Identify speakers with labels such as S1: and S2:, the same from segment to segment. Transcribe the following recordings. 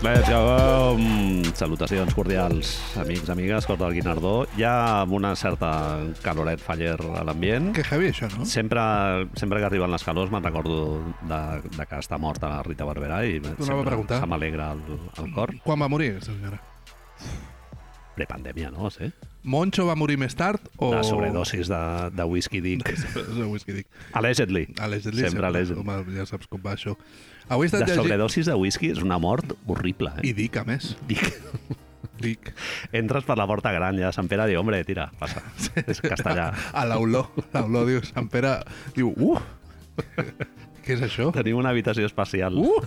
S1: Bé, ja, um, salutacions cordials, amics, amigues, cor del Guinardó. Ja amb una certa caloret faller a l'ambient.
S2: Que heavy, això, no?
S1: Sempre, sempre que arriben les calors me'n recordo de, de que està morta la Rita Barberà i
S2: va
S1: sempre
S2: preguntar.
S1: se m'alegra el, el cor.
S2: Quan va morir aquesta senyora?
S1: Prepandèmia, no? Sí.
S2: Moncho va morir més tard o...
S1: De sobredosis de, de whisky dic.
S2: De whisky, dic.
S1: Allegedly.
S2: Allegedly,
S1: Sempre allegedly.
S2: Home, ja saps com va això. Avui he estat
S1: De
S2: llegint...
S1: sobredosis de whisky és una mort horrible, eh?
S2: I dic, a més.
S1: Dic,
S2: Dic.
S1: entres per la porta gran ja de Sant Pere, diu, hombre, tira, passa. És castellà.
S2: A l'Auló. L'Auló, diu, Sant Pere... Diu, uh! Què és això?
S1: Tenim una habitació espacial.
S2: Uh!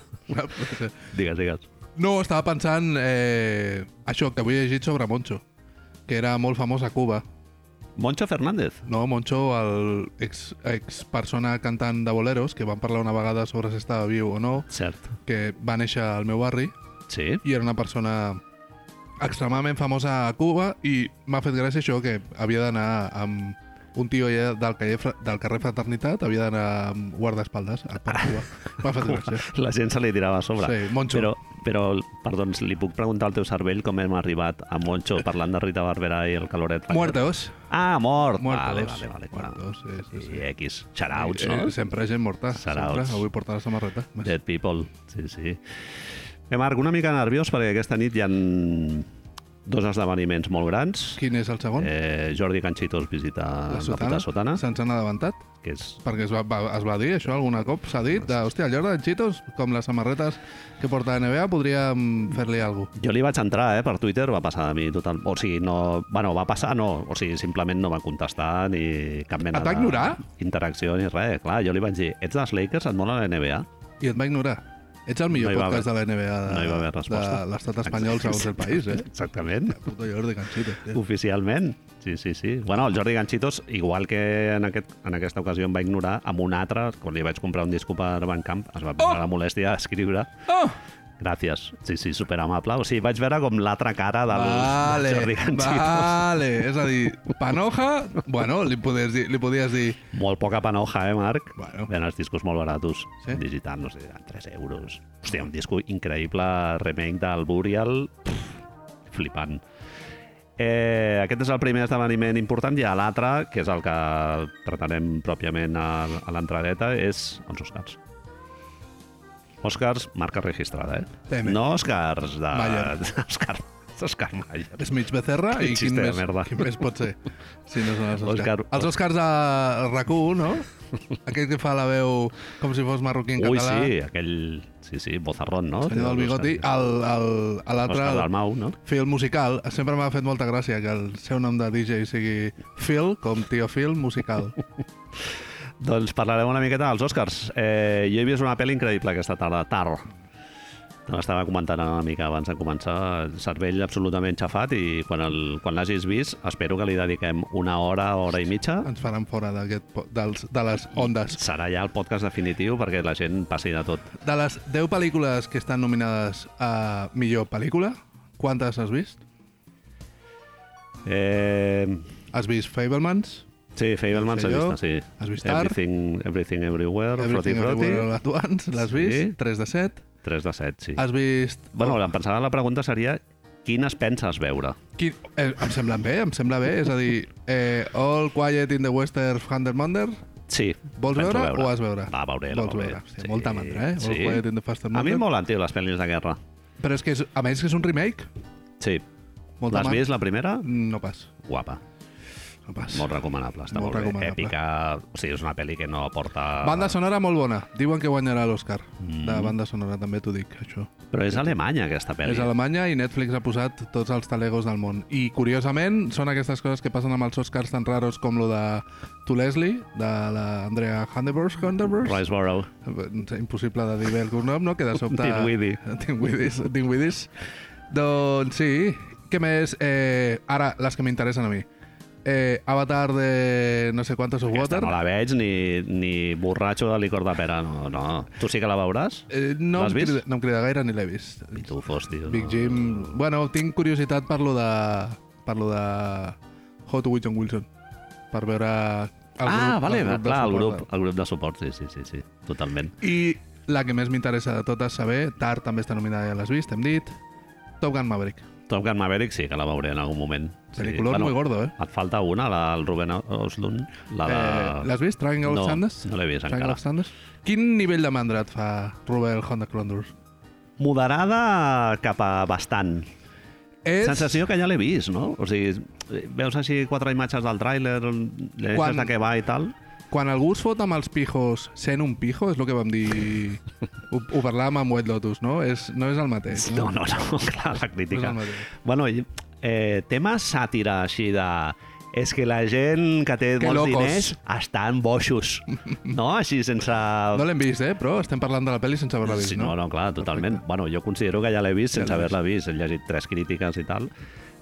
S1: Digues, digues.
S2: No, estava pensant eh, això que avui he llegit sobre Moncho, que era molt famós a Cuba.
S1: Moncho Fernández.
S2: No, Moncho, el ex, ex persona cantant de boleros, que van parlar una vegada sobre si estava viu o no,
S1: Cert.
S2: que va néixer al meu barri
S1: Sí?
S2: i era una persona extremadament famosa a Cuba i m'ha fet gràcia això que havia d'anar amb un tio allà del carrer, Fra- del carrer Fraternitat havia d'anar amb guardaespaldes al Parc Cuba. M'ha fet gràcia.
S1: La gent se li tirava a sobre.
S2: Sí, Moncho.
S1: Però, però, perdons, li puc preguntar al teu cervell com hem arribat a Moncho parlant de Rita Barberà i el caloret. Faller?
S2: Muertos.
S1: Ah, mort.
S2: Muertos.
S1: Vale, vale, vale. clar.
S2: Muertos, sí, sí, sí.
S1: I X. Shoutouts, no?
S2: Eh, Sempre gent morta. Sempre.
S1: Sarauts.
S2: Avui porta la samarreta.
S1: Dead People, sí, sí. Bé, Marc, una mica nerviós perquè aquesta nit hi han dos esdeveniments molt grans.
S2: Quin és el segon?
S1: Eh, Jordi Canchitos visita la, puta sotana,
S2: Se'ns han adelantat?
S1: que és...
S2: Perquè es va, va, es va dir això algun cop, s'ha dit, de, hòstia, el Jordan Cheetos, com les samarretes que porta la NBA, podríem fer-li alguna cosa.
S1: Jo li vaig entrar, eh, per Twitter, va passar a mi total... O sigui, no... Bueno, va passar, no. O sigui, simplement no va contestar ni cap mena
S2: Et va ignorar?
S1: interacció ni res. Clar, jo li vaig dir, ets dels Lakers, et mola la NBA?
S2: I et va ignorar. Ets el millor
S1: No hi va
S2: podcast de la NBA Eh, de,
S1: No hi va haver resposta.
S2: de l'estat espanyol segons el país, eh?
S1: Exactament.
S2: Puto Jordi Canchito.
S1: Oficialment, sí, sí, sí. Bueno, el Jordi Ganchitos, igual que en, aquest, en aquesta ocasió em va ignorar, amb un altre, quan li vaig comprar un disco per Bandcamp, es va posar oh! la molèstia d'escriure.
S2: Oh!
S1: Gràcies. Sí, sí, superamable. O sigui, vaig veure com l'altra cara del,
S2: Vale,
S1: del Jordi Ganchitos.
S2: vale. És a dir, Panoja, bueno, li podies dir, li podies dir
S1: Molt poca panoja, eh, Marc?
S2: Bueno.
S1: Ven els discos molt baratos.
S2: Sí?
S1: Sí? Digital, no sé, eren 3 euros. Hòstia, un disco increïble, remake del Burial. Pff, flipant. Eh, aquest és el primer esdeveniment important i a l'altre, que és el que tractarem pròpiament a, a l'entradeta, és els Oscars. Oscars, marca registrada, eh?
S2: Teme.
S1: No Oscars de...
S2: Mayer.
S1: Oscar, Oscar Mayer.
S2: Smith Becerra
S1: Quin
S2: i quin
S1: xiste de
S2: més,
S1: merda.
S2: quin més pot ser? Si no són els Oscars.
S1: Òscar-
S2: Els Oscars de RAC1, no? Aquell que fa la veu com si fos marroquí en
S1: Ui,
S2: català.
S1: sí, aquell... Sí, sí, Bozarrón, no?
S2: Senyor del bigoti, el- el- a
S1: Oscar
S2: l'altre,
S1: Dalmau, no?
S2: Phil Musical, sempre m'ha fet molta gràcia que el seu nom de DJ sigui Phil, com tio Phil Musical.
S1: Doncs parlarem una miqueta dels Oscars. Eh, jo he vist una pel·li increïble aquesta tarda, Tar. Te l'estava comentant una mica abans de començar. El cervell absolutament xafat i quan el- quan l'hagis vist espero que li dediquem una hora, hora i mitja.
S2: Ens faran fora d'aquest po- dels, de les ondes.
S1: Serà ja el podcast definitiu perquè la gent passi de tot.
S2: De les 10 pel·lícules que estan nominades a millor pel·lícula, quantes has vist?
S1: Eh,
S2: Has vist Fablemans?
S1: sí, Fableman s'ha
S2: Senyor,
S1: vist, sí.
S2: has vist Tar?
S1: Everything, everything Everywhere, Froti
S2: Everything Everywhere
S1: Froti,
S2: All at Once, l'has
S1: Sí.
S2: vist? 3 de 7.
S1: 3 de 7, sí.
S2: Has vist...
S1: Bueno, em pensava la pregunta seria quines penses veure?
S2: Qui... Eh, em sembla bé, em sembla bé. És a dir, eh, All Quiet in the Western Hunter Munder,
S1: Sí.
S2: Vols
S1: penso
S2: veure o has veure?
S1: La veuré, la
S2: Vols
S1: veuré.
S2: veure. Hòstia, molta mandra, eh? All Quiet in the Fast and
S1: a mi
S2: Wanted.
S1: em molen, tio, les pel·lis de guerra.
S2: però és que és, a més que és un remake.
S1: Sí.
S2: Molta
S1: L'has
S2: mà-
S1: vist, la primera?
S2: No pas,
S1: Guapa.
S2: no pas.
S1: Molt recomanable, està
S2: Molt
S1: molt, bé.
S2: recomanable.
S1: Èpica, o sigui, és una pel·li que no aporta...
S2: Banda sonora molt bona. Diuen que guanyarà l'Oscar. Mm. De banda sonora també t'ho dic, això.
S1: Però és alemanya, aquesta pel·li.
S2: És Alemanya i Netflix ha posat tots els talegos del món. I, curiosament, són aquestes coses que passen amb els Oscars tan raros com lo de To Leslie, de l'Andrea Handeberg. Handeberg?
S1: Riceboro.
S2: És Doncs, impossible de dir bé el cognom, no? Que de sobte...
S1: Dinwiddie.
S2: Dinwiddis. Dinwiddis. Doncs sí. Què més? Eh, ara, les que m'interessen a mi. Eh, Avatar de no sé quantos of
S1: Aquesta
S2: Water.
S1: no la veig ni, ni borratxo de licor de pera, no, no. Tu sí que la veuràs?
S2: Eh, no,
S1: L'has
S2: em
S1: vist?
S2: crida, no em crida gaire ni l'he vist.
S1: Pitufos, tio.
S2: Big
S1: no.
S2: Jim... Bueno, tinc curiositat per lo de... Per lo de... Hot Wilson Wilson. Per veure... El
S1: ah, vale,
S2: el
S1: clar, el
S2: suport eh.
S1: grup, el grup de suport, sí, sí, sí, sí totalment.
S2: I La que més m'interessa de totes saber, Tar també està nominada, ja l'has vist, hem dit. Top Gun Maverick.
S1: Top Gun Maverick sí que la veuré en algun moment. Sí,
S2: Peliculón muy gordo, eh?
S1: Et falta una, la del Ruben Oslund. La de...
S2: eh L'has vist, Triangle
S1: no,
S2: of Sanders?
S1: no l'he vist
S2: Triangle
S1: encara.
S2: of Sanders? Quin nivell de mandra et fa Rubel Honda Condors?
S1: Moderada cap a bastant.
S2: És...
S1: Sensació que ja l'he vist, no? O sigui, veus així quatre imatges del tràiler, les
S2: Quan-
S1: Quan... de què va i tal.
S2: Quan algú es fot amb els pijos sent un pijo, és el que vam dir... ho, ho parlàvem amb Wet Lotus, no? És, no és el mateix.
S1: No, no, no, clar, la
S2: No és
S1: crítica.
S2: el mateix.
S1: Bueno, i, eh, tema sàtira així de... És que la gent que té
S2: Que
S1: molts
S2: locos.
S1: diners estan boixos, no? Així sense...
S2: No l'hem vist, eh? Però estem parlant de la pel·li sense haver-la vist,
S1: Sí, no,
S2: no?
S1: no, clar, totalment. Bueno, jo considero que ja l'he vist
S2: Ja
S1: sense
S2: l'has
S1: haver-la vist. He llegit tres crítiques i tal.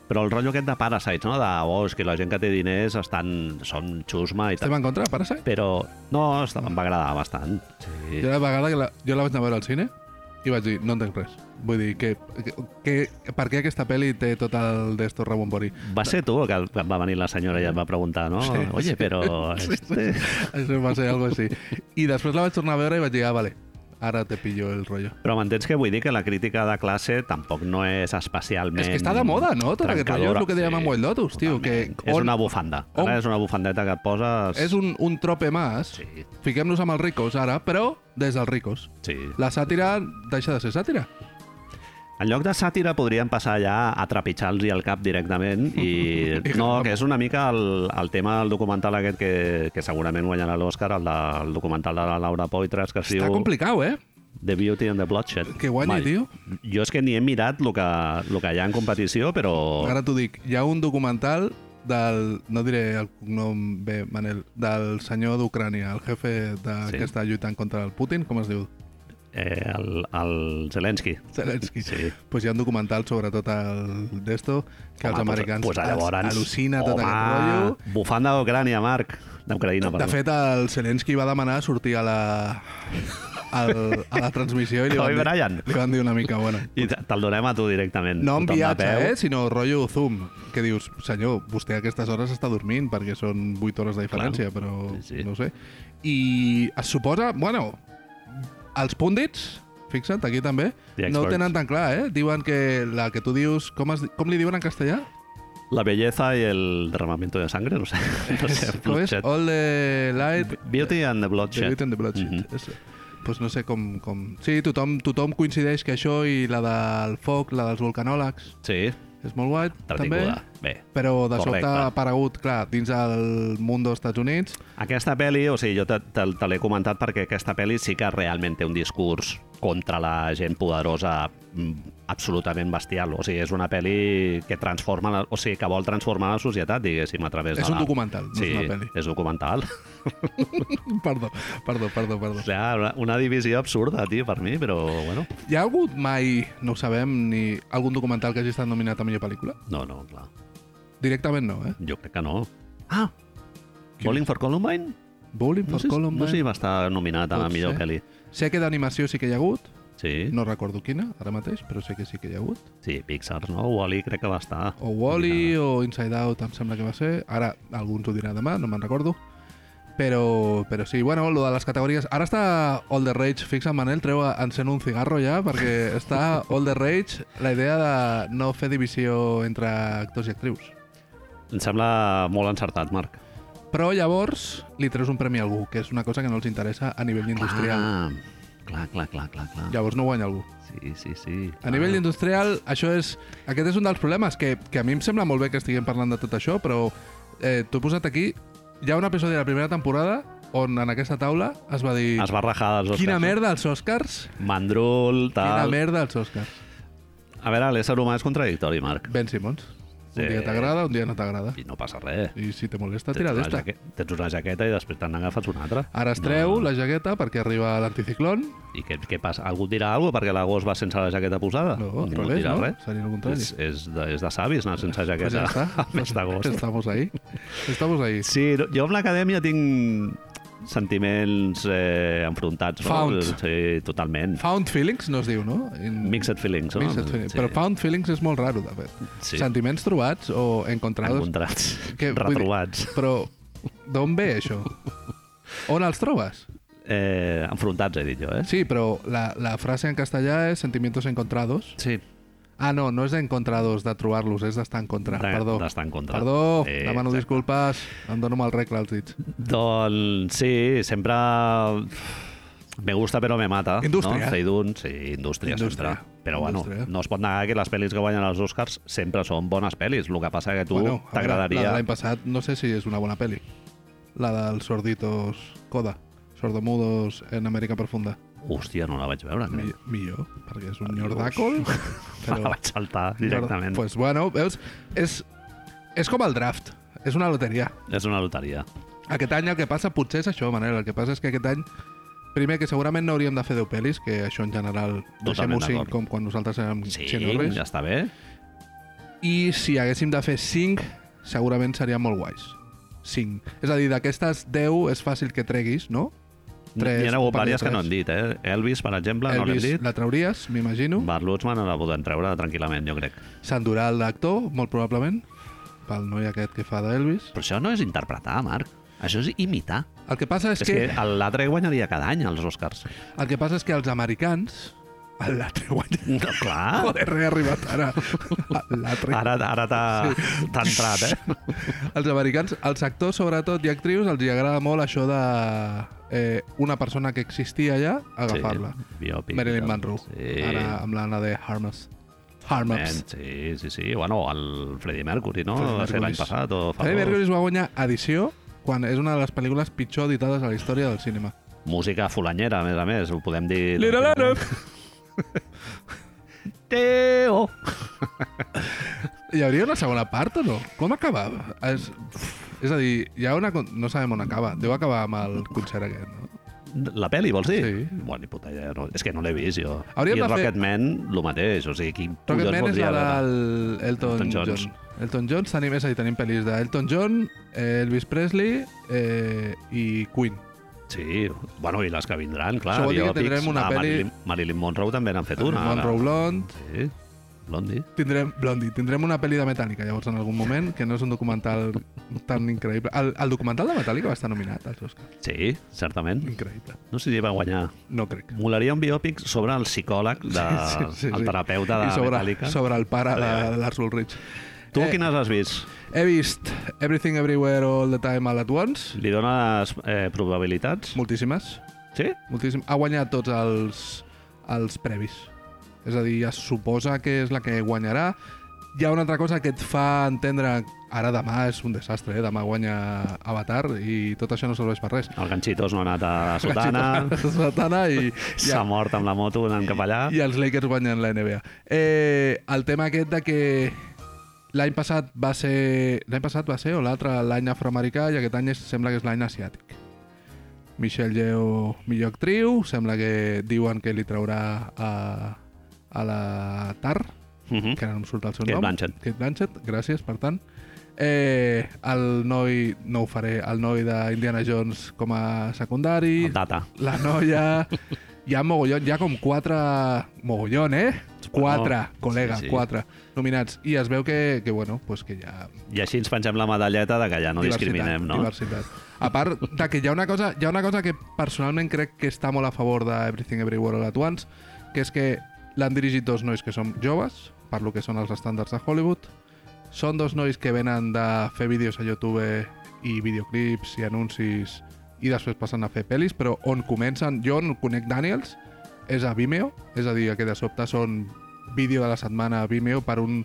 S1: Però el rotllo aquest de Parasites, no? De, oh, és que la gent que té diners estan, són xusma i
S2: Estem
S1: tal.
S2: en contra de Parasite?
S1: Però, no, està, em va agradar bastant. Sí.
S2: Jo la vegada que la, jo la vaig anar a veure al cine i vaig dir, no entenc res. Vull dir, que, que, que per què aquesta pel·li té tot el d'esto rebombori?
S1: Va ser tu que, que va venir la senyora i et va preguntar, no?
S2: Sí,
S1: Oye,
S2: sí.
S1: però... Este...
S2: Això va ser algo així. I després la vaig tornar a veure i vaig dir, ah, vale, ara te pillo el rotllo.
S1: Però m'entens que vull dir que la crítica de classe tampoc no és especialment...
S2: És que està de moda, no? Tot aquest rotllo és el que dèiem amb Wild
S1: Wild
S2: Lotus, tio, que
S1: És
S2: on-
S1: una bufanda.
S2: on-
S1: Ara és una bufandeta que et poses...
S2: És un, un trope más.
S1: Sí,
S2: Fiquem-nos amb els ricos ara, però des dels ricos.
S1: sí.
S2: La sàtira deixa de ser sàtira.
S1: En lloc de sàtira podríem passar ja a trepitjar-los i al cap directament i no, que és una mica el, el tema del documental aquest que, que segurament guanyarà l'Oscar, el, de, el documental de la Laura Poitras que es
S2: Està
S1: diu
S2: complicat, eh?
S1: The Beauty and the Bloodshed.
S2: Que guanyi,
S1: Mai.
S2: tio.
S1: Jo és que ni he mirat el que, el que hi ha en competició, però...
S2: Ara t'ho dic, hi ha un documental del, no diré el cognom bé, Manel, del senyor d'Ucrània, el jefe de,
S1: Sí.
S2: que està lluitant contra el Putin, com es diu?
S1: Eh, el, el Zelensky.
S2: Zelensky.
S1: Sí.
S2: Pues Doncs hi ha un documental sobre tot el d'esto, que els americans
S1: pues, pues,
S2: al-
S1: doncs, llavors,
S2: al·lucina tot
S1: home,
S2: aquest rotllo.
S1: Bufanda d'Ucrània, Marc. D'Ucraïna,
S2: De
S1: perdó.
S2: fet, el Zelensky va demanar sortir a la, al, a la transmissió i li
S1: Kobe
S2: van,
S1: Bryant.
S2: dir, li van dir una mica bona.
S1: I te- te'l donem a tu directament.
S2: No
S1: Tothom
S2: en
S1: de
S2: viatge,
S1: peu.
S2: eh? sinó rotllo Zoom, que dius, senyor, vostè a aquestes hores està dormint perquè són 8 hores de diferència, però
S1: Sí, sí.
S2: no ho sé. I es suposa, bueno, els púndits, fixa't, aquí també,
S1: The
S2: no ho
S1: experts.
S2: tenen tan clar, eh? Diuen que la que tu dius, com, es, com li diuen en castellà?
S1: La belleza y el derramamiento de sangre, no sé. No sé
S2: Com és?
S1: bloodshed.
S2: All the light,
S1: Beauty and the
S2: Oh, the
S1: Bloodshed.
S2: beauty and the bloodshed.
S1: Mhm.
S2: Eso. Pues no sé com... com... Sí, tothom, tothom coincideix que això i la del foc, la dels volcanòlegs,
S1: Sí,
S2: és molt guai, també.
S1: entretinguda. Bé,
S2: però de
S1: Correcte.
S2: sobte ha aparegut, clar, dins el món dels Estats Units.
S1: aquesta pel·li, o sigui, jo te, te, te l'he comentat perquè aquesta pel·li sí que realment té un discurs contra la gent poderosa mm, absolutament bestial. O sigui, és una pel·li que transforma, la, o sigui, que vol transformar la societat, diguéssim, a través
S2: És,
S1: de
S2: un
S1: la...
S2: documental, no
S1: Sí,
S2: és una pel·li.
S1: és documental.
S2: Perdó, perdó, perdó,
S1: O
S2: perdó.
S1: sigui, una, una divisió absurda, tio, per mi, però, bueno...
S2: Hi ha hagut mai, no ho sabem, ni algun documental que hagi estat nominat a millor pel·lícula?
S1: No, no, clar.
S2: Directament no, eh?
S1: Jo crec que no. Ah!
S2: Qui?
S1: Bowling for Columbine?
S2: Bowling
S1: No
S2: for
S1: sé,
S2: Columbine...
S1: no sé si va estar nominat a la
S2: Pot
S1: millor
S2: ser.
S1: pel·li.
S2: Sé que d'animació sí que hi ha hagut,
S1: Sí, no.
S2: no recordo quina, ara mateix, però sé que sí que hi ha hagut.
S1: sí, Pixar, no? Wall-E crec que va estar.
S2: O Wall-E o Inside Out, em sembla que va ser. Ara, algú ens ho dirà demà, no me'n recordo. Però, però sí, bueno, lo de les categories... Ara està All the Rage, fixa Manel, treu, encén un cigarro ja, perquè està All the Rage la idea de no fer divisió entre actors i actrius.
S1: Em sembla molt encertat, Marc.
S2: Però llavors li treus un premi a algú, que és una cosa que no els interessa a
S1: Ah.
S2: nivell industrial.
S1: Clar, clar, clar, clar, clar.
S2: Llavors no guanya algú.
S1: Sí, sí, sí. Ah,
S2: A nivell industrial, això és... Aquest és un dels problemes, que, que a mi em sembla molt bé que estiguem parlant de tot això, però eh, t'ho he posat aquí. Hi ha un episodi de la primera temporada on en aquesta taula es va dir...
S1: Es va rajar dels Oscars.
S2: Quina merda els Oscars!
S1: Mandrul,
S2: Quina
S1: tal...
S2: merda els Oscars!
S1: A veure, l'ésser humà és contradictori, Marc.
S2: Ben Simons.
S1: Sí.
S2: Un dia t'agrada, un dia no t'agrada.
S1: I no passa res.
S2: I si te molesta,
S1: Tens
S2: tira
S1: una
S2: d'esta.
S1: jaque- Tens una jaqueta i després te n'agafes una altra.
S2: Ara es treu la jaqueta perquè arriba l'anticiclón.
S1: I què, què passa? Algú et dirà alguna cosa perquè l'agost va sense la jaqueta posada?
S2: No, al
S1: Ningú et
S2: revés,
S1: dirà
S2: no?
S1: res.
S2: Seria el contrari.
S1: És, és, de, és de savis anar sense
S2: Pues
S1: jaqueta
S2: ja està.
S1: al mes d'agost.
S2: Estamos ahí. Estamos ahí.
S1: Sí, no, jo amb l'acadèmia tinc sentiments eh, enfrontats.
S2: Found.
S1: No? Sí, totalment.
S2: Found feelings no es diu, no? In-
S1: Mixed feelings, no?
S2: Mixed feelings.
S1: Sí.
S2: Però found feelings és molt raro, de fet.
S1: Sí.
S2: Sentiments trobats o encontrados,
S1: Encontrats,
S2: Que,
S1: que,
S2: vull dir-
S1: retrobats.
S2: però d'on ve això? On els trobes?
S1: eh, enfrontats, he dit jo, eh?
S2: Sí, pero la, la frase en castellà és sentimientos encontrados.
S1: Sí.
S2: Ah, no, no és d'encontrados, de trobar-los, és d'estar en contra.
S1: De-
S2: Perdó.
S1: d'estar en contra.
S2: Perdó,
S1: Eh,
S2: demano
S1: exacte.
S2: disculpes, em dono mal regle als dits.
S1: Doncs sí, sempre... Me gusta però me mata.
S2: Indústria.
S1: No? Seidun, sí, indústria,
S2: Indústria.
S1: indústria. sempre. Però bueno,
S2: Indústria.
S1: no es pot negar que les pel·lis que guanyen els Oscars sempre són bones pel·lis. El que passa que tu
S2: Bueno, a veure, La
S1: t'agradaria...
S2: de l'any passat no sé si és una bona pel·li. La dels sorditos coda. Sordomudos en Amèrica Profunda.
S1: Hòstia, no la vaig veure.
S2: Mi-
S1: Mi...
S2: Millor, perquè és un
S1: Adiós.
S2: nyordàcol.
S1: Però... Me la vaig saltar directament.
S2: Pues bueno, veus, és, és com el draft. És una loteria.
S1: És una loteria.
S2: Aquest any el que passa potser és això, Manel. El que passa és que aquest any, primer, que segurament no hauríem de fer 10 pel·lis, que això en general deixem-ho
S1: Totalment
S2: 5
S1: d'acord.
S2: com quan nosaltres érem
S1: Sí,
S2: xenorris.
S1: ja està bé.
S2: I si haguéssim de fer 5, segurament serien molt guais. 5. És a dir, d'aquestes 10 és fàcil que treguis, no? Tres,
S1: Hi ha
S2: un
S1: hagut
S2: parell de
S1: diverses que no
S2: tres.
S1: han dit, eh? Elvis, per exemple, no l'hem
S2: Elvis
S1: dit.
S2: la trauries, m'imagino.
S1: Bart Lutzman la podem treure tranquil·lament, jo crec.
S2: S'endurà el d'actor, molt probablement, pel noi aquest que fa d'Elvis.
S1: Però això no és interpretar, Marc. Això és imitar.
S2: El que passa és,
S1: És
S2: que,
S1: que el l'altre guanyaria cada any als Oscars.
S2: el que passa és que els americans... L'altre guanya...
S1: No, clar.
S2: Joder, he arribat ara. L'altre...
S1: Ara, ara t'ha t'ha entrat, eh?
S2: Els americans, els actors, sobretot, i actrius, els hi agrada molt això de... Eh, una persona que existia allà, agafar-la.
S1: Sí, biòpic.
S2: Marilyn
S1: doncs.
S2: Monroe.
S1: Sí.
S2: Ara amb l'Anna de Harmas. Harmas.
S1: Ben, sí, sí, sí. Bueno, el Freddie Mercury, no?
S2: Freddie
S1: Va ser l'any
S2: Mercury.
S1: passat o fa
S2: Freddie
S1: dos.
S2: Mercury es va guanyar edició quan és una de les pel·lícules pitjor editades a la història del cinema.
S1: Música fulanyera, a més a més, ho podem dir...
S2: Little Anna.
S1: Teo!
S2: Hi hauria una segona part o no? Com acabava? És, és a dir, hi ha una... con- No sabem on acaba. Deu acabar amb el concert aquest, no?
S1: La pel·li, vols dir?
S2: Sí.
S1: Bueno, ni puta idea, no. és que no l'he vist, jo.
S2: Hauríem
S1: I
S2: de fer-
S1: Rocketman, el mateix, o sigui, quin
S2: Rocketman és la
S1: doncs voldria veure?
S2: del Elton,
S1: Elton John.
S2: John. Elton John, tenim, és a dir, tenim pel·lis d'Elton John, eh, Elvis Presley eh, i Queen.
S1: Sí, bueno, i les que vindran, clar.
S2: Això vol dir que
S1: biòpics.
S2: tindrem una
S1: Ah,
S2: peli-
S1: Marilyn, Marilyn Monroe també n'han fet una. ara.
S2: Monroe Blonde,
S1: Sí, Blondie.
S2: tindrem, Blondie, tindrem una pel·li de Metallica, llavors, en algun moment, que no és un documental tan increïble. El, el documental de Metallica va estar nominat als Oscars.
S1: Sí, certament.
S2: Increïble.
S1: No sé si va guanyar.
S2: No crec.
S1: Molaria un biòpic sobre el psicòleg, de, sí, sí, sí, el terapeuta de
S2: I sobre,
S1: Metallica.
S2: sobre el pare de,
S1: Vale, vale.
S2: de Lars Ulrich.
S1: Tu
S2: Eh.
S1: quines has vist?
S2: He vist Everything Everywhere All the Time All at Once,
S1: Li dones eh, probabilitats?
S2: moltíssimes.
S1: Sí?
S2: moltíssim. Ha guanyat tots els, els previs. És a dir, es suposa que és la que guanyarà. Hi ha una altra cosa que et fa entendre... Ara demà és un desastre, eh? Demà guanya Avatar i tot això no serveix per res.
S1: El ganxitos no ha anat a la sotana,
S2: Sotana i, i,
S1: s'ha mort amb la moto anant cap allà.
S2: i els Lakers guanyen la NBA. Eh, el tema aquest de que l'any passat va ser... L'any passat va ser o l'altre l'any afroamericà i aquest any és, sembla que és l'any asiàtic. Michelle Yeoh, millor actriu, sembla que diuen que li traurà a, a la TAR,
S1: Mhm.
S2: que ara no em surt el seu
S1: Cate
S2: nom.
S1: Blanchett.
S2: Cate Blanchett, gràcies, per tant. Eh, el noi, no ho faré, el noi d'Indiana Jones com a secundari
S1: El data.
S2: la noia... Hi ha mogollon, hi ha com quatre... Mogollon, eh? Quatre,
S1: Bueno,
S2: col·lega,
S1: sí, sí.
S2: quatre nominats. I es veu que, que bueno, pues que hi ha
S1: I així ens pengem la medalleta de que ja no discriminem, no?
S2: Diversitat. A part de que hi ha, una cosa, hi ha una cosa que personalment crec que està molt a favor de Everything Everywhere All At Once, que és que l'han dirigit dos nois que són joves, per lo que són els estàndards de Hollywood. Són dos nois que venen de fer vídeos a YouTube i videoclips i anuncis i després passen a fer pel·lis, però on comencen, jo on conec Daniels, és a Vimeo, és a dir, que de sobte són vídeo de la setmana a Vimeo per un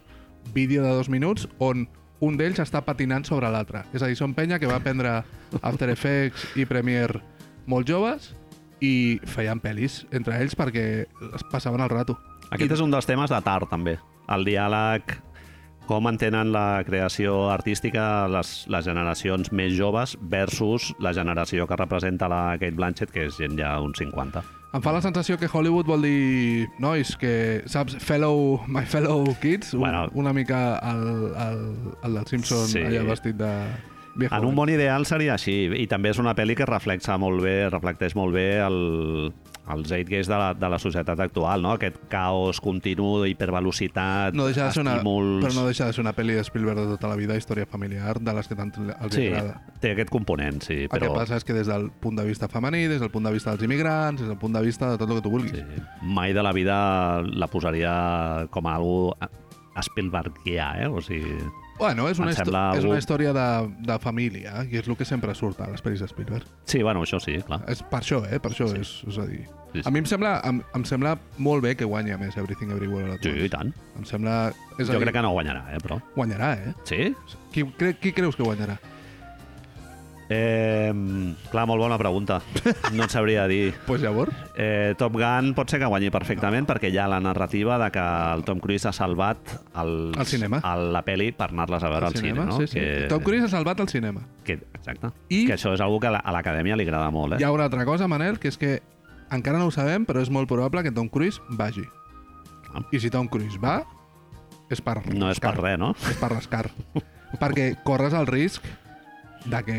S2: vídeo de dos minuts on un d'ells està patinant sobre l'altre. És a dir, són penya que va aprendre After Effects i Premiere molt joves i feien pel·lis entre ells perquè es passaven el rato.
S1: Aquest és un dels temes de tard, també. El diàleg, com entenen la creació artística les, les generacions més joves versus la generació que representa la Kate Blanchett, que és gent ja uns 50.
S2: Em fa la sensació que Hollywood vol dir nois que, saps, fellow, my fellow kids, un,
S1: Bueno.
S2: una mica el, el, el del Simpson
S1: Sí.
S2: sí. allà vestit de viejo.
S1: En un món ideal seria així, i també és una pel·li que reflexa molt bé, reflecteix molt bé el, el zeitgeist de la, de la societat actual, no? Aquest caos continu, hipervelocitat,
S2: No deixa de ser una,
S1: estímuls...
S2: però no deixa de ser una pel·li de Spielberg de tota la vida, història familiar, de les que tant els sí.
S1: sí,
S2: agrada.
S1: té aquest component, sí,
S2: Però... El
S1: però...
S2: que passa és que des del punt de vista femení, des del punt de vista dels immigrants, des del punt de vista de tot el que tu vulguis.
S1: Sí. Mai de la vida la posaria com a algú a Spielbergià, eh? O sigui,
S2: Bueno, és una,
S1: Em sembla
S2: histò- és
S1: algú-
S2: una història de, de família, i és el que sempre surt a les pel·lis de Spielberg.
S1: sí, bueno, això sí, clar.
S2: És per això, eh? Per això
S1: Sí.
S2: sí. és, és a dir...
S1: Sí,
S2: A
S1: sí.
S2: mi em sembla, em, em sembla molt bé que guanyi, a més, Everything Everywhere All At
S1: Sí,
S2: Once.
S1: i tant.
S2: Em sembla... És
S1: Jo crec que no guanyarà, eh, però...
S2: Guanyarà, eh?
S1: Sí?
S2: Qui, cre, qui creus que guanyarà?
S1: Eh, clar, molt bona pregunta. No et sabria dir.
S2: Doncs pues llavors...
S1: Eh, Top Gun pot ser que guanyi perfectament perquè hi ha la narrativa de que el Tom Cruise ha salvat els,
S2: Al cinema.
S1: el, la peli per anar-les a veure al cinema, no?
S2: sí, sí.
S1: Que,
S2: Que... Tom Cruise ha salvat el cinema.
S1: Que, exacte.
S2: I-
S1: Que això és algo que a la- a l'acadèmia li agrada molt, eh?
S2: Hi ha una altra cosa, Manel, que és que encara no ho sabem, però és molt probable que Tom Cruise vagi.
S1: Ah.
S2: I si Tom Cruise va, és per
S1: No és per
S2: rascar.
S1: res, no?
S2: És per rascar. Perquè corres el risc de que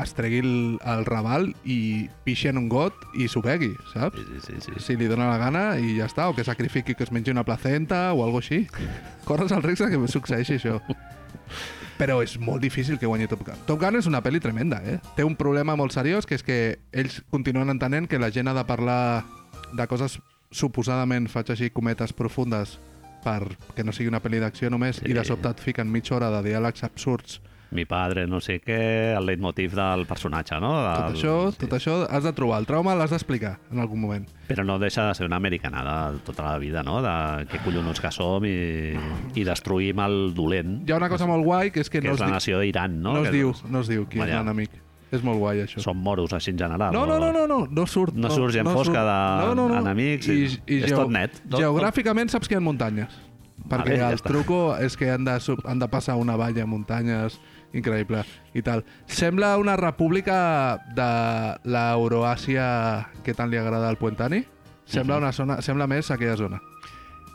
S2: es tregui el, el Raval i pixi en un got i s'ho begui, saps?
S1: Sí, sí, sí. sí.
S2: si li dóna la gana i ja està, o que sacrifiqui que es mengi una placenta o alguna així. Corres el risc de que succeeixi això. Però és molt difícil que guanyi Top Gun. Top Gun és una pel·li tremenda, eh? Té un problema molt seriós, que és que ells continuen entenent que la gent ha de parlar de coses suposadament, faig així, cometes profundes perquè no sigui una pel·li d'acció només sí. i de
S1: Sí.
S2: sobte et fiquen mitja hora de diàlegs absurds.
S1: Mi padre, no sé què, el leitmotiv del personatge, no? Del...
S2: Tot això, tot això has de trobar. El trauma l'has d'explicar en algun moment.
S1: Però no deixa de ser una americanada tota la vida, no? De què collonons que som i, i destruïm el dolent,
S2: Hi ha una cosa molt guai, que és que,
S1: que
S2: no
S1: és
S2: es,
S1: la
S2: di-
S1: nació d'Iran, no?
S2: no, no es
S1: Que
S2: diu, no es diu qui és
S1: Vaja.
S2: l'enemic. És molt guai, això.
S1: Són moros, així en general.
S2: No, no, no, no, no, no surt.
S1: No surt gent fosca de- enemics i- és tot net. No,
S2: geogràficament saps que hi ha muntanyes. Perquè
S1: Vale, ja
S2: el
S1: està.
S2: truco és que han de, sub, han de passar una valla, muntanyes, increïble i tal. Sembla una república de l'Euroàsia que tant li agrada al Puentani.
S1: Mhm.
S2: Sembla, una zona, sembla més aquella zona.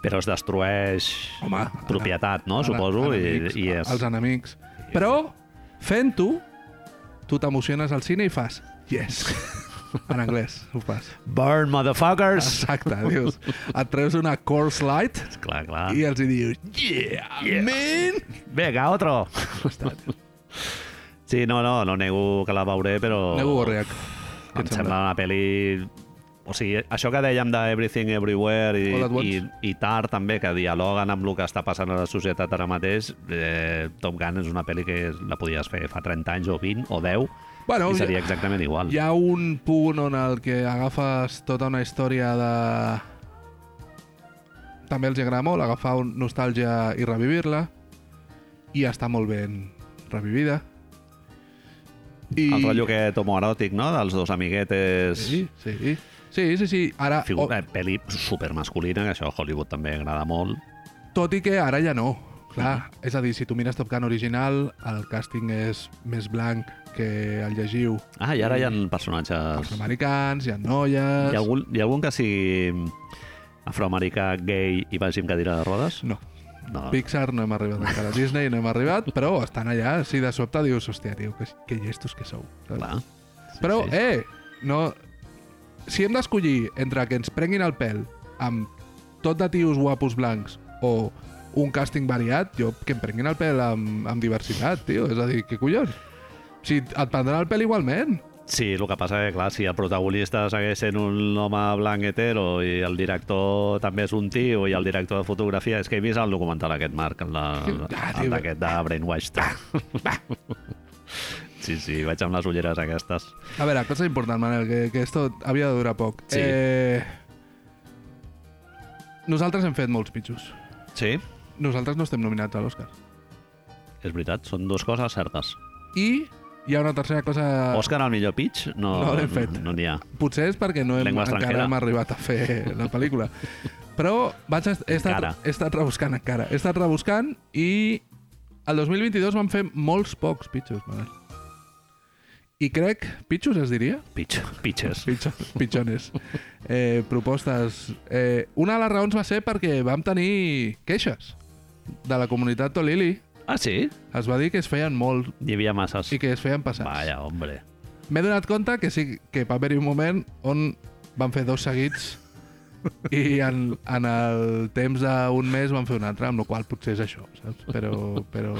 S1: Però es destrueix
S2: Home,
S1: propietat, no?
S2: Ara,
S1: Suposo,
S2: enemics,
S1: i, i és...
S2: Els enemics. Però, fent-ho, tu t'emociones al cine i fas yes. En anglès ho fas.
S1: Burn, motherfuckers!
S2: Exacte, dius. Et treus una course light
S1: Clar, clar.
S2: i els hi dius yeah,
S1: Ah. Yeah.
S2: yeah. man!
S1: Vinga, otro! Sí, no, no, no nego que la veuré, però...
S2: Nego Gorriac. Què
S1: Oh. Em
S2: et
S1: sembla una pel·li... O sigui, això que dèiem de Everything Everywhere i,
S2: All at
S1: i,
S2: Once.
S1: i Tar també, que dialoguen amb el que està passant a la societat ara mateix, eh, Top Gun és una pel·li que la podies fer fa 30 anys o 20 o 10
S2: Bueno,
S1: i
S2: hi,
S1: seria exactament igual.
S2: hi ha un punt on el que agafes tota una història de... També els agrada molt agafar un nostàlgia i revivir-la. I està molt ben revivida. I...
S1: El rotllo aquest homoeròtic, no?, dels dos amiguetes...
S2: Sí, sí. Sí, sí, sí. Ara, o,
S1: Figura, oh. pel·li supermasculina, que això a Hollywood també agrada molt.
S2: tot i que ara ja no. Clar,
S1: Mm-hmm.
S2: és a dir, si tu mires Top Gun original, el càsting és més blanc que el llegiu.
S1: Ah, i ara hi ha
S2: Els
S1: personatges...
S2: americans, hi ha noies...
S1: Hi ha algun, hi ha algun que sigui afroamericà, gay i vagi amb cadira de rodes?
S2: No,
S1: No.
S2: Pixar no hem arribat encara, Disney no hem arribat, però estan allà, si de sobte dius, hòstia, tio, que, que llestos que sou.
S1: Clar.
S2: Però, eh, no... Si hem d'escollir entre que ens prenguin el pèl amb tot de tios guapos blancs o un càsting variat, jo que em prenguin el pèl amb, amb diversitat, tio. És a dir, què collons? Si et prendran el pèl igualment.
S1: Sí, el que passa que, clar, si el protagonista segueix sent un home blanc hetero i el director també és un tio i el director de fotografia... És que he vist el documental aquest, Marc, el, de,
S2: Ah, tio.
S1: el d'aquest de Brainwash. Sí, sí, vaig amb les ulleres aquestes.
S2: A veure, cosa important, Manel, que, que esto havia de durar poc.
S1: Sí.
S2: Eh, nosaltres hem fet molts pitjors.
S1: Sí,
S2: Nosaltres no estem nominats a l'Oscar.
S1: és veritat, són dues coses certes.
S2: I hi ha una tercera cosa...
S1: Òscar, al millor pitch, no
S2: Ah. No l'hem fet.
S1: no n'hi ha.
S2: Potser és perquè no hem,
S1: Llengua
S2: encara
S1: estrangera.
S2: hem arribat a fer la pel·lícula. Però vaig est he, estat,
S1: Encara.
S2: he estat rebuscant encara. He estat rebuscant i el 2022 vam fer molts pocs pitxos. Manel. I crec, pitxos es diria?
S1: Pitch, pitches.
S2: Pitxo, pitxones. Eh, propostes. Eh, una de les raons va ser perquè vam tenir queixes de la comunitat Tolili.
S1: Ah, sí?
S2: Es va dir que es feien molt
S1: Hi havia masses.
S2: i que es feien passats.
S1: Vaya, hombre.
S2: M'he donat compte que sí que va haver-hi un moment on Van fer dos seguits i en, en el temps d'un mes van fer un altre, amb la qual potser és això, saps? Però, però...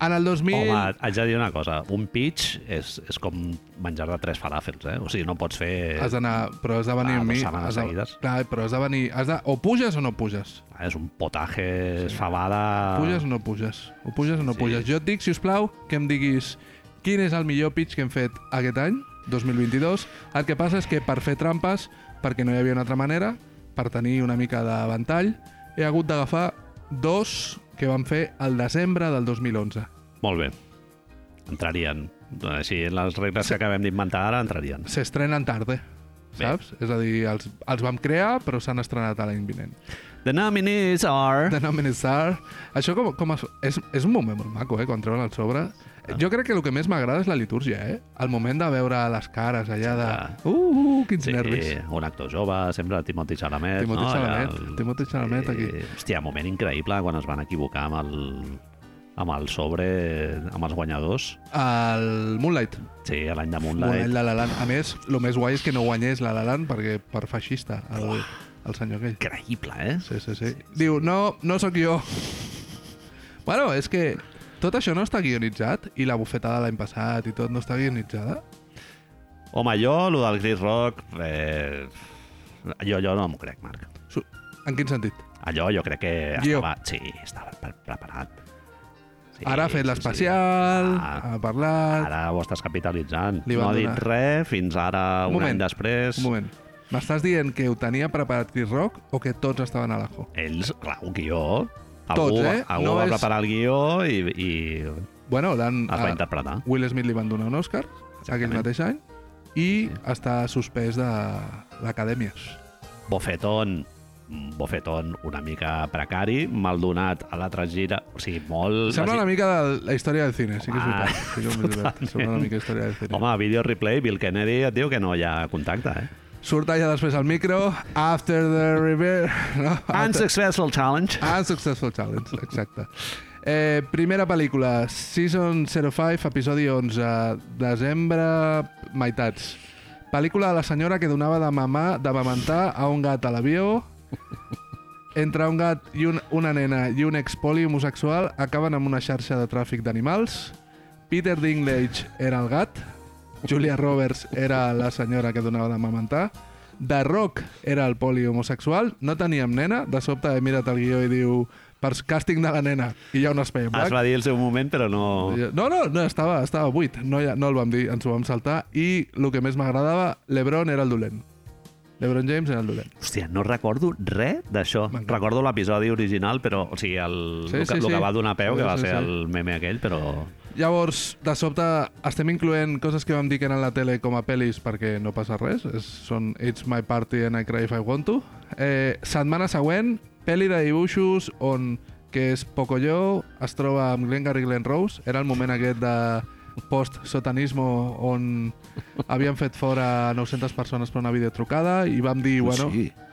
S2: En el 2000...
S1: Home, haig de dir una cosa. Un pitch és, és com menjar de tres falàfels, eh? O sigui, no pots fer...
S2: Has d'anar, però has de venir
S1: Ah,
S2: amb
S1: dues
S2: mi.
S1: setmanes
S2: has de-
S1: seguides.
S2: Clar, però has de venir... Has de, o puges o no puges.
S1: Ah, És un potatge sí. fabada...
S2: Puges o no puges. O puges o no
S1: Ah. Sí.
S2: puges. Jo et dic, si us plau, que em diguis quin és el millor pitch que hem fet aquest any, 2022. El que passa és que per fer trampes, perquè no hi havia una altra manera, per tenir una mica de ventall, he hagut d'agafar dos que van fer al desembre del 2011.
S1: Molt bé. Entrarien. Així, les regles que acabem d'inventar ara entrarien.
S2: S'estrenen tarde,
S1: Bé.
S2: saps? És a dir, els, els vam crear, però s'han estrenat a l'any vinent.
S1: The nominees are...
S2: The Nominee Star. Això com, com es, és, és un moment molt maco, eh, quan treuen el sobre. Jo crec que el que més m'agrada és la litúrgia, eh? El moment de veure les cares allà de... Uh, uh quins
S1: Sí,
S2: nervis.
S1: un actor jove, sempre Timothy Chalamet.
S2: Timothée
S1: no? Eh,
S2: Chalamet, Timothée Chalamet aquí.
S1: Hòstia, moment increïble quan es van equivocar amb el, amb el sobre, amb els guanyadors.
S2: El Moonlight.
S1: Sí, a l'any de
S2: Moonlight,
S1: Moonlight.
S2: La La Land. A més, el més guai és que no guanyés La La Land perquè per feixista, el, el senyor aquell.
S1: Increïble, eh?
S2: Sí, sí, sí. Diu, no, no sóc jo. Bueno, és que tot això no està guionitzat i la bufetada l'any passat i tot no està guionitzada.
S1: Home, jo, lo del Chris Rock... Eh, jo, jo no m'ho crec, Marc.
S2: Su- En quin sentit?
S1: Allò jo crec que
S2: Guió.
S1: estava... Sí, estava pre preparat. Sí,
S2: Ara ha fet l'especial,
S1: Ah.
S2: ha parlat...
S1: Ara ho estàs capitalitzant.
S2: Li
S1: no
S2: van
S1: ha dit
S2: donar-
S1: res fins ara, un,
S2: moment,
S1: any després.
S2: Un moment. M'estàs dient que ho tenia preparat Chris Rock o que tots estaven a l'ajo?
S1: Ells, clar, un guió...
S2: Tots,
S1: algú,
S2: eh?
S1: Algú
S2: No
S1: va
S2: és- Ah.
S1: preparar el guió i, i es
S2: Bueno, l'han...
S1: va
S2: a-
S1: interpretar.
S2: Will Smith li van donar un Oscar aquell mateix any i està suspès de l'acadèmia.
S1: Bofetón, un bofetón una mica precari, mal donat a l'altra gira, o sigui, molt...
S2: Sembla una mica de la història del cine, sí que és
S1: Home,
S2: veritat. Sí que és veritat.
S1: totalment.
S2: Sembla una mica història del cine.
S1: Ah. Home, vídeo replay, Bill Kennedy et diu que no hi ha contacte, eh?
S2: Surt allà després al micro, after the river... No? After-
S1: Unsuccessful challenge.
S2: Unsuccessful Challenge, Ah, exacte. Eh, primera pel·lícula, Season 05, episodi 11, desembre, meitats. Pel·lícula de la senyora que donava de mamar, de mamantar a un gat a l'avió. Entre un gat i un, una nena i un expoli homosexual acaben amb una xarxa de tràfic d'animals. Peter Dinklage era el gat. Julia Roberts era la senyora que donava de mamantar. The Rock era el poli homosexual, no teníem nena, de sobte he mirat el guió i diu per càsting de la nena, i hi ha un espai
S1: Es
S2: en blanc.
S1: va dir el seu moment, però no...
S2: No, no, no, estava, estava buit, no, ja, no el vam dir, ens ho vam saltar, i el que més m'agradava, l'Ebron era el dolent. L'Ebron James era el dolent.
S1: Hòstia, no recordo res d'això.
S2: M'encanta.
S1: Recordo l'episodi original, però... O sigui, el,
S2: Sí,
S1: el, que,
S2: sí,
S1: el
S2: sí.
S1: que va donar peu,
S2: Sí,
S1: que va
S2: sí,
S1: ser
S2: sí.
S1: el meme aquell, però...
S2: Llavors, de sobte, estem incloent coses que vam dir que eren a la tele com a pel·lis perquè no passa res. És, són It's My Party and I Cry If I Want To. Eh, setmana següent, pel·li de dibuixos on que és Pocoyo es troba amb Glengarry Glen Rose. Era el moment aquest de post-sotanismo on havien fet fora 900 persones per una videotrucada i vam dir, bueno,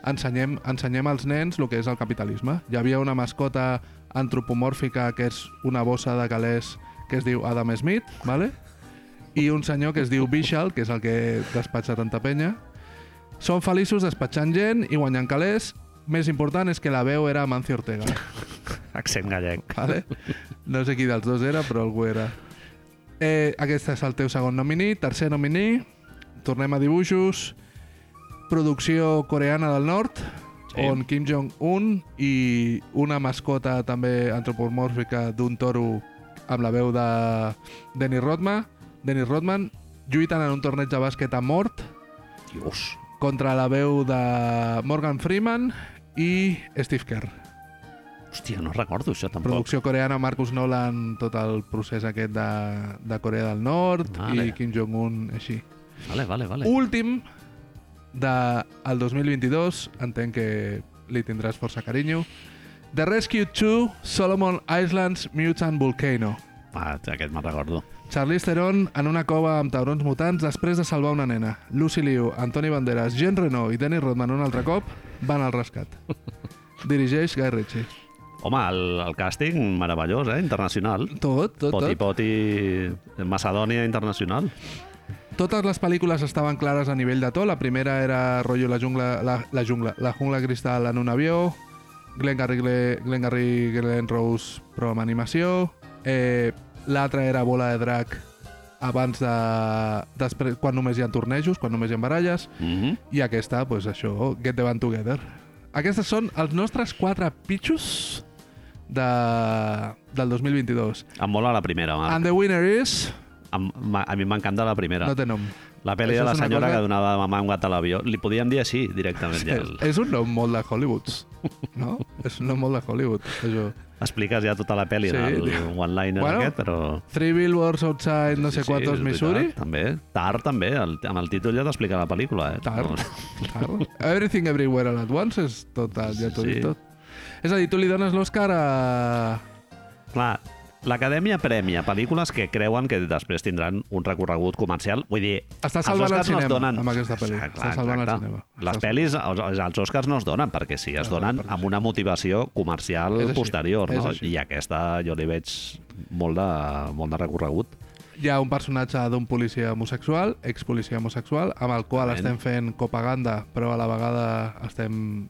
S2: ensenyem, ensenyem als nens el que és el capitalisme. Hi havia una mascota antropomòrfica que és una bossa de calés que es diu Adam Smith, ¿vale? i un senyor que es diu Bishal, que és el que despatxa tanta penya. Són feliços despatxant gent i guanyant calés. Més important és que la veu era Amancio Ortega,
S1: Accent gallec.
S2: ¿vale? No sé qui dels dos era, però algú era. Eh, aquest és el teu segon nominí. Tercer nominí, tornem a dibuixos, producció coreana del nord,
S1: Sí.
S2: sí. on Kim Jong-un i una mascota també antropomòrfica d'un toro amb la veu de Dennis Rodman, Dennis Rodman lluiten en un torneig de bàsquet a mort
S1: Dios.
S2: contra la veu de Morgan Freeman i Steve Kerr.
S1: Hòstia, no recordo això, tampoc.
S2: Producció coreana, Marcus Nolan, tot el procés aquest de, de Corea del Nord
S1: Vale.
S2: i Kim Jong-un així.
S1: Vale, vale, vale.
S2: Últim de, el 2022, entenc que li tindràs força carinyo. The Rescue 2, Solomon Islands, Mutant Volcano.
S1: Ah, aquest me'n recordo.
S2: Charlize Theron en una cova amb taurons mutants després de salvar una nena. Lucy Liu, Antoni Banderas, Jean Reno i Danny Rodman un altre cop van al rescat. Dirigeix Guy Ritchie.
S1: Home, el, el càsting meravellós, eh? Internacional.
S2: Tot, tot,
S1: Poti
S2: tot.
S1: Poti Macedònia Internacional.
S2: Totes les pel·lícules estaven clares a nivell de to. La primera era rotllo la jungla, la, la jungla, la jungla cristal en un avió, Glengarry, Gle- Glengarry Glen Rose, però amb animació. Eh, L'altra era Bola de Drac abans de... Després, quan només hi ha tornejos, quan només hi ha baralles.
S1: Mm -hmm.
S2: I aquesta, doncs pues això, Get the Band Together. Aquestes són els nostres quatre pitxos de, del 2022.
S1: Em mola la primera, Marc.
S2: And the winner is...
S1: Em, ma- a mi m'encanta la primera.
S2: No té nom.
S1: La pel·li
S2: Això
S1: de la
S2: és una
S1: senyora
S2: cosa-
S1: que donava mamà un gat a l'avió. Li podíem dir així, directament. Ja.
S2: És, és un nom molt de Hollywood, no? és un nom molt de Hollywood, això.
S1: Expliques ja tota la pel·li sí.
S2: Sí.
S1: del one-liner
S2: Bueno,
S1: bueno, aquest, però...
S2: Three Billboards Outside no sé
S1: sí,
S2: quantos
S1: és
S2: Missouri.
S1: Veritat, també. Tar, també. El, amb el títol ja t'explica la pel·lícula, eh?
S2: Tar.
S1: No,
S2: Tar. Everything Everywhere All At Once és total, ja t'ho
S1: Sí.
S2: sí. tot. És a dir, tu li dones l'Oscar a...
S1: Clar, l'Acadèmia premia pel·lícules que creuen que després tindran un recorregut comercial. Vull dir,
S2: Està
S1: els
S2: salvant
S1: Oscars
S2: el
S1: no es
S2: cinema,
S1: donen...
S2: amb aquesta pel·li.
S1: Ah,
S2: Està salvant el cinema.
S1: Les
S2: Està-
S1: pel·lis, els, els Oscars no es donen, perquè sí, es donen amb una motivació comercial
S2: És així,
S1: posterior.
S2: és
S1: No?
S2: així.
S1: I aquesta jo li veig molt de, molt de recorregut.
S2: Hi ha un personatge d'un policia homosexual, expolicia homosexual, amb el qual
S1: Exactament.
S2: estem fent copaganda, però a la vegada estem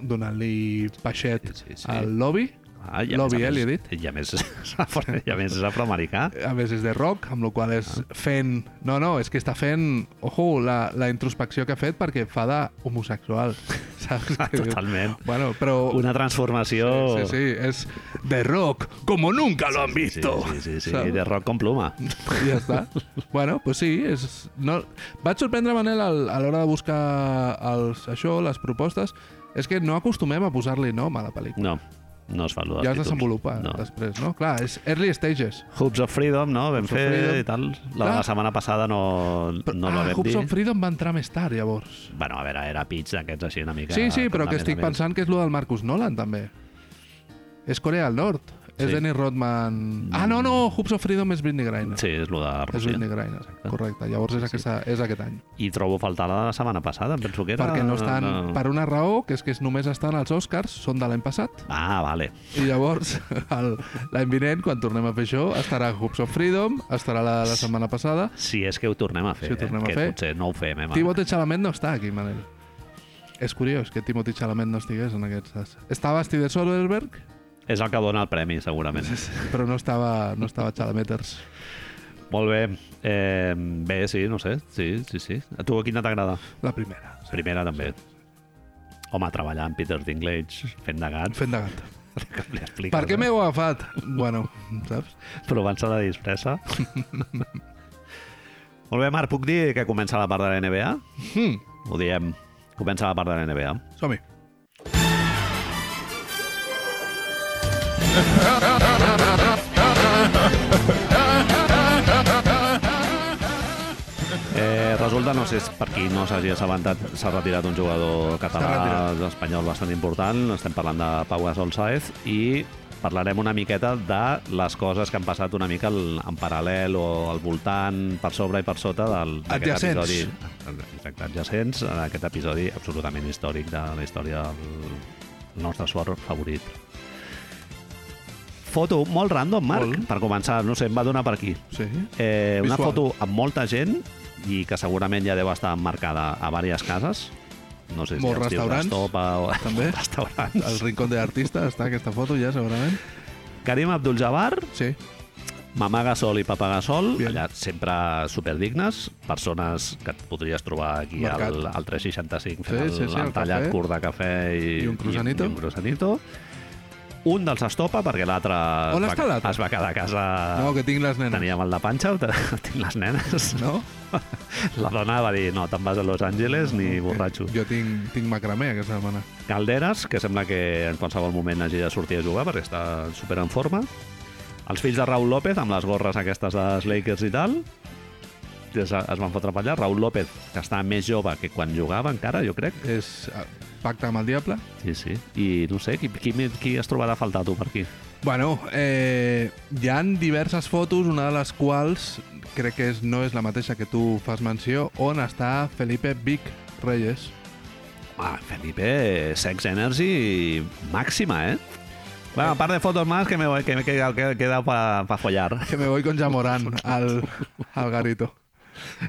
S2: donant-li peixet
S1: Sí, sí, sí.
S2: al lobby.
S1: Ah, i a
S2: Lobby,
S1: més a
S2: eh, li he
S1: més- I a més, és afro- i a més és afroamericà.
S2: a més és de rock, amb la qual és fent... No, no, és que està fent, ojo, la, la introspecció que ha fet perquè fa de homosexual, saps? Que diu-
S1: Totalment.
S2: Bueno, però...
S1: Ah, Una transformació...
S2: Oh. Sí, sí, és de rock, como nunca lo han visto.
S1: Sí, sí, sí, sí.
S2: saps?
S1: de rock con pluma.
S2: I ja està. bueno, doncs sí, és... No... Vaig sorprendre, Manel, al- a l'hora de buscar els, això, les propostes, és que no acostumem a posar-li nom a la pel·lícula.
S1: No, no es fa allò dels
S2: Ja es
S1: títols.
S2: desenvolupa
S1: No.
S2: després, no? Clar, és early stages.
S1: Hoops of Freedom, no? Vam
S2: Hoops of
S1: fer
S2: Freedom.
S1: i tal. La,
S2: Clar.
S1: la setmana passada no, no la
S2: ah,
S1: vam
S2: Hoops
S1: dir.
S2: on Freedom va entrar més tard, llavors.
S1: Bueno, a veure, era pitch d'aquests així una mica...
S2: Sí, sí, però que estic
S1: completament.
S2: pensant que és lo del Marcus Nolan, també. És Corea del Nord. És
S1: Sí.
S2: Dennis Rodman... Ah, no, no, Hoops of Freedom és Britney Griner.
S1: Sí, és lo de
S2: és
S1: Rússia.
S2: Britney Griner, correcte. Llavors és, aquesta, és aquest any.
S1: I trobo faltar la de la setmana passada, em penso que era...
S2: Perquè no estan... Per una raó, que és que només estan als Oscars, són de l'any passat,
S1: Ah, vale.
S2: i llavors el- l'any vinent, quan tornem a fer això, estarà Hoops of Freedom, estarà la de la setmana passada.
S1: Si és que ho tornem a fer,
S2: Si ho
S1: eh?
S2: tornem a
S1: que
S2: fer.
S1: potser no ho fem, eh, Marc?
S2: Timothée Chalamet no està aquí, Manel. És curiós que Timothée Chalamet no estigués en aquestes... Estava Steven Soderbergh,
S1: És el que dona el premi, segurament.
S2: però no estava, no estava Chalameters.
S1: Molt bé. Eh, bé, sí, no sé. Sí, sí, sí. A tu quina t'agrada?
S2: La primera.
S1: Primera, també. Home, treballar amb Peter Dinklage, fent de gat.
S2: Fent de gat.
S1: que li expliques,
S2: Per què
S1: eh?
S2: m'heu agafat? Bueno, saps?
S1: Provant-se de disfressa. Molt bé, Marc, puc dir que comença la part de la NBA?
S2: Hmm,
S1: Ho diem. Comença la part de la NBA.
S2: Som-hi.
S1: Eh, resulta, no sé si per qui no s'hagi assabentat, s'ha retirat un jugador català
S2: retirat.
S1: espanyol bastant important. Estem parlant de Pau Gasol Saez i parlarem una miqueta de les coses que han passat una mica al- en paral·lel o al voltant, per sobre i per sota del- d'aquest
S2: Adjacents.
S1: episodi. Exacte, adjacents en aquest episodi absolutament històric de la història del nostre suor favorit. Foto molt random, Marc,
S2: Molt.
S1: per començar. No sé, em va donar per aquí.
S2: Sí.
S1: Eh, una
S2: Visual.
S1: foto amb molta gent i que segurament ja deu estar emmarcada a diverses cases. No sé si
S2: Molts
S1: els diu
S2: restaurants,
S1: l'estopa o...
S2: també.
S1: restaurants.
S2: Al rincón de l'artista està aquesta foto ja, segurament.
S1: Karim Abdul-Jabbar,
S2: Sí.
S1: Mamà Gasol i Papà Gasol,
S2: Bien.
S1: allà sempre superdignes, persones que et podries trobar aquí
S2: Mercat.
S1: al, al 365
S2: Sí,
S1: fent
S2: sí, sí,
S1: el,
S2: el
S1: el tallat
S2: cafè.
S1: curt de cafè i,
S2: I un crusanito.
S1: I, un crusanito. Un dels estopa perquè l'altre
S2: On
S1: es va-
S2: està l'altre?
S1: es va quedar a casa...
S2: No, que tinc les nenes.
S1: Ah, Tenia mal de panxa, tinc les nenes.
S2: No?
S1: La dona va dir, no, te'n vas a Los Angeles ni borratxo.
S2: Jo tinc, tinc macramé aquesta setmana.
S1: Calderas, que sembla que en qualsevol moment hagi de sortir a jugar perquè està super en forma. Els fills de Raúl López, amb les gorres aquestes dels Lakers i tal, que es, es van fotre per allà. Raúl López, que està més jove que quan jugava encara, jo crec.
S2: És eh, pacte amb el diable.
S1: Sí, sí. I no sé, qui, qui, qui es trobarà a faltar tu per aquí?
S2: Bueno, eh, hi han diverses fotos, una de les quals crec que és, no és la mateixa que tu fas menció, on està Felipe Vic Reyes.
S1: Ah, Felipe, sex energy màxima, eh? Bueno, a part de fotos más que me, voy- que me queda, que queda para pa follar.
S2: Que me voy con Jamorán al, al garito.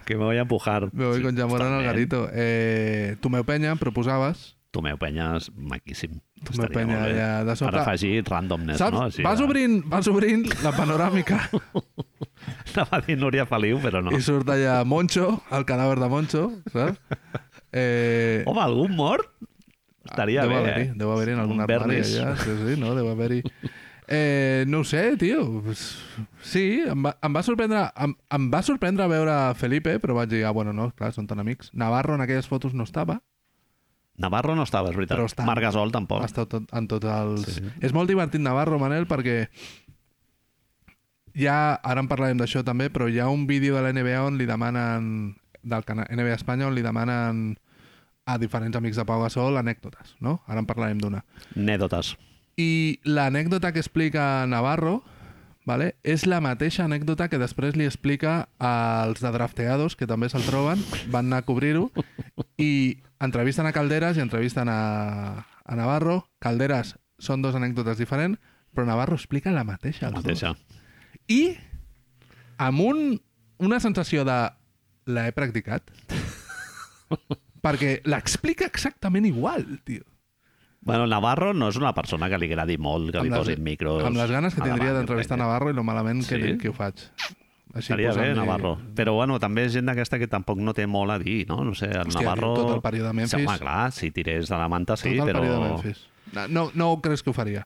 S1: que me voy a empujar.
S2: Me voy con Jamora en el
S1: totalment.
S2: garito. Eh, Tomeu Penya, em proposaves...
S1: Tomeu Penya és maquíssim.
S2: Tomeu
S1: Estaria
S2: Penya,
S1: molt bé.
S2: ja, de
S1: Ara
S2: sobte...
S1: afegit randomness,
S2: Saps?
S1: Eh, no?
S2: No,
S1: Així
S2: vas,
S1: de-
S2: obrint, vas obrint la panoràmica
S1: Anava a dir Núria Feliu, però no.
S2: i surt allà Moncho, el cadàver de Moncho, saps? Eh,
S1: Home, algun mort? Estaria
S2: deu
S1: bé,
S2: haver-hi,
S1: eh?
S2: deu haver-hi en algun
S1: Un
S2: armari
S1: Bernis.
S2: allà. Sí, sí, no? Deu haver-hi... Eh, no ho sé, tio. Pues, Sí, em va, em va sorprendre em, em va sorprendre veure Felipe, però vaig dir, ah, bueno, no, clar, són tan amics. Navarro en aquelles fotos no estava,
S1: Navarro no estava, és veritat.
S2: Però està-
S1: Marc Gasol
S2: oh.
S1: tampoc.
S2: ha estat tot, en tots els...
S1: Sí.
S2: Sí. És molt divertit Navarro, Manel, perquè ja, ara en parlarem d'això també, però hi ha un vídeo de la NBA on li demanen, del canal NBA Espanya, on li demanen a diferents amics de Pau Gasol anècdotes, no? Ara en parlarem d'una.
S1: Anèdotes.
S2: I l'anècdota que explica Navarro vale, és la mateixa anècdota que després li explica als de drafteados, que també se'l troben, van anar a cobrir-ho, i entrevisten a Calderas i entrevisten a, a Navarro. Calderas són dos anècdotes diferents, però Navarro explica la mateixa.
S1: La
S2: als
S1: mateixa.
S2: dos. I amb un, una sensació de l'he practicat, perquè l'explica exactament igual, tio.
S1: Bueno, Navarro no és una persona que li agradi molt que li posin micros.
S2: Amb les ganes que
S1: a davant,
S2: tindria
S1: jo
S2: d'entrevistar
S1: crec.
S2: Navarro i lo malament que,
S1: Sí?
S2: que ho faig. Així,
S1: Estaria bé,
S2: posant-li-
S1: Navarro. Però, bueno, també és gent d'aquesta que tampoc no té molt a dir, no? No sé, el
S2: Hòstia,
S1: Navarro...
S2: tot el període de Memphis.
S1: Sí, home, clar, si tirés de la manta sí,
S2: Tot el període de
S1: però...
S2: Memphis. No, no, no ho creus que ho faria.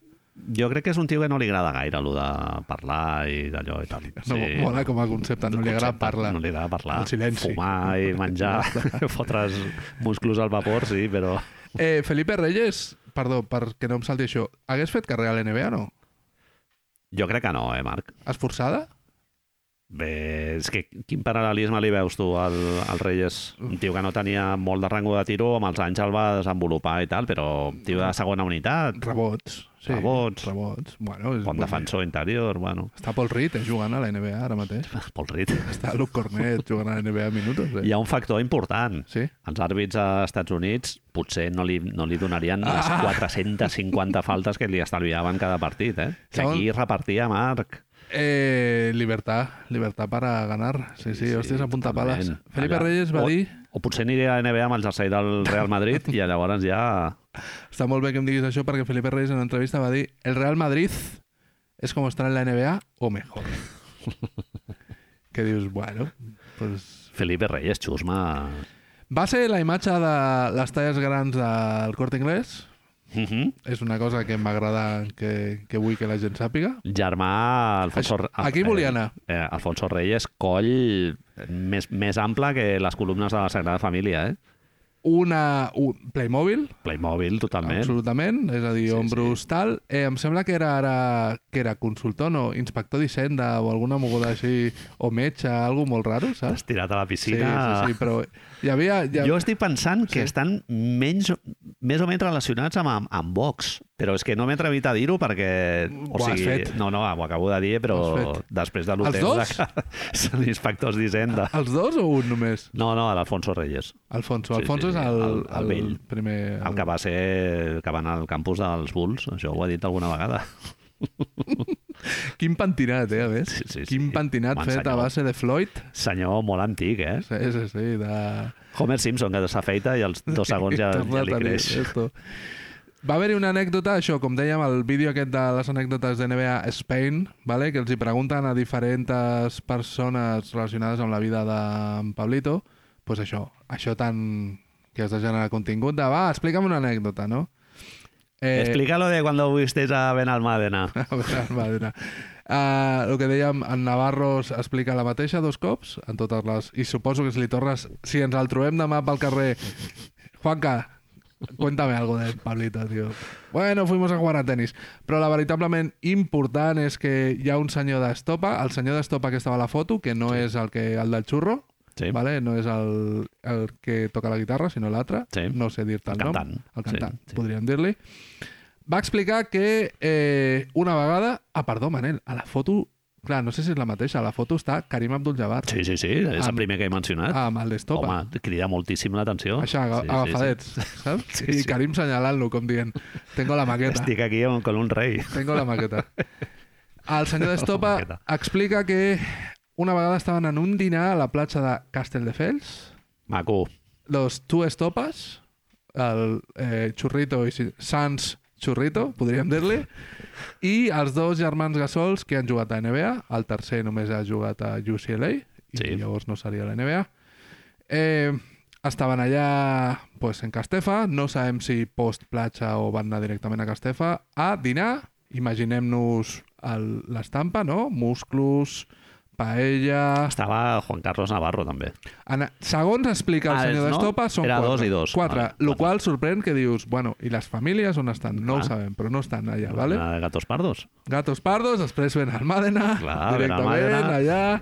S1: Jo crec que és un tio que no li agrada gaire allò de parlar i d'allò i tal.
S2: No, Mola com a concepte, no li agrada parlar.
S1: No li agrada parlar.
S2: El silenci.
S1: Fumar i menjar, fotre's musclos al vapor, sí, però...
S2: Eh, Felipe Reyes, perdó, perquè no em salti això, hagués fet carrera a l'NBA o no?
S1: Jo crec que no, eh, Marc?
S2: Esforçada?
S1: Bé, és que quin paral·lelisme li veus tu al, al Reyes? Un tio que no tenia molt de rango de tiro, amb els anys el va desenvolupar i tal, però un tio de segona unitat,
S2: Rebots. Sí,
S1: Rebots.
S2: Rebots. Bueno, és,
S1: bon defensor interior, bueno...
S2: Està Paul Reed eh, jugant a la NBA ara mateix.
S1: Paul Reed.
S2: Està Luke Cornet jugant a la NBA a minutos. Eh?
S1: Hi ha un factor important.
S2: Sí?
S1: Els àrbits a Estats Units potser no li, no li donarien les
S2: Ah!
S1: 450 faltes que li estalviaven cada partit, eh? Que
S2: Segon-
S1: aquí repartia Marc.
S2: Eh, libertad, libertad para ganar. Sí, sí, sí hòsties, apunta pales.
S1: totalment.
S2: Felipe
S1: Allà. Oh.
S2: Reyes va
S1: o,
S2: dir...
S1: O potser aniria a NBA amb el jersei del Real Madrid i llavors ja...
S2: Està molt bé que em diguis això perquè Felipe Reyes en una entrevista va dir el Real Madrid és com estar en la NBA o mejor. que dius, bueno, pues...
S1: Felipe Reyes, xusma...
S2: Va ser la imatge de les talles grans del Corte Inglés.
S1: Uh -huh.
S2: És una cosa que m'agrada que, que vull que la gent sàpiga.
S1: Germà Alfonso...
S2: Això- aquí volia anar.
S1: Eh, eh, Alfonso Reyes, coll més, més ample que les columnes de la Sagrada Família, eh?
S2: Una, un Playmobil,
S1: Playmobil, totalment.
S2: absolutament, és a
S1: Sí,
S2: dir, sí, ombros tal. Eh, em sembla que era ara que era consultor, no, inspector d'Hisenda o alguna moguda així, o metge, alguna molt raro, saps?
S1: Estirat a la
S2: Sí,
S1: piscina...
S2: sí, sí, però hi havia... Hi ha...
S1: Jo estic pensant que
S2: Sí.
S1: estan menys, més o menys relacionats amb, amb, amb Vox, però és que no m'he atrevit a dir-ho perquè... O
S2: Ho has
S1: sigui,
S2: fet.
S1: No, no, ho acabo de dir, però
S2: Ho has fet.
S1: després de
S2: Els
S1: l'hotel...
S2: dos?
S1: Són inspectors d'Hisenda.
S2: Els dos o un només?
S1: No, no, l'Alfonso Reyes,
S2: Alfonso.
S1: Sí,
S2: Alfonso
S1: sí,
S2: és el,
S1: el- el vell.
S2: primer...
S1: el que va ser... el que va anar al campus dels Bulls, això ho ha dit alguna vegada.
S2: Quin pentinat, eh, a més?
S1: Sí, sí, sí.
S2: Quin pentinat
S1: Bon
S2: fet
S1: senyor.
S2: a base de Floyd.
S1: Senyor molt antic, eh?
S2: Sí, sí, sí, de...
S1: Homer Simpson, que s'afeita i als dos segons ja,
S2: Torna
S1: ja
S2: a
S1: li
S2: tenir
S1: creix.
S2: esto. Va haver-hi una anècdota, això, com dèiem, el vídeo aquest de les anècdotes de NBA Spain, vale? que els hi pregunten a diferents persones relacionades amb la vida d'en Pablito, pues això, això tan que has de generar contingut de, va, explica'm una anècdota, no?
S1: Eh... Explica lo de quan visteis a Benalmádena.
S2: A veure, va, mira. Uh, el que dèiem, en Navarro explica la mateixa dos cops, en totes les... I suposo que si li tornes... Si ens el trobem demà pel carrer... Juanca, cuéntame algo de Pablito, tio. Bueno, fuimos a jugar a tenis. Però la veritablement important és que hi ha un senyor d'Estopa, el senyor d'Estopa que estava a la foto, que no sí. és el, que, el del xurro,
S1: Sí.
S2: vale? no és el, el que toca la guitarra, sinó l'altre.
S1: Sí.
S2: No sé dir-te
S1: El
S2: el, nom.
S1: cantant.
S2: El cantant,
S1: Sí, sí.
S2: podríem dir-li. Va explicar que eh, una vegada... Ah, perdó, Manel, a la foto... Clar, no sé si és la mateixa. A la foto està Karim Abdul-Jabbar
S1: Sí, sí, sí, és el
S2: Amb-
S1: primer que he mencionat.
S2: amb el d'Estopa.
S1: Home, crida moltíssim l'atenció.
S2: Això, aga sí, agafadets, saps?
S1: Sí,
S2: I
S1: sí.
S2: Karim senyalant-lo, com dient, tengo la maqueta.
S1: Estic aquí amb, con un rei.
S2: Tengo la maqueta. El senyor
S1: La
S2: d'Estopa
S1: maqueta.
S2: explica que Una vegada estaven en un dinar a la platja de Castelldefels,
S1: Maco.
S2: los tu estopes, el eh, Churrito i si- Sans Churrito, podríem dir-li, i els dos germans Gassols que han jugat a NBA, el tercer només ha jugat a UCLA, i
S1: Sí.
S2: llavors no seria la NBA. Eh, estaven allà pues, en Castefa, no sabem si post-platja o van anar directament a Castefa, a dinar, imaginem-nos el- l'estampa, no? Musclos, paella...
S1: Estava Juan Carlos Navarro, també.
S2: En, segons explica el
S1: Ah,
S2: senyor
S1: és, no?
S2: d'Estopa, són
S1: Era
S2: quatre.
S1: dos i dos.
S2: Quatre,
S1: Vale, quatre.
S2: lo
S1: Ah.
S2: qual sorprèn que dius, bueno, i les famílies on estan? No
S1: Clar.
S2: ho sabem, però no estan allà, Ah, vale?
S1: Una de Gatos Pardos.
S2: Gatos pardos, després ven Almàdena,
S1: Clar, ven
S2: directament,
S1: Almàdena.
S2: allà.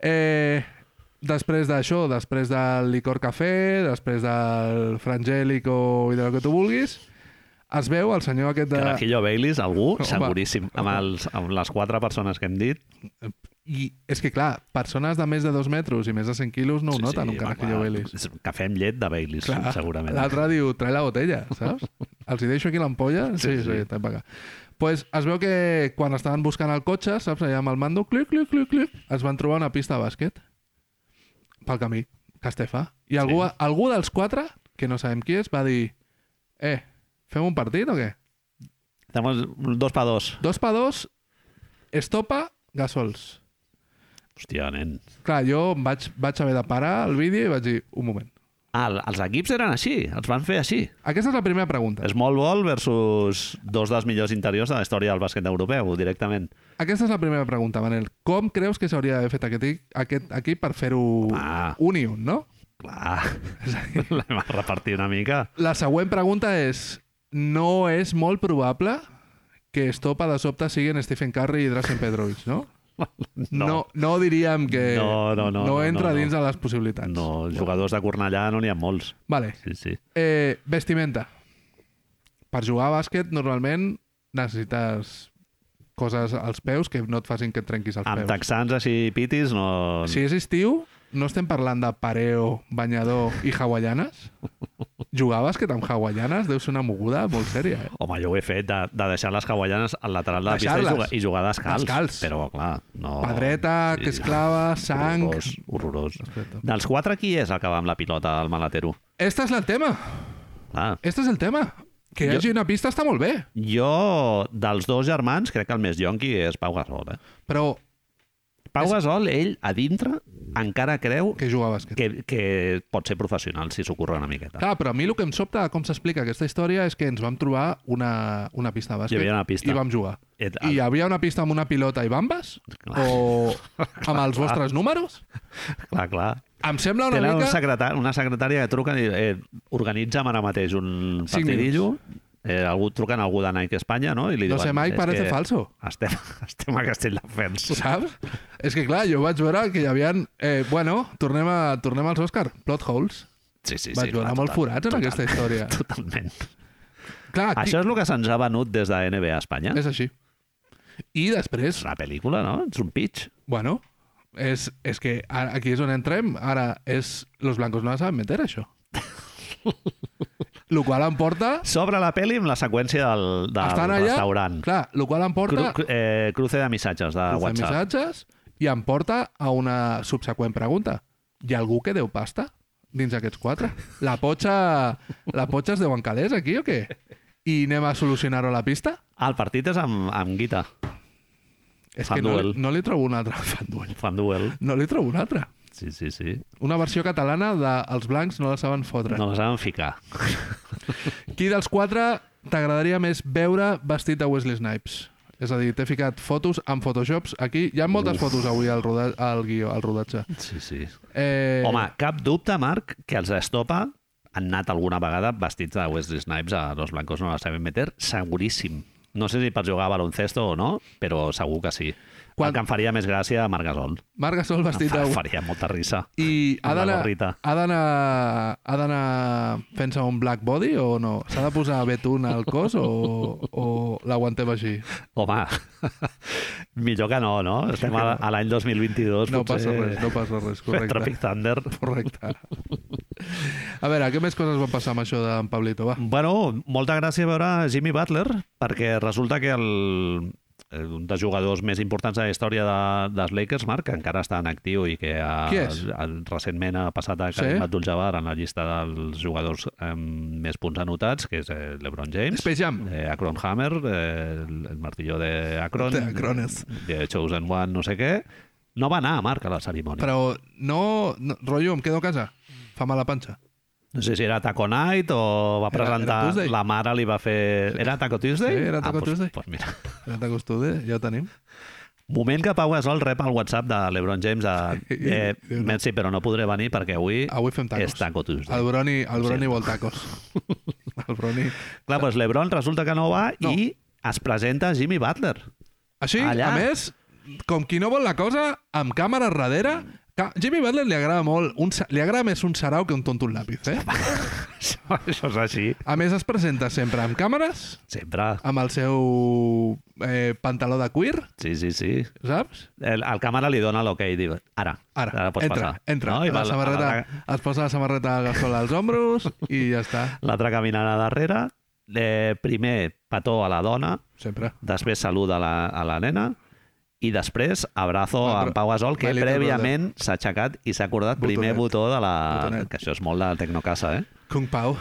S2: Eh, després d'això, després del licor cafè, després del frangélico i del que tu vulguis, es veu el senyor aquest de...
S1: Carajillo Baileys, algú,
S2: Home.
S1: seguríssim. Amb, els, amb les quatre persones que hem dit.
S2: I és que, clar, persones de més de dos metres i més de 100 quilos no ho noten, un carajillo
S1: home,
S2: Baileys.
S1: és un Cafè amb llet de Baileys,
S2: Clar,
S1: segurament.
S2: L'altre diu, trae la botella, saps? Els hi deixo aquí l'ampolla? Sí, sí, sí, sí. acá. Pues es veu que quan estaven buscant el cotxe, saps, allà amb el mando, clic, clic, clic, clic, es van trobar una pista de bàsquet pel camí, Castefa. I algú,
S1: Sí.
S2: sí. algú dels quatre, que no sabem qui és, va dir, eh, fem un partit o què?
S1: Estamos dos pa dos.
S2: Dos pa dos, estopa, gasols.
S1: Hòstia, nen.
S2: Clar, jo em vaig, vaig haver de parar el vídeo i vaig dir, un moment.
S1: Ah, el- els equips eren així, els van fer així.
S2: Aquesta és la primera pregunta.
S1: Small ball versus dos dels millors interiors de la història del bàsquet europeu, directament.
S2: Aquesta és la primera pregunta, Manel. Com creus que s'hauria d'haver fet aquest, aquest equip per fer-ho
S1: Home.
S2: un i un, no?
S1: Clar, l'hem de repartir una mica.
S2: La següent pregunta és no és molt probable que Estopa de sobte siguin Stephen Curry i Drazen Petrovic, no?
S1: No.
S2: no, no diríem que
S1: No, no, no, no, no,
S2: entra
S1: no.
S2: dins de les possibilitats.
S1: No, els jugadors de Cornellà no n'hi ha molts.
S2: Vale.
S1: Sí, sí.
S2: Eh, vestimenta. Per jugar a bàsquet, normalment necessites coses als peus que no et facin que et trenquis els
S1: Amb
S2: peus.
S1: texans així pitis no...
S2: Si és estiu, no estem parlant de pareo, banyador i hawaianes? Jugar a bàsquet amb hawaianes deu ser una moguda molt sèria, eh?
S1: Home, jo ho he fet, de, de deixar les hawaianes al lateral de la pista i
S2: Deixar-les.
S1: jugar, i jugar descalç.
S2: Descalç.
S1: Però, clar, no...
S2: Pedreta, que es clava, sang...
S1: Horrorós, horrorós. Dels quatre, qui és el que va amb la pilota al malatero?
S2: Este és el tema,
S1: Clar,
S2: este és el tema. Que hi
S1: Jo-
S2: hagi una pista està molt bé,
S1: jo, dels dos germans, crec que el més yonqui és Pau Gasol. Eh?
S2: però
S1: Pau Gasol, ell, a dintre, encara creu
S2: Mm. que jugar a bàsquet.
S1: que, que pot ser professional si s'ho curra una miqueta.
S2: Clar, però a mi el que em sobta de com s'explica aquesta història és que ens vam trobar una, una pista de bàsquet
S1: Hi havia una pista.
S2: i vam jugar.
S1: Et-
S2: I hi havia una pista amb una pilota i bambes?
S1: Clar.
S2: O amb els vostres números?
S1: Clar, clar.
S2: Em sembla una
S1: Tenen un
S2: mica...
S1: secretari, una secretària que truca i eh, organitza'm ara mateix un
S2: Cinc
S1: partidillo. Eh, algú, truquen a algú de Nike Espanya, no? I li
S2: No
S1: diuen,
S2: sé, Mike,
S1: "És
S2: parece falso.
S1: Estem, estem a Castelldefels.
S2: saps? És que clar, jo vaig veure que hi havia... Eh, bueno, tornem, a, tornem als Òscar. Plot holes.
S1: Sí, sí,
S2: vaig
S1: sí,
S2: veure
S1: clar,
S2: molt
S1: total,
S2: forats en
S1: total,
S2: aquesta història.
S1: Totalment.
S2: Clar, aquí,
S1: Això és el que se'ns ha venut des de NBA a Espanya. És
S2: és així. I després,
S1: una pel·lícula, no? És un pitch.
S2: bueno, és, és que ara, aquí és on entrem. Ara és... Los blancos no la saben meter, això. Lo qual em porta...
S1: Sobre la pel·li amb la seqüència del, del
S2: Estan allà...
S1: restaurant.
S2: Clar, lo qual em
S1: Cru,
S2: porta...
S1: cru- eh, cruce de missatges de
S2: Cruce de
S1: WhatsApp.
S2: missatges i em porta a una subseqüent pregunta. Hi ha algú que deu pasta dins aquests quatre? La potxa, la potxa es deuen calés aquí o què? I anem a solucionar-ho a la pista?
S1: Ah, el partit és amb, amb Guita.
S2: És
S1: Fan
S2: que no, li-
S1: duel.
S2: no li trobo una altra. Fan duel.
S1: Fan duel.
S2: No li trobo una altra.
S1: Sí, sí, sí.
S2: Una versió catalana de Els blancs no la saben fotre.
S1: No les han ficar.
S2: Qui dels quatre t'agradaria més veure vestit de Wesley Snipes? És a dir, t'he ficat fotos amb photoshops aquí. Hi ha moltes fotos avui al, roda al guió, al rodatge.
S1: Sí, sí.
S2: Eh,
S1: Home, cap dubte, Marc, que els estopa han anat alguna vegada vestits de Wesley Snipes a Los Blancos no la saben meter, seguríssim. No sé si per jugar a baloncesto o no, però segur que sí. Quan...
S2: Quan-
S1: El que em faria més gràcia a Marc Gasol.
S2: Marc
S1: Em
S2: Gasol vestit
S1: fa,
S2: de...
S1: faria molta risa.
S2: I
S1: Amb la
S2: ha d'anar
S1: gorrita.
S2: ha d'anar ha d'anar fent-se un black body o no? S'ha de posar betún al cos o, o l'aguantem així?
S1: Home, millor que no, no? Estem a, a l'any 2022,
S2: No
S1: Doncs
S2: passa
S1: potser...
S2: res, no passa res,
S1: Tropic
S2: correcte.
S1: Thunder.
S2: Correcte. A veure, què més coses van passar amb això d'en Pablito, va?
S1: Bueno, molta gràcia veure Jimmy Butler, perquè resulta que el... eh, un dels jugadors més importants de la història de, dels Lakers, Marc, que encara està en actiu i que ha,
S2: Qui és?
S1: ha- recentment ha passat a Karim
S2: Sí?
S1: sí? Abdul-Jabbar en la llista dels jugadors amb més punts anotats, que és eh, LeBron James.
S2: Space Jam.
S1: Eh, Akron Hammer, eh, el el martillo de Akron,
S2: De Akrones.
S1: de Chosen One, no sé què. No va anar, Marc, a la cerimònia.
S2: Però no, no... Rotllo, em quedo a casa. Fa mala panxa.
S1: No sé si era Taco Night o va
S2: Era- era
S1: presentar...
S2: Tuesday?
S1: la mare li va fer... Era Taco Tuesday?
S2: Sí, era Taco
S1: ah, pues,
S2: Tuesday.
S1: Pues mira.
S2: Ja t'acostumé, eh? ja ho tenim.
S1: Moment que Pau Gasol rep al WhatsApp de l'Ebron James a... Eh, merci, però no podré venir perquè avui,
S2: Avui fem tacos.
S1: és Taco Tuesday.
S2: El Broni, el
S1: Ho
S2: Broni
S1: sento.
S2: vol tacos. El Broni...
S1: Clar, doncs l'Ebron resulta que no va
S2: No.
S1: i es presenta Jimmy Butler.
S2: Així,
S1: Allà.
S2: Allà. a més, com qui no vol la cosa, amb càmera darrere... Ca... Jimmy Butler li agrada molt... Un, sa- li agrada més un sarau que un tonto un làpid, eh?
S1: Això, això és així.
S2: A més, es presenta sempre amb càmeres,
S1: Sempre.
S2: amb el seu eh, pantaló de cuir,
S1: Sí, sí, sí.
S2: saps?
S1: El, el càmera li dona l'hoquei i diu, ara,
S2: Ara,
S1: ara pots
S2: entra,
S1: passar.
S2: entra.
S1: I
S2: No?
S1: va
S2: La samarreta,
S1: l'altre-
S2: es posa la samarreta al gasol als ombros i ja està,
S1: L'altre caminarà darrere. Eh, primer, petó a la dona,
S2: sempre.
S1: després saluda a la, a la nena i després abrazo
S2: Ah,
S1: a
S2: però-
S1: en Pau Gasol, que
S2: My Little
S1: prèviament s'ha aixecat i s'ha acordat
S2: Botonet.
S1: primer botó de la...
S2: Botonet.
S1: Que això és molt de Tecnocasa, eh?
S2: Kung Pao.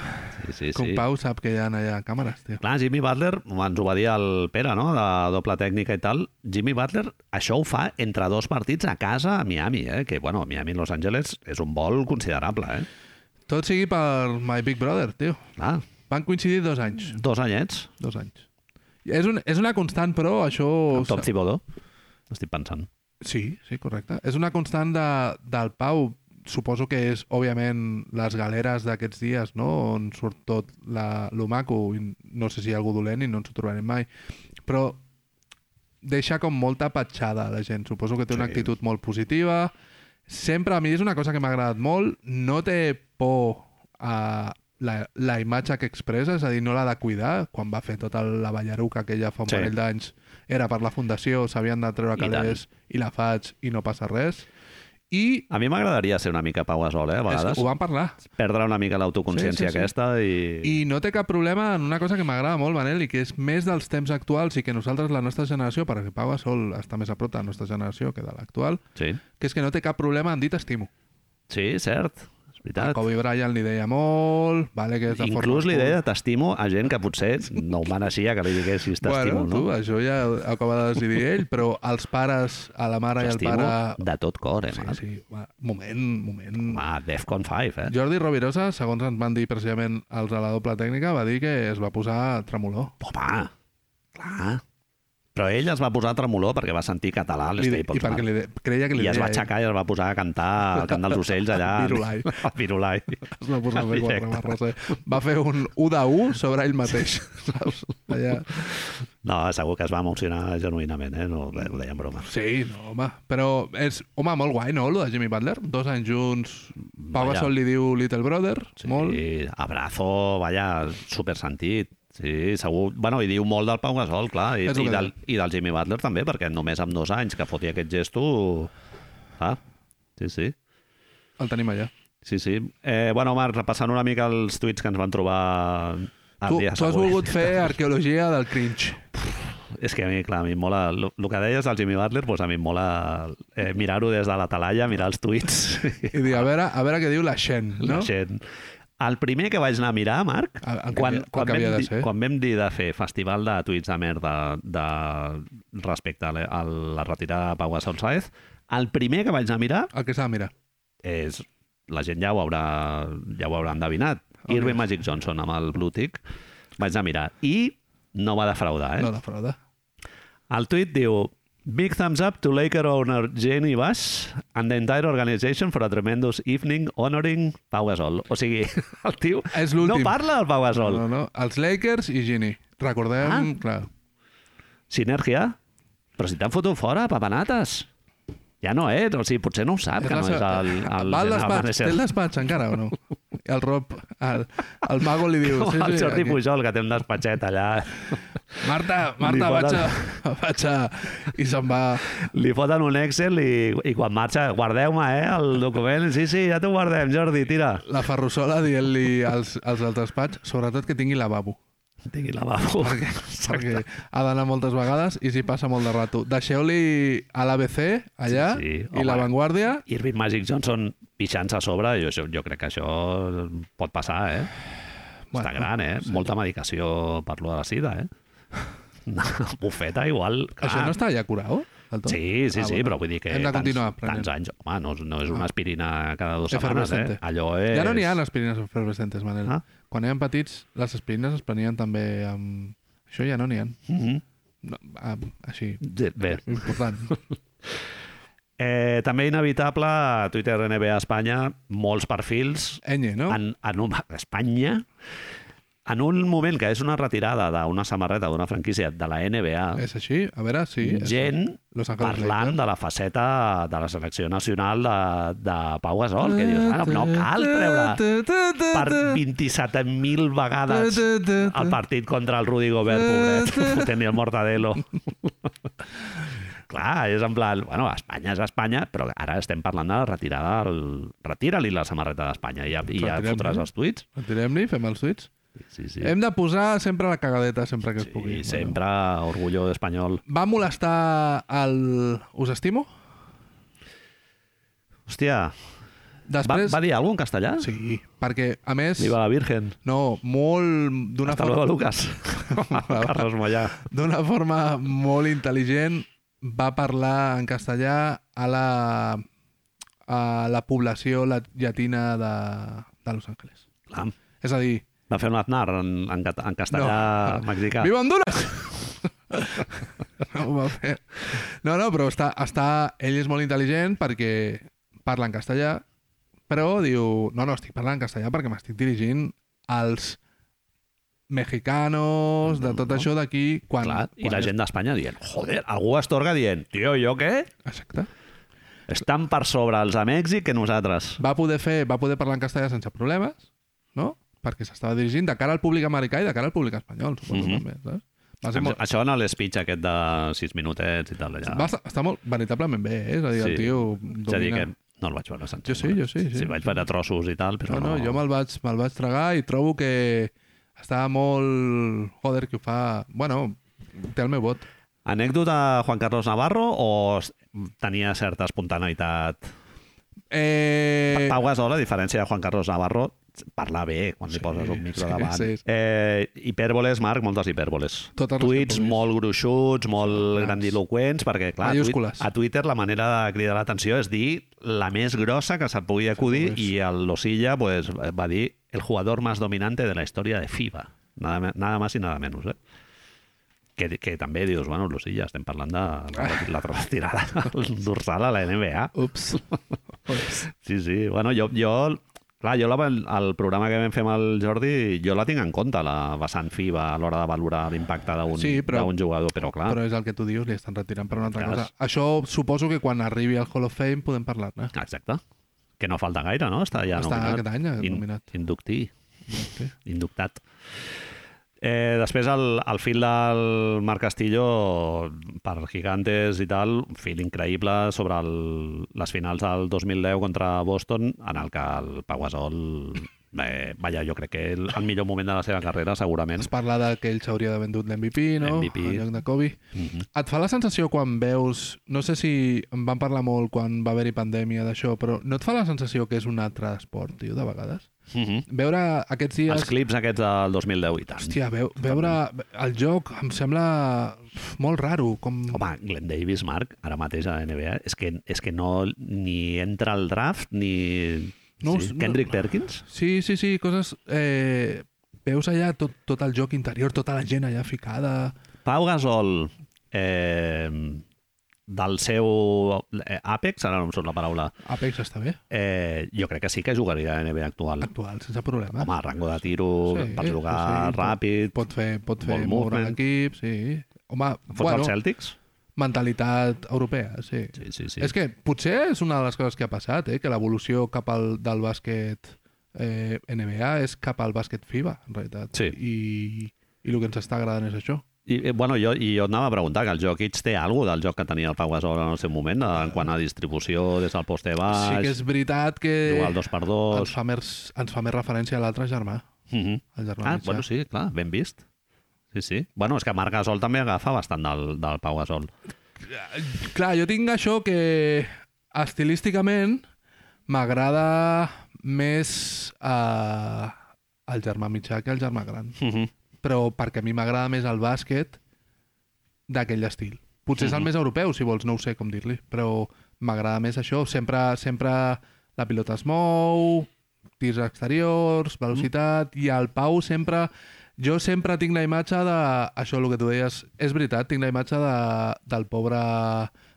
S1: Sí, sí,
S2: Kung
S1: sí.
S2: Pau sap que hi ha allà càmeres, tio.
S1: Clar, Jimmy Butler, ens ho va dir el Pere, no?, de doble tècnica i tal, Jimmy Butler això ho fa entre dos partits a casa a Miami, eh? Que, bueno, Miami-Los Angeles és un vol considerable, eh?
S2: Tot sigui per My Big Brother, tio.
S1: Clar,
S2: Van coincidir dos anys.
S1: dos anyets,
S2: Dos anys. És, un, és una constant, però això...
S1: amb Tom Thibodeau, estic pensant.
S2: Sí, sí, correcte. És una constant de, del Pau. Suposo que és, òbviament, les galeres d'aquests dies, no? On surt tot la, lo maco. I no sé si hi ha algú dolent i no ens ho trobarem mai. Però deixa com molta petjada a la gent. Suposo que té una
S1: Sí.
S2: actitud molt positiva. Sempre a mi és una cosa que m'ha agradat molt. No té por a la, la imatge que expressa, és a dir, no l'ha de cuidar. Quan va fer tota la ballaruca aquella fa un
S1: Sí.
S2: sí. parell d'anys, era per la fundació, s'havien de treure
S1: I
S2: calés i, la faig i no passa res. I
S1: A mi m'agradaria ser una mica Pau Gasol, eh, a
S2: és,
S1: vegades.
S2: ho vam parlar.
S1: Perdre una mica l'autoconsciència
S2: Sí, sí, sí.
S1: aquesta i...
S2: I no té cap problema en una cosa que m'agrada molt, Manel, i que és més dels temps actuals i que nosaltres, la nostra generació, perquè Pau Gasol està més a prop de la nostra generació que de l'actual,
S1: Sí.
S2: que és que no té cap problema en dir t'estimo.
S1: Sí, cert. És
S2: A
S1: veritat.
S2: Kobe Bryant li deia molt, vale, que és de
S1: Inclús
S2: forma
S1: li deia t'estimo a gent que potser no ho mereixia que li diguessis t'estimo,
S2: bueno, tu,
S1: no?
S2: això ja ho acaba de decidir ell, però els pares, a la mare i al
S1: T'estimo
S2: pare...
S1: de tot cor, eh,
S2: Sí,
S1: Marc?
S2: sí, va, moment, moment...
S1: Home, Defcon 5, eh?
S2: Jordi Rovirosa, segons ens van dir precisament els de la doble tècnica, va dir que es va posar tremolor.
S1: Home, clar. Però ell es va posar a tremolor perquè va sentir català a les
S2: Li de-
S1: Staples.
S2: I perquè
S1: Marc.
S2: li de, creia que li
S1: Ah, I es
S2: deia
S1: va
S2: ell.
S1: aixecar i es va posar a cantar al cant dels ocells allà.
S2: Al Virulai.
S1: Al Virulai.
S2: Es va posar a fer
S1: Directe.
S2: quatre barres, eh? Va fer un 1 de 1 sobre ell mateix, saps? Allà...
S1: No, segur que es va emocionar genuïnament, eh? No, ho deia en broma.
S2: Sí, no, home. Però és, home, molt guai, no, lo de Jimmy Butler? Dos anys junts. Pau
S1: Vaja.
S2: Gasol li diu Little Brother,
S1: Sí,
S2: molt.
S1: abrazo, vaja, supersentit. Sí, segur. Bueno, i diu molt del Pau Gasol, clar, i,
S2: És el
S1: i,
S2: que
S1: del, i del Jimmy Butler també, perquè només amb dos anys que fotia aquest gesto... Ah, sí, sí.
S2: El tenim allà.
S1: Sí, sí. Eh, bueno, Marc, repassant una mica els tuits que ens van trobar Ah, el
S2: Tu,
S1: dia
S2: tu has
S1: següent.
S2: volgut fer arqueologia del cringe.
S1: És que a mi, clar, a mi em mola... El que deies del Jimmy Butler, doncs a mi em mola eh, mirar-ho des de la talaia, mirar els tuits.
S2: I dir, a veure, a veure què diu la Xen,
S1: la
S2: no?
S1: gent. El primer que vaig anar a mirar, Marc,
S2: El- el que
S1: quan,
S2: havia- el
S1: quan,
S2: que havia
S1: vam
S2: de
S1: dir,
S2: ser.
S1: quan vam dir de fer festival de tuits de merda de, respecte a la, a la retirada de Pau Gasol Saez, el primer que vaig anar a mirar
S2: El que s'ha de mirar.
S1: és... La gent ja ho haurà, ja ho haurà endevinat.
S2: Ok.
S1: Irving Magic Johnson amb el Blue Tick vaig anar a mirar. I no va defraudar, eh?
S2: No defrauda.
S1: El tuit diu Big thumbs up to Laker owner Jenny Bass and the entire organization for a tremendous evening honoring Pau Gasol. O sigui, el tio
S2: És
S1: no
S2: l'últim.
S1: parla del Pau Gasol.
S2: No, no. Els Lakers i Gini. Recordem,
S1: Ah.
S2: ah. clar.
S1: Sinergia? Però si t'han fotut fora, papanates. Ja no ets, o sigui, potser no ho sap, que no és
S2: seva-
S1: el... el
S2: Va al
S1: general
S2: despatx,
S1: manager.
S2: té el despatx encara o no? El Rob, el, el mago li diu...
S1: Com el Jordi
S2: aquí.
S1: Pujol, que té un despatxet allà.
S2: Marta,
S1: Li
S2: Marta,
S1: poden-
S2: vaig a, vaig a... I se'n va...
S1: Li foten un Excel i, i quan marxa, guardeu-me, eh, el document. Sí, sí, ja t'ho guardem, Jordi, tira.
S2: La ferrussola dient-li als, als del despatx, sobretot que tingui lavabo.
S1: Tingui lavabo.
S2: perquè ha d'anar moltes vegades i s'hi passa molt de rato. Deixeu-li a l'ABC allà
S1: Sí, sí, home.
S2: i la Vanguardia
S1: Irving Magic Johnson pixant-se a sobre, jo, jo, jo crec que això pot passar, eh? Bueno, Està
S2: Bueno,
S1: gran, eh? Molta medicació per lo de la sida, eh? Una bufeta igual, clar.
S2: Això no està ja curat? del tot?
S1: Sí, sí,
S2: Ah,
S1: sí,
S2: bueno.
S1: però vull dir que
S2: Hem de continuar
S1: tants
S2: aprenent. Ah.
S1: anys... Home, no, és- no és una aspirina cada dues setmanes, eh?
S2: Efervescente.
S1: Allò és...
S2: Ja no n'hi ha aspirines efervescentes, Manel.
S1: Ah.
S2: Quan érem petits, les aspirines es prenien també amb... Això ja no n'hi ha.
S1: Mhm.
S2: No, amb... Així,
S1: Bé,
S2: important.
S1: eh, també inevitable, a Twitter NBA Espanya, molts perfils
S2: Enye, no?
S1: en, en un, Espanya, en un moment que és una retirada d'una samarreta d'una franquícia de la NBA,
S2: És així? A veure, Eh, sí. és-
S1: gent
S2: Los Angeles
S1: parlant de la faceta de la selecció nacional de, de Pau Gasol, que dius, ah, no, no cal treure per 27.000 vegades el partit contra el Rudy Gobert, pobret, fotent el Mortadelo. Clar, és en plan, bueno, Espanya és Espanya, però ara estem parlant de la retirada del... Retira-li la samarreta d'Espanya i ja, i ja
S2: Retirem-li.
S1: fotràs els tuits.
S2: Retirem-li, fem els suits.
S1: Sí, sí.
S2: Hem de posar sempre la cagadeta, sempre que es pugui.
S1: I sempre orgulló espanyol.
S2: Va molestar el... Us estimo?
S1: Hòstia, va,
S2: Després...
S1: va dir alguna en castellà?
S2: Sí, perquè, a més...
S1: Viva la Virgen.
S2: No, molt... D'una
S1: Hasta
S2: forma...
S1: luego, Lucas. Carlos Mollà.
S2: d'una forma molt intel·ligent va parlar en castellà a la, a la població la- llatina de, de Los Angeles.
S1: Clar,
S2: És a dir...
S1: va fer un Aznar en, en, cat- en castellà
S2: No.
S1: mexicà.
S2: Viva Honduras! no, ho va fer. no, no, però està, està, ell és molt intel·ligent perquè parla en castellà, però diu, no, no, estic parlant en castellà perquè m'estic dirigint als mexicanos, de tot això d'aquí... quan-
S1: Clar, i
S2: quan
S1: la
S2: és-
S1: gent d'Espanya dient, joder, algú estorga dient, tio, jo què?
S2: Exacte.
S1: Estan per sobre els a Mèxic que nosaltres.
S2: va poder fer, va poder parlar en castellà sense problemes, no? Perquè s'estava dirigint de cara al públic americà i de cara al públic espanyol, suposo,
S1: Mhm.
S2: també, saps? Va, ser
S1: Em-
S2: molt,
S1: Això en l'speech aquest de 6 minutets i tal, allà.
S2: va estar, està molt veritablement bé, eh? És a dir,
S1: Sí.
S2: el tio
S1: És a dir, que
S2: domina...
S1: no el vaig veure sencer.
S2: Jo sí, jo sí, sí.
S1: Sí, vaig veure trossos i tal, però
S2: No, no, jo me'l vaig, me vaig tragar i trobo que està molt... Joder, que ho fa... Bueno, té el meu vot.
S1: Anècdota Juan Carlos Navarro o s- tenia certa espontaneïtat?
S2: Eh...
S1: Pau Gasol, a diferència de Juan Carlos Navarro, parla bé quan li
S2: Sí,
S1: poses un micro
S2: sí,
S1: davant.
S2: sí, sí.
S1: Eh, hipèrboles, Marc, moltes hipèrboles.
S2: Totes les
S1: Tuits
S2: hipèrboles.
S1: molt gruixuts, molt grandiloquents, perquè clar, a tuit-
S2: Mayúscules.
S1: a Twitter la manera de cridar l'atenció és dir la més grossa que se't pugui acudir i el Losilla pues, va dir el jugador más dominante de la història de FIBA. Nada, me- nada más i nada menos, eh? Que, que també dius, bueno, Lucilla, estem parlant de la, la retirada dorsal a la NBA.
S2: Ups. Ups.
S1: Sí, sí. Bueno, jo... jo clar, jo la, van- el programa que vam fer amb el Jordi, jo la tinc en compte, la vessant FIBA, a l'hora de valorar l'impacte d'un
S2: Sí, però-
S1: d'un jugador, però clar...
S2: Però és el que tu dius, li estan retirant per una altra
S1: Clar.
S2: cosa. Això suposo que quan arribi al Hall of Fame podem parlar-ne.
S1: Exacte. Que no falta gaire, no? Està ja
S2: Està
S1: nominat.
S2: aquest any, eh, nominat.
S1: Inductí,
S2: Sí.
S1: inductat. Eh, després, el, el fil del Marc Castillo per Gigantes i tal, un fil increïble sobre el, les finals del 2010 contra Boston, en el que el Pau Gasol... Eh, vaja, jo crec que el, el millor moment de la seva carrera, segurament.
S2: Es parla de que ell s'hauria de vendut l'MVP, no?
S1: MVP.
S2: En lloc de Kobe.
S1: Mm -hmm.
S2: Et fa la sensació quan veus... No sé si en van parlar molt quan va haver-hi pandèmia d'això, però no et fa la sensació que és un altre esport, tio, de vegades?
S1: Mm -hmm.
S2: Veure aquests dies...
S1: Els clips aquests del 2010 i tant.
S2: Hòstia, veu, veure el joc em sembla molt raro. Com...
S1: Home, Glenn Davis, Marc, ara mateix a la NBA, és que, és que no ni entra al draft ni...
S2: No,
S1: sí.
S2: no.
S1: Kendrick Perkins?
S2: Sí, sí, sí, coses... Eh, veus allà tot, tot el joc interior, tota la gent allà ficada...
S1: Pau Gasol, eh, del seu eh, àpex, ara no em surt la paraula,
S2: Apex està bé,
S1: eh, jo crec que sí que jugaria a la NBA actual.
S2: actual, sense problema.
S1: Home, rango de tiro, sí, per jugar sí,
S2: pot-
S1: ràpid,
S2: Pot fer, pot fer
S1: Ball
S2: moure
S1: movement.
S2: l'equip, sí. Home,
S1: fotre bueno.
S2: bueno,
S1: els Celtics?
S2: mentalitat europea, sí.
S1: Sí, sí, sí.
S2: És que potser és una de les coses que ha passat, eh? que l'evolució cap al del bàsquet eh, NBA és cap al bàsquet FIBA, en realitat.
S1: Sí.
S2: I, I el que ens està agradant és això.
S1: I, eh, bueno, jo, i jo et anava a preguntar que el joc X té alguna del joc que tenia el Pau Gasol en el seu moment, en quant a distribució des del poste baix,
S2: sí que és veritat que
S1: Ah, jugar al dos per dos...
S2: ens, fa més, ens fa més referència a l'altre germà,
S1: Mhm.
S2: el germà
S1: Ah,
S2: mitjà.
S1: bueno, sí, clar, ben vist. Sí, sí. Bueno, és que Marc Gasol també agafa bastant del, del Pau Gasol.
S2: Clar, jo tinc això que estilísticament m'agrada més eh, el germà mitjà que el germà gran.
S1: Uh -huh.
S2: Però perquè a mi m'agrada més el bàsquet d'aquell estil. Potser és el
S1: Mhm.
S2: més europeu, si vols, no ho sé com dir-li, però m'agrada més això. Sempre, sempre la pilota es mou, tirs exteriors, velocitat, i el Pau sempre... Jo sempre tinc la imatge de... Això el que tu deies és veritat, tinc la imatge de, del pobre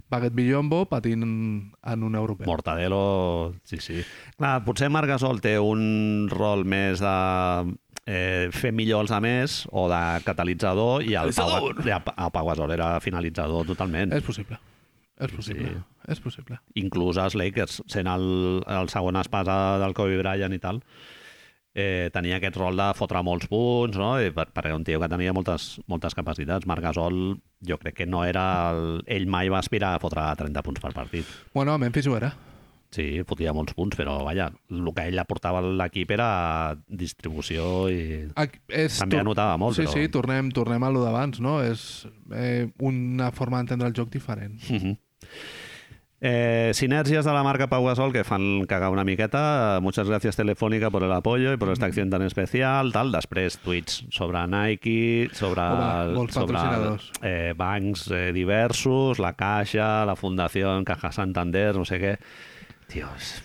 S2: Baguet Villombo patint en un europeu.
S1: Mortadelo, sí, sí. Clar, potser Marc Gasol té un rol més de eh, fer millor els altres o de catalitzador i el Pau,
S2: Catalitzador!
S1: i el, el Pau Gasol era finalitzador totalment.
S2: És possible. És possible.
S1: Mm. Sí.
S2: És possible.
S1: inclús els Lakers, sent el, el segon espasa del Kobe Bryant i tal, eh, tenia aquest rol de fotre molts punts, no? I per, per un tio que tenia moltes, moltes capacitats. Marc Gasol, jo crec que no era... El, ell mai va aspirar a fotre 30 punts per partit.
S2: Bueno, a Memphis ho era.
S1: Sí, fotia molts punts, però, vaja, el que ell aportava a l'equip era distribució i...
S2: Ac- És
S1: També
S2: tor-
S1: anotava molt,
S2: sí,
S1: però-
S2: Sí, tornem, tornem a lo d'abans, no? És eh, una forma d'entendre el joc diferent.
S1: Mhm. Eh, sinergias de la marca Pau Gasol que fan cagar una miqueta. Muchas gracias Telefónica por el apoyo y por
S2: Mm.
S1: esta acción tan especial. Tal, després tuits sobre Nike, sobre,
S2: Home, molts
S1: sobre
S2: patrocinadors.
S1: eh, bancs eh, diversos, la Caixa, la Fundació Caja Santander, no sé què. Dios,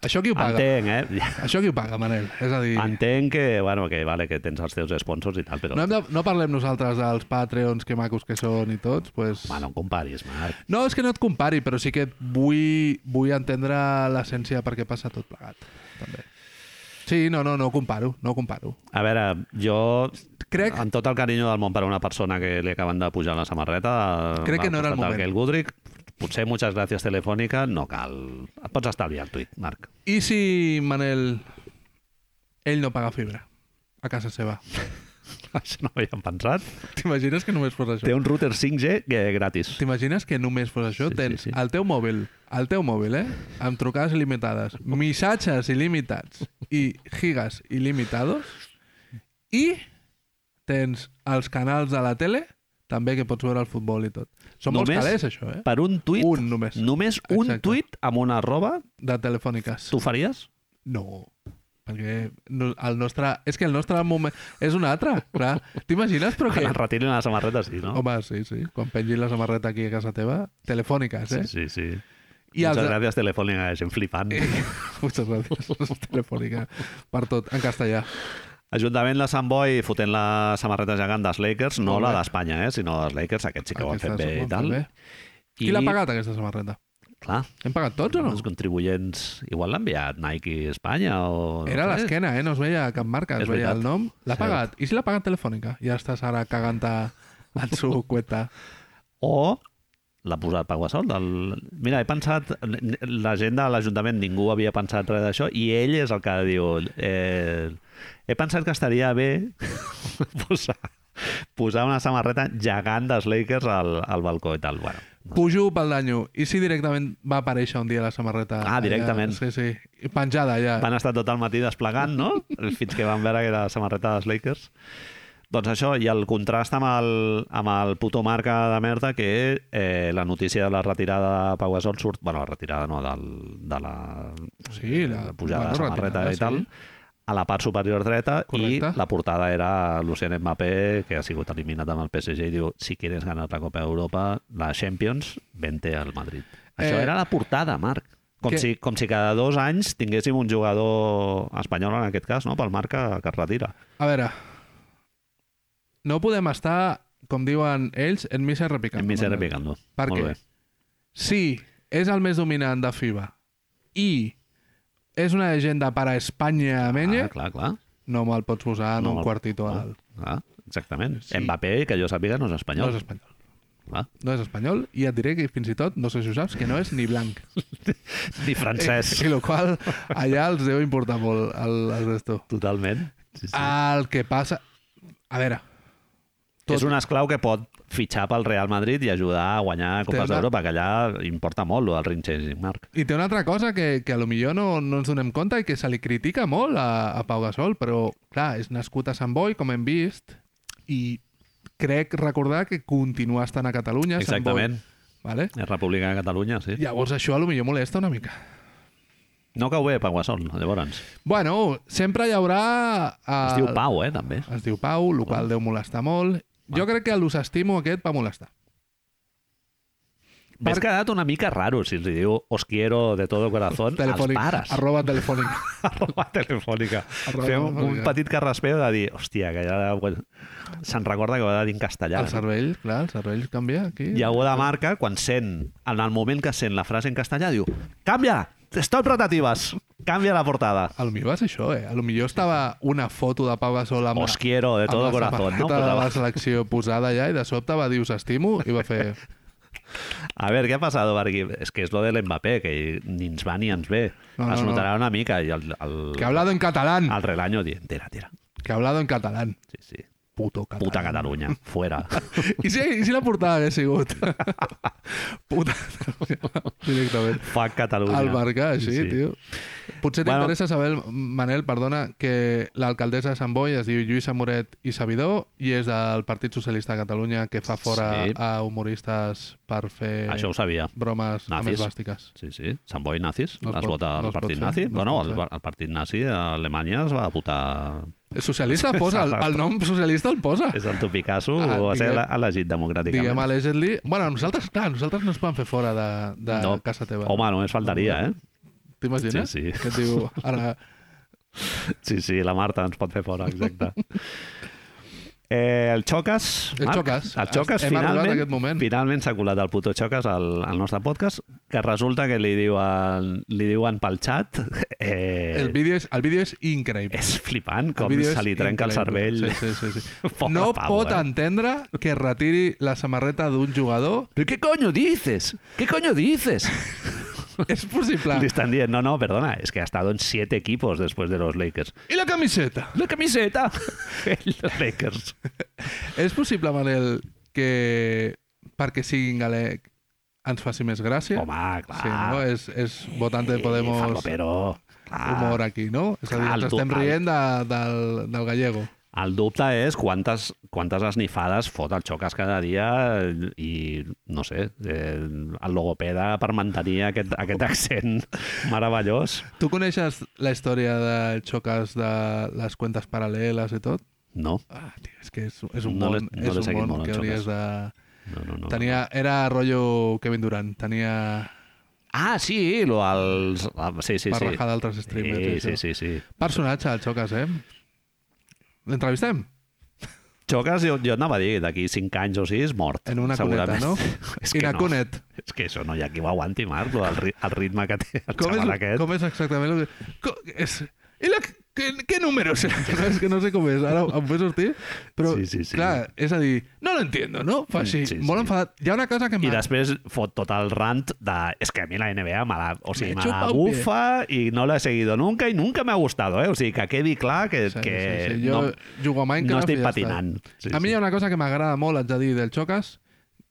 S2: Això qui ho paga?
S1: entenc, eh?
S2: Això qui ho paga, Manel? És a dir,
S1: Entenc que, bueno, que, vale, que tens els teus sponsors i tal, però...
S2: no, hem de, no parlem nosaltres dels Patreons, que macos que són i tots, pues...
S1: Home, no em comparis, Marc.
S2: No, és que no et compari, però sí que et vull, vull entendre l'essència de per què passa tot plegat. També. Sí, no, no, no ho comparo, no ho comparo.
S1: A veure, jo...
S2: Crec-
S1: Amb tot el carinyo del món per a una persona que li acaben de pujar la samarreta...
S2: Crec que
S1: al
S2: no era el
S1: costat del
S2: moment.
S1: Gail Goodrich, potser muchas gràcies telefònica, no cal... Et pots estalviar el tuit, Marc.
S2: I si, Manel, ell no paga fibra a casa seva?
S1: Això no ho havíem pensat.
S2: T'imagines que només fos això?
S1: Té un router 5G que gratis.
S2: T'imagines que només fos això?
S1: Sí,
S2: Sí, Tens
S1: sí,
S2: sí,
S1: sí.
S2: sí. el teu mòbil, el teu mòbil, eh? Amb trucades il·limitades, missatges il·limitats i gigas il·limitados i tens els canals de la tele també que pots veure el futbol i tot. Són molts
S1: Només
S2: calés, això, eh?
S1: Per un tuit,
S2: Un només,
S1: només un
S2: Exacte.
S1: tuit amb una arroba,
S2: de telefòniques.
S1: tu faries?
S2: No, perquè no, el nostre... És que el nostre moment... És un altre, clar. T'imagines, però
S1: Quan
S2: que...
S1: et retirin la samarreta, sí, no?
S2: Home, sí, sí. Quan pengin la samarreta aquí a casa teva, telefòniques, eh?
S1: Sí, sí, sí.
S2: I
S1: I
S2: els- Eh.
S1: Muchas gràcies telefònica, gent flipant.
S2: Muchas gracias, Telefònica, per tot, en castellà.
S1: Ajuntament de Sant Boi fotent la samarreta gegant dels Lakers, no
S2: Molt
S1: la
S2: bé.
S1: d'Espanya, eh, sinó dels Lakers, aquests sí que ho han fet
S2: Aquestes
S1: bé
S2: ho
S1: i
S2: han
S1: tal.
S2: fet bé. Qui l'ha pagat, aquesta samarreta?
S1: Clar,
S2: Hem pagat tots o no?
S1: els contribuents... Igual l'ha enviat Nike a Espanya o...
S2: Era a
S1: no sé.
S2: l'esquena, eh? No es veia cap marca,
S1: És
S2: es veia
S1: veritat.
S2: el nom. L'ha
S1: Cert.
S2: pagat. I si l'ha pagat Telefònica? Ja estàs ara cagant en su cuenta.
S1: O l'ha posat Pau Gasol. Del... Mira, he pensat... La gent de l'Ajuntament, ningú havia pensat res d'això, i ell és el que diu... Eh, he pensat que estaria bé posar, posar una samarreta gegant dels Lakers al, al balcó i tal. Bueno,
S2: Pujo pel danyo. I si directament va aparèixer un dia la samarreta?
S1: Ah, directament.
S2: Allà, sí, sí. I Penjada, ja.
S1: Van estar tot el matí desplegant, no? Fins que van veure que era la samarreta dels Lakers. Doncs això, i el contrast amb el, amb el puto marca de merda que eh, la notícia de la retirada de Pau Gasol surt... bueno, la retirada no, del, de la,
S2: Sí, la-
S1: de pujada de
S2: bueno,
S1: samarreta
S2: retirada,
S1: i tal,
S2: sí.
S1: a la part superior dreta
S2: Correcte.
S1: i la portada era Lucien Mbappé, que ha sigut eliminat amb el PSG i diu, si quieres ganar la Copa d'Europa, la Champions, vente al Madrid. Això
S2: Eh,
S1: era la portada, Marc. Com
S2: que-
S1: si, com si cada dos anys tinguéssim un jugador espanyol, en aquest cas, no? pel marca que es retira.
S2: A veure, no podem estar, com diuen ells, en missa repicant.
S1: En Miser Picando.
S2: Per
S1: Molt
S2: què?
S1: bé.
S2: si és el més dominant de FIBA i és una llegenda per a Espanya a Menye,
S1: Ah, clar, clar.
S2: no me'l pots posar en
S1: No
S2: un
S1: me'l-
S2: quartito
S1: no.
S2: al...
S1: Ah, exactament.
S2: Sí.
S1: Sí. Mbappé, que jo sàpiga, no és
S2: No
S1: espanyol.
S2: és espanyol.
S1: Clar.
S2: No és espanyol i et diré que fins i tot, no sé si ho saps, que no és ni blanc.
S1: Ni francès.
S2: I el qual allà els deu importar molt el, el resto.
S1: Totalment. Sí, sí.
S2: El que passa... A veure, tot-
S1: És un esclau que pot fitxar pel Real Madrid i ajudar a guanyar
S2: Té
S1: Copes
S2: una-
S1: d'Europa, que allà importa molt, lo del ring chasing, Marc.
S2: I té una altra cosa que, que a lo millor no, no ens donem compte i que se li critica molt a, a Pau Gasol, però, clar, és nascut a Sant Boi, com hem vist, i crec recordar que continua estant a Catalunya. se'n vol-
S1: Exactament.
S2: Vale?
S1: És República de Catalunya, sí.
S2: Llavors això a lo millor molesta una mica.
S1: No cau bé, Paguassol, llavors.
S2: Bueno, sempre hi haurà... Eh,
S1: Es diu Pau, eh, també.
S2: Es diu Pau, el qual deu molestar molt. Jo crec que l'ús estimo aquest va molestar.
S1: M'has quedat una mica raro si els diu os quiero de todo corazón als pares.
S2: Arroba telefònic.
S1: Arroba telefònica.
S2: Arroba
S1: Fem un
S2: telefònica.
S1: petit carraspeu de dir, hòstia, que ja bueno, se'n recorda que ho ha de dir en castellà.
S2: El cervell, clar, el cervell canvia aquí.
S1: I algú de marca, quan sent, en el moment que sent la frase en castellà, diu «Canvia! Stop rotatives! Canvia la portada!»
S2: A lo millor va ser això, eh? A lo millor estava una foto de Pau Gasol amb,
S1: Os quiero de todo
S2: amb la
S1: corazón, no? Pues,
S2: samarreta de
S1: Posava.
S2: la selecció posada allà i de sobte va dir us estimo i va fer...
S1: A veure, què ha passat per aquí? És que és lo de l'Mbappé, que ni ens va ni ens ve.
S2: No, no,
S1: es
S2: no.
S1: notarà una mica. I el, el,
S2: Que ha hablado en catalán.
S1: el Relaño dient «Tira, tira».
S2: Que ha hablado en catalán.
S1: Sí, sí.
S2: Puto catalán.
S1: Puta Catalunya, fuera.
S2: I si, I si la portada hagués sigut? Puta Catalunya. Directament.
S1: Fuck Catalunya.
S2: Al marcar, així, sí. tio. Potser
S1: Bueno.
S2: t'interessa saber, Manel, perdona, que l'alcaldessa de Sant Boi es diu Lluïsa Moret i Sabidor i és del Partit Socialista de Catalunya que fa fora
S1: Sí.
S2: a humoristes per fer
S1: Això ho sabia.
S2: bromes amb
S1: Nazis.
S2: esbàstiques.
S1: Sí, sí. Sant Boi nazis.
S2: No
S1: No
S2: es
S1: es,
S2: pot-
S1: vota
S2: no
S1: el
S2: es pot
S1: partit
S2: fer,
S1: nazi.
S2: no es
S1: bueno,
S2: pot
S1: el,
S2: fer.
S1: el partit nazi a Alemanya es va votar
S2: El socialista posa, el, el nom socialista el posa.
S1: És el tu Picasso
S2: Ah,
S1: o va ser
S2: diguem-
S1: ele- elegit democràticament.
S2: Diguem allegedly... Bueno, nosaltres, clar, nosaltres no es van fer fora de, de no. casa teva.
S1: Home, només faltaria, eh?
S2: T'imagines?
S1: Sí, sí.
S2: Que et diu, ara,
S1: Sí, sí, la Marta ens pot fer fora, exacte. Eh, el Xoques...
S2: El Xoques.
S1: El Xoques
S2: Hem arribat a aquest
S1: finalment
S2: moment.
S1: finalment s'ha colat el puto Xoques al, al nostre podcast, que resulta que li diuen, li diuen pel xat... Eh,
S2: el vídeo és, el vídeo és increïble.
S1: és flipant com
S2: El vídeo
S1: se
S2: és
S1: li trenca el cervell.
S2: increïble. Sí, sí, sí. sí.
S1: Pobre
S2: no
S1: pavo,
S2: pot
S1: eh?
S2: entendre que retiri la samarreta d'un jugador.
S1: Però què coño dices? Què coño dices?
S2: És possible.
S1: Li estan dient, no, no, perdona, és que ha estat en siete equipos després de los Lakers.
S2: I la camiseta?
S1: La camiseta. Los Lakers.
S2: És possible, Manel, que perquè siguin galec ens faci més gràcia?
S1: Home, clar. Eh,
S2: Sí, no? És, és votante de Podemos
S1: Farlo, però... Clar.
S2: humor aquí, no? És a dir,
S1: Clar,
S2: ens estem
S1: total.
S2: rient de, del, del gallego.
S1: El dubte és quantes, quantes esnifades fot el Xoques cada dia i, no sé, eh, el logopeda per mantenir aquest, aquest accent meravellós.
S2: Tu coneixes la història de xoques de les cuentes paral·leles i tot?
S1: No,
S2: Ah, tio, és que és, és un
S1: No l'he-
S2: món,
S1: no
S2: és
S1: l'he
S2: un
S1: seguit
S2: món
S1: molt,
S2: que
S1: el
S2: hauries de...
S1: no, no. no.
S2: Tenia, era rotllo Kevin Durant, tenia
S1: Ah, sí, lo, els... ah, Sí, sí, sí.
S2: sí, barrejada sí. d'altres streamers. i
S1: Sí,
S2: això.
S1: sí, sí, sí.
S2: Personatge, el xoques, eh? L'entrevistem?
S1: Xoques, jo, jo anava a dir, d'aquí 5 anys o 6, mort.
S2: En una cuneta,
S1: segurament.
S2: no?
S1: és
S2: I
S1: que
S2: la
S1: no.
S2: cunet.
S1: És que això no hi ha qui ho aguanti, Marc, el, ri- el ritme que té el
S2: Com és,
S1: xaval aquest.
S2: com és exactament el que... Com, és, I la, què, què número és? És que no sé com és, ara em ve sortir. Però,
S1: Sí, sí, sí.
S2: clar, és a dir, no lo entiendo, no? Fa així,
S1: Sí,
S2: sí,
S1: sí.
S2: molt enfadat. Hi ha una cosa que
S1: I
S2: m'ha...
S1: després fot tot el rant de... És que a mi la NBA me la, o sigui,
S2: Me
S1: me
S2: chupa
S1: la
S2: un pie".
S1: bufa i no la he seguido nunca i nunca me ha gustado, eh? O sigui, que quedi clar que,
S2: Sí,
S1: que
S2: sí, sí. Jo
S1: no,
S2: jugo a
S1: no
S2: Minecraft i
S1: estic
S2: ja està.
S1: patinant. Sí,
S2: a mi hi ha
S1: sí.
S2: una cosa que m'agrada molt, haig de dir, del Xoques,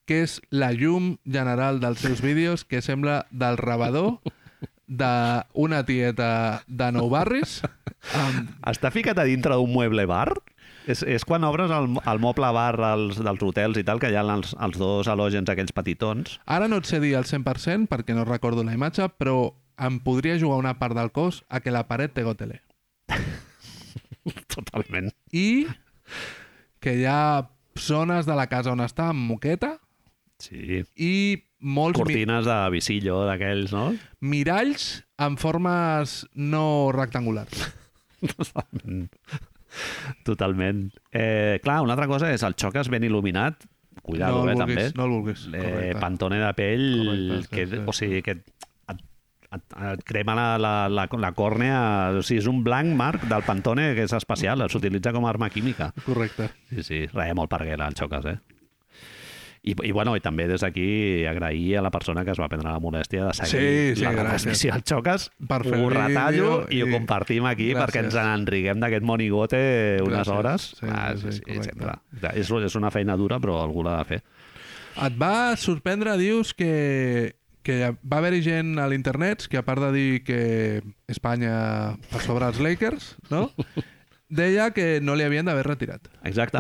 S2: que és la llum general dels seus vídeos, que sembla del rebador d'una tieta de Nou Barris. Amb...
S1: Està ficat a dintre d'un mueble bar? És, és quan obres el, el moble bar als, dels hotels i tal, que hi ha els, els dos halògens aquells petitons.
S2: Ara no et sé dir al 100% perquè no recordo la imatge, però em podria jugar una part del cos a que la paret té gotele.
S1: Totalment.
S2: I que hi ha zones de la casa on està amb moqueta
S1: Sí.
S2: i molts Doncs mi
S1: Cortines de visillo d'aquells, no?
S2: miralls amb formes no rectangulars.
S1: Totalment. Totalment. Eh, clar, una altra cosa és el xoques ben il·luminat. Cuidado,
S2: no
S1: eh,
S2: el
S1: també.
S2: vulguis, no el vulguis.
S1: eh,
S2: Correcte.
S1: pantone de pell,
S2: Correcte, sí,
S1: que,
S2: sí,
S1: o sigui, que et, et, et crema la, la, la, la còrnea. O sigui, és un blanc, Marc, del pantone, que és especial, eh, s'utilitza com a arma química.
S2: Correcte.
S1: Sí, sí, res, molt parguela, el xoques, eh? I, I, bueno, i també des d'aquí agrair a la persona que es va prendre la molèstia de seguir
S2: Sí, sí,
S1: la
S2: gràcies.
S1: retransmissió al Xoques.
S2: Per fer
S1: ho
S2: vídeo
S1: retallo i, ho
S2: i-
S1: compartim aquí
S2: Gràcies.
S1: perquè ens n'enriguem d'aquest monigote unes
S2: Gràcies.
S1: hores. Ah,
S2: Sí, sí, sí, correcte.
S1: sempre. És, és una feina dura, però algú l'ha de fer.
S2: Et va sorprendre, dius, que, que va haver-hi gent a l'internet que a part de dir que Espanya per sobre els Lakers, no? deia que no li havien d'haver retirat.
S1: Exacte.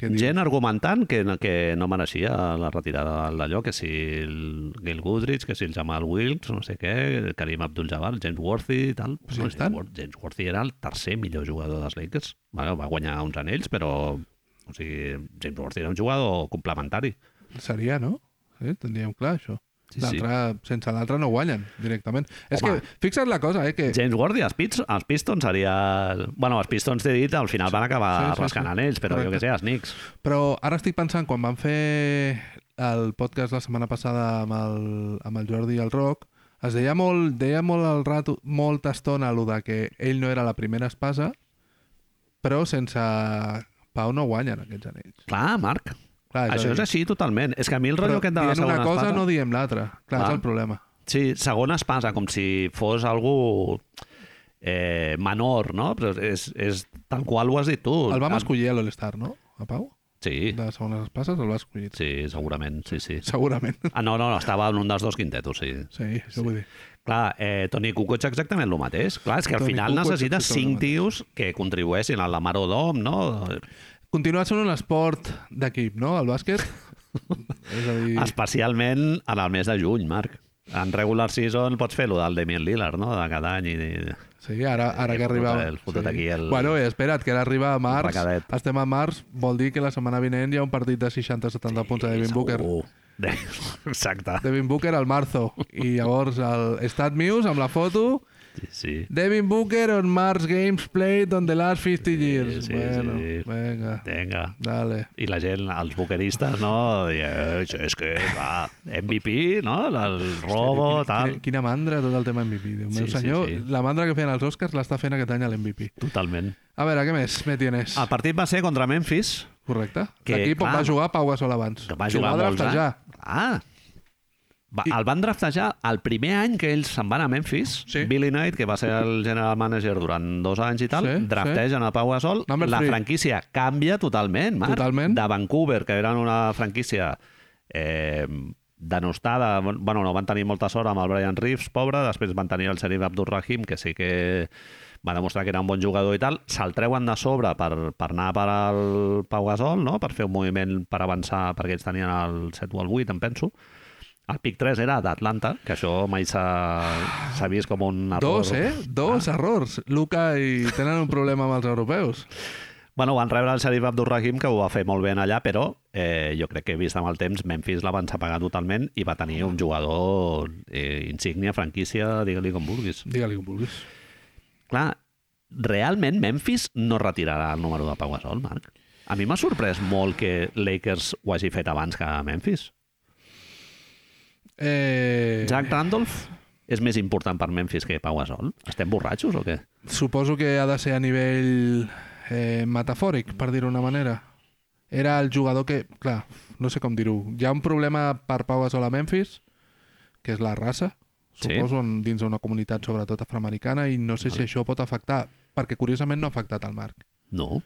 S2: Què dius?
S1: Gent argumentant que, que no mereixia la retirada d'allò, que si el Gail Goodrich, que si el Jamal Wilkes, no sé què, Karim Abdul-Jabbar, James Worthy i tal.
S2: Sí,
S1: no, James,
S2: tant.
S1: Wor- James Worthy era el tercer millor jugador dels Lakers. Va, va guanyar uns anells, però... O sigui, James Worthy era un jugador complementari.
S2: Seria, no? Sí, tindríem clar això.
S1: Sí,
S2: l'altre, sense l'altre no guanyen directament. És
S1: Home.
S2: que, fixa't la cosa, eh, que
S1: James Worthy, els, Pits, els Pistons seria... Bueno, els Pistons, t'he dit, al final van acabar sí,
S2: Sí, sí, sí.
S1: sí, rascant anells, però
S2: Correcte.
S1: jo què sé, els Knicks.
S2: Però ara estic pensant, quan vam fer el podcast la setmana passada amb el, amb el Jordi i el Roc, es deia molt, deia molt al rato, molta estona allò de que ell no era la primera espasa, però sense Pau no guanyen aquests anells.
S1: Clar, Marc,
S2: Clar, a
S1: això
S2: dir,
S1: és així totalment. És que a mi el
S2: però
S1: rotllo aquest de la
S2: dient
S1: segona
S2: una cosa
S1: espasa...
S2: no diem l'altra. Clar,
S1: Clar.
S2: és el problema.
S1: Sí, segona espasa, com si fos algú eh, menor, no? Però és, és tal qual ho has dit tu.
S2: El vam
S1: Em-
S2: escollir a l'All-Star, no? A Pau?
S1: Ah. Sí,
S2: De les segones espases el va escollir.
S1: sí, segurament, sí, sí.
S2: Segurament.
S1: Ah, no, no, no, estava en un dels dos quintetos, sí.
S2: Sí, això vull dir.
S1: Clar, eh, Toni Kukoc exactament el mateix. Clar, és que al
S2: Toni
S1: final
S2: Kukoc
S1: necessites
S2: exactament el
S1: cinc tios que contribueixin a la Marodom, no?
S2: Continua sent un esport d'equip, no? El bàsquet? és a dir...
S1: Especialment en el mes de juny, Marc. En regular season pots fer-lo del Damien Lillard, no? De cada any i...
S2: Sí, ara, ara
S1: Hem
S2: que
S1: fotut
S2: arriba...
S1: eh, el- fotut aquí el-
S2: Bueno, eh, espera't, que ara arriba a març.
S1: recadet.
S2: Estem a març, vol dir que la setmana vinent hi ha un partit de 60-70 punts de Devin Booker.
S1: Segur. De... Exacte.
S2: Devin Booker al marzo. I llavors el Stat News amb la foto
S1: Sí, sí.
S2: Devin Booker on March Games Played on the last 50 years.
S1: sí,
S2: bueno,
S1: sí.
S2: venga,
S1: Vinga.
S2: dale.
S1: I la gent, els buqueristes, no? Deia, "Eh, és que, va, MVP, no? El robo,
S2: Quina,
S1: tal.
S2: quina mandra tot el tema MVP. Déu
S1: Sí,
S2: meu
S1: sí,
S2: senyor,
S1: sí.
S2: la mandra que feien els Oscars l'està fent aquest any a l'MVP.
S1: Totalment.
S2: A veure, què més me tienes?
S1: El partit va ser contra Memphis,
S2: Correcte.
S1: Ah, Que,
S2: L'equip on
S1: clar,
S2: va jugar Pau Gasol abans.
S1: que va
S2: Qui el
S1: jugar molts
S2: draftejar.
S1: anys. Ah, va, el van draftejar el primer any que ells se'n van a Memphis.
S2: Sí.
S1: Billy Knight, que va ser el general manager durant dos anys i tal,
S2: Sí, sí.
S1: draftegen a Pau Gasol.
S2: Number
S1: la
S2: three.
S1: franquícia canvia totalment, Marc.
S2: Totalment.
S1: De Vancouver, que eren una franquícia eh, denostada. Bueno, no van tenir molta sort amb el Brian Reeves, pobre. Després van tenir el Serif Abdurrahim, que sí que va demostrar que era un bon jugador i tal. Se'l treuen de sobre per, per anar per al Pau Gasol, no? per fer un moviment per avançar, perquè ells tenien el 7 o el 8, em penso. El pic 3 era d'Atlanta, que això mai s'ha s'ha vist com un error.
S2: Dos, eh? Dos
S1: Ah.
S2: errors. Luca i tenen un problema amb els europeus.
S1: Bueno, van rebre el Sharif Abdurrahim, que ho va fer molt ben allà, però eh, jo crec que vist amb el temps, Memphis la van apagar totalment i va tenir un jugador eh, insígnia, franquícia, digue-li com vulguis.
S2: Digue-li com vulguis.
S1: Clar, realment Memphis no retirarà el número de Pau Gasol, Marc? A mi m'ha sorprès molt que Lakers ho hagi fet abans que Memphis.
S2: Eh,
S1: Jack Randolph és més important per Memphis que Pau Gasol? Estem borratxos o què?
S2: Suposo que ha de ser a nivell eh, metafòric, per dir-ho d'una manera. Era el jugador que... Clar, no sé com dir-ho. Hi ha un problema per Pau Gasol a Memphis, que és la raça,
S1: Sí.
S2: suposo, en, dins d'una comunitat sobretot afroamericana, i no sé si això pot afectar, perquè curiosament no ha afectat el Marc.
S1: No.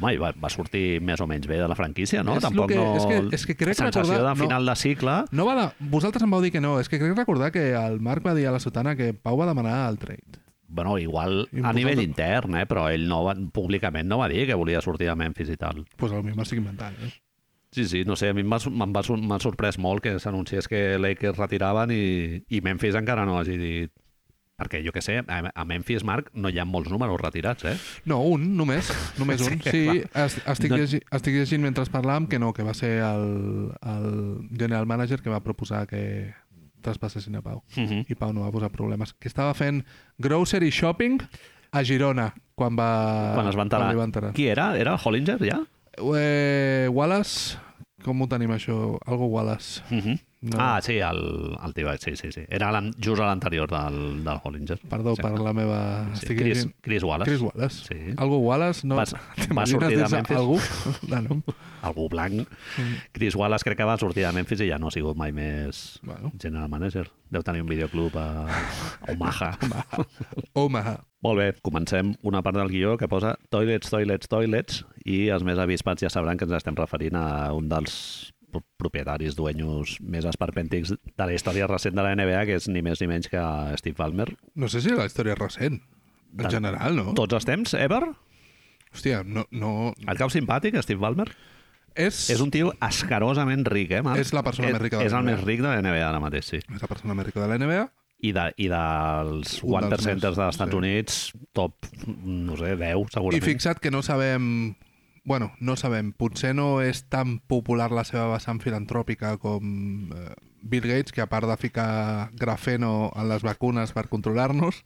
S1: Mai va, va sortir més o menys bé de la franquícia, no?
S2: És lo
S1: Tampoc
S2: que-
S1: no...
S2: és que- és que crec
S1: Sensació
S2: recordar-
S1: de final de cicle...
S2: No va de... Vosaltres em vau dir que no. És que crec recordar que el Marc va dir a la Sotana que Pau va demanar el trade.
S1: Bueno, igual a
S2: Important.
S1: nivell intern, eh? però ell no va, públicament no va dir que volia sortir de Memphis i tal.
S2: Doncs pues potser m'estic inventant, eh?
S1: Sí, sí, no sé, a mi em va sor- me'n va sor- m'ha sorprès molt que s'anunciés que Lakers retiraven i, i Memphis encara no hagi dit... Perquè jo que sé, a, a Memphis, Marc, no hi ha molts números retirats, eh?
S2: No, un, només. Només
S1: Sí,
S2: un. Sí, es, estic,
S1: No-
S2: llegi, estic llegint mentre parlàvem que no, que va ser el, el general manager que va proposar que traspassessin a Pau.
S1: Uh -huh.
S2: I Pau no va posar problemes. Que estava fent grocery shopping a Girona quan va...
S1: Quan es va enterar.
S2: Quan Ah, li va enterar.
S1: Qui era? Era Hollinger, ja?
S2: Eh, Wallace... Com ho tenim, això? Algo Wallace.
S1: Uh -huh.
S2: Uh-huh. No.
S1: Ah, sí, el, el tio, sí, sí, sí. Era l'an- just a l'anterior del, del Hollinger.
S2: Perdó
S1: Sí,
S2: per la meva...
S1: Sí,
S2: estic
S1: Chris,
S2: llegint-
S1: Chris Wallace.
S2: Chris Wallace.
S1: Sí.
S2: Algo Wallace, no...
S1: Va- va sortir de
S2: T'imagines dir-se
S1: Memphis.
S2: Algú? No, no.
S1: algú blanc.
S2: Mm.
S1: Chris Wallace crec que va sortir de Memphis i ja no ha sigut mai més
S2: Bueno.
S1: general manager. Deu tenir un videoclub a a Omaha.
S2: Omaha.
S1: Molt bé, comencem una part del guió que posa toilets, toilets, toilets i els més avispats ja sabran que ens estem referint a un dels pro- propietaris, dueños més esperpèntics de la història recent de la NBA, que és ni més ni menys que Steve Ballmer.
S2: No sé si la història és recent. En
S1: Tant.
S2: general, no?
S1: Tots els temps, ever?
S2: Hòstia, no... no...
S1: Et cau simpàtic, Steve Ballmer?
S2: És,
S1: És un tio asquerosament ric, eh, Marc?
S2: És la persona
S1: És-
S2: més rica de
S1: És el
S2: la
S1: més
S2: NBA.
S1: ric de la NBA ara mateix, sí.
S2: és la persona més rica de la NBA.
S1: I, de, i dels
S2: Un dels
S1: Water
S2: més,
S1: Centers dels Estats
S2: sí.
S1: Units, top, no sé, 10,
S2: I
S1: segurament.
S2: fixa't que no sabem... Bueno, no sabem. Potser no és tan popular la seva vessant filantròpica com eh, Bill Gates, que a part de ficar grafeno en les vacunes per controlar-nos,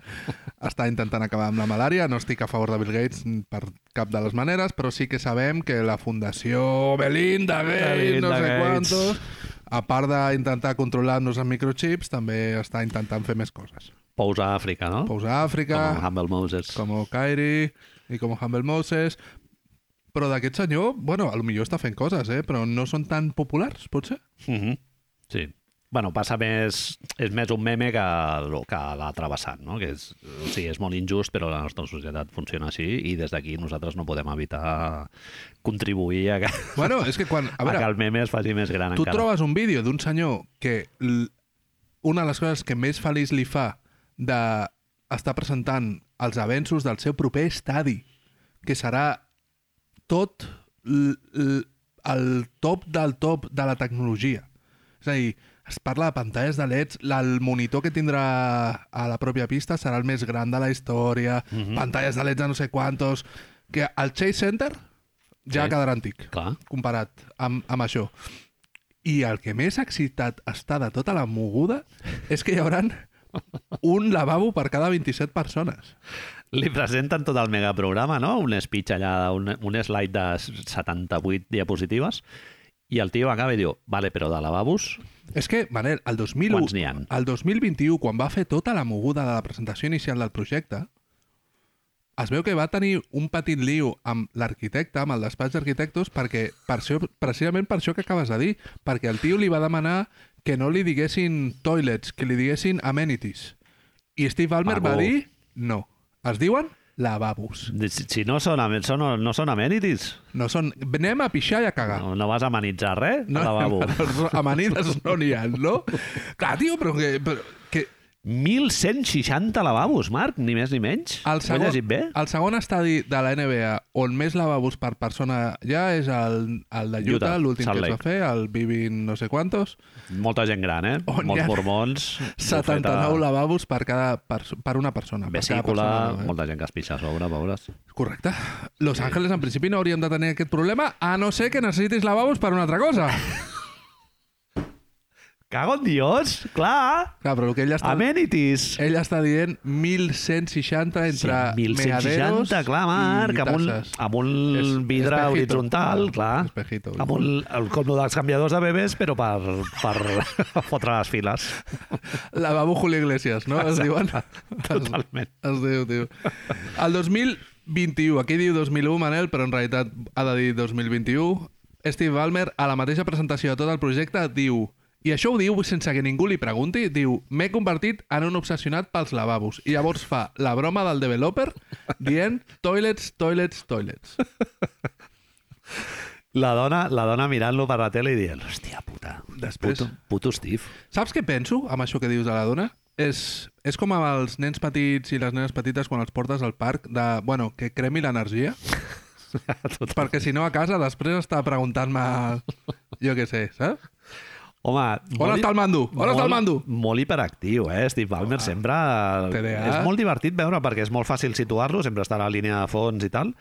S2: està intentant acabar amb la malària. No estic a favor de Bill Gates per cap de les maneres, però sí que sabem que la Fundació Belinda Gates,
S1: Belinda
S2: no sé
S1: Gates.
S2: quantos, a part d'intentar controlar-nos amb microchips, també està intentant fer més coses.
S1: Pous a Àfrica, no?
S2: Pous a Àfrica...
S1: Com Humble Moses.
S2: com Kyrie i com Humble Moses, però d'aquest senyor, bueno, a lo millor està fent coses, eh? però no són tan populars, potser?
S1: Mhm. Sí. Bueno, passa més... És més un meme que, el- que l'altre vessant, no? Que és, o sigui, és molt injust, però la nostra societat funciona així i des d'aquí nosaltres no podem evitar contribuir a que,
S2: Bueno, és que quan...
S1: a,
S2: A veure,
S1: que el meme es faci més gran
S2: tu
S1: encara.
S2: trobes un vídeo d'un senyor que l- una de les coses que més feliç li fa de estar presentant els avenços del seu proper estadi, que serà tot l- l- el top del top de la tecnologia. És a dir, es parla de pantalles de LEDs, la- el monitor que tindrà a la pròpia pista serà el més gran de la història,
S1: Mhm.
S2: pantalles de LEDs de no sé quantos... Que el Chase Center ja
S1: Sí.
S2: quedarà antic
S1: Clar.
S2: comparat amb, amb això. I el que més excitat està de tota la moguda és que hi haurà un lavabo per cada 27 persones.
S1: Li presenten tot el megaprograma, no? Un speech allà, un, un slide de 78 diapositives i el tio acaba i diu, vale, però de lavabos
S2: És que, Manel, el, 2001,
S1: quants n'hi han?
S2: el 2021, quan va fer tota la moguda de la presentació inicial del projecte, es veu que va tenir un petit lío amb l'arquitecte, amb el despatx d'arquitectos, perquè per això, precisament per això que acabes de dir, perquè el tio li va demanar que no li diguessin toilets, que li diguessin amenities. I Steve Ballmer va
S1: Vago.
S2: dir no. Es diuen lavabos.
S1: Si, si no, són, amen- són, no són amenities,
S2: No són... Anem a pixar i a cagar.
S1: no, no vas a amenitzar res, no, al lavabo.
S2: no, amanides no n'hi ha, no? Clar, tio, però que, però que
S1: 1.160 lavabos, Marc, ni més ni menys.
S2: El segon,
S1: Ho he llegit bé?
S2: El segon estadi de la NBA on més lavabos per persona ja és el, el de Utah,
S1: Utah,
S2: l'últim
S1: Salt
S2: que es va
S1: Lake.
S2: fer, el Vivin no sé quantos.
S1: Molta gent gran, eh?
S2: On hi
S1: Molts
S2: ha
S1: mormons.
S2: 79 lavabos per, cada perso per una persona. per
S1: Vesícula,
S2: cada persona,
S1: molta gent que es pixa a sobre, veuràs.
S2: eh? Correcte. Los Ángeles, en principi, no hauríem de tenir aquest problema, a no ser que necessitis lavabos per una altra cosa.
S1: Cago en Dios, clar!
S2: Clar, però el que ell està,
S1: Amenities!
S2: ell està dient 1.160
S1: Sí,
S2: entre
S1: 1.160,
S2: meaderos
S1: clar, Marc,
S2: i
S1: amb un,
S2: tasses.
S1: amb un
S2: Es-
S1: vidre
S2: espejito.
S1: horitzontal,
S2: Ah,
S1: clar.
S2: espejito.
S1: Amb un, el, com el dels canviadors de bebès, però per, per fotre les files.
S2: Lavabo Julio Iglesias, no? Es diuen...
S1: Totalment.
S2: Es diu, tio. El 2021, aquí diu 2001, Manel, però en realitat ha de dir 2021, Steve Ballmer, a la mateixa presentació de tot el projecte, diu... I això ho diu sense que ningú li pregunti, diu m'he convertit en un obsessionat pels lavabos. I llavors fa la broma del developer dient toilets, toilets, toilets.
S1: La dona, la dona mirant-lo per la tele i dient, hòstia puta,
S2: Després-
S1: puto, puto Steve.
S2: Saps què penso amb això que dius de la dona? És, és com amb els nens petits i les nenes petites quan els portes al parc de, bueno, que cremi l'energia,
S1: Total.
S2: perquè si no a casa després està preguntant-me jo què sé, saps?
S1: Home,
S2: On està el mando? On
S1: molt,
S2: està el mando?
S1: Molt hiperactiu, eh? Steve Ballmer sempre...
S2: TDA.
S1: És molt divertit veure perquè és molt fàcil situar-lo, sempre està a la línia de fons i tal.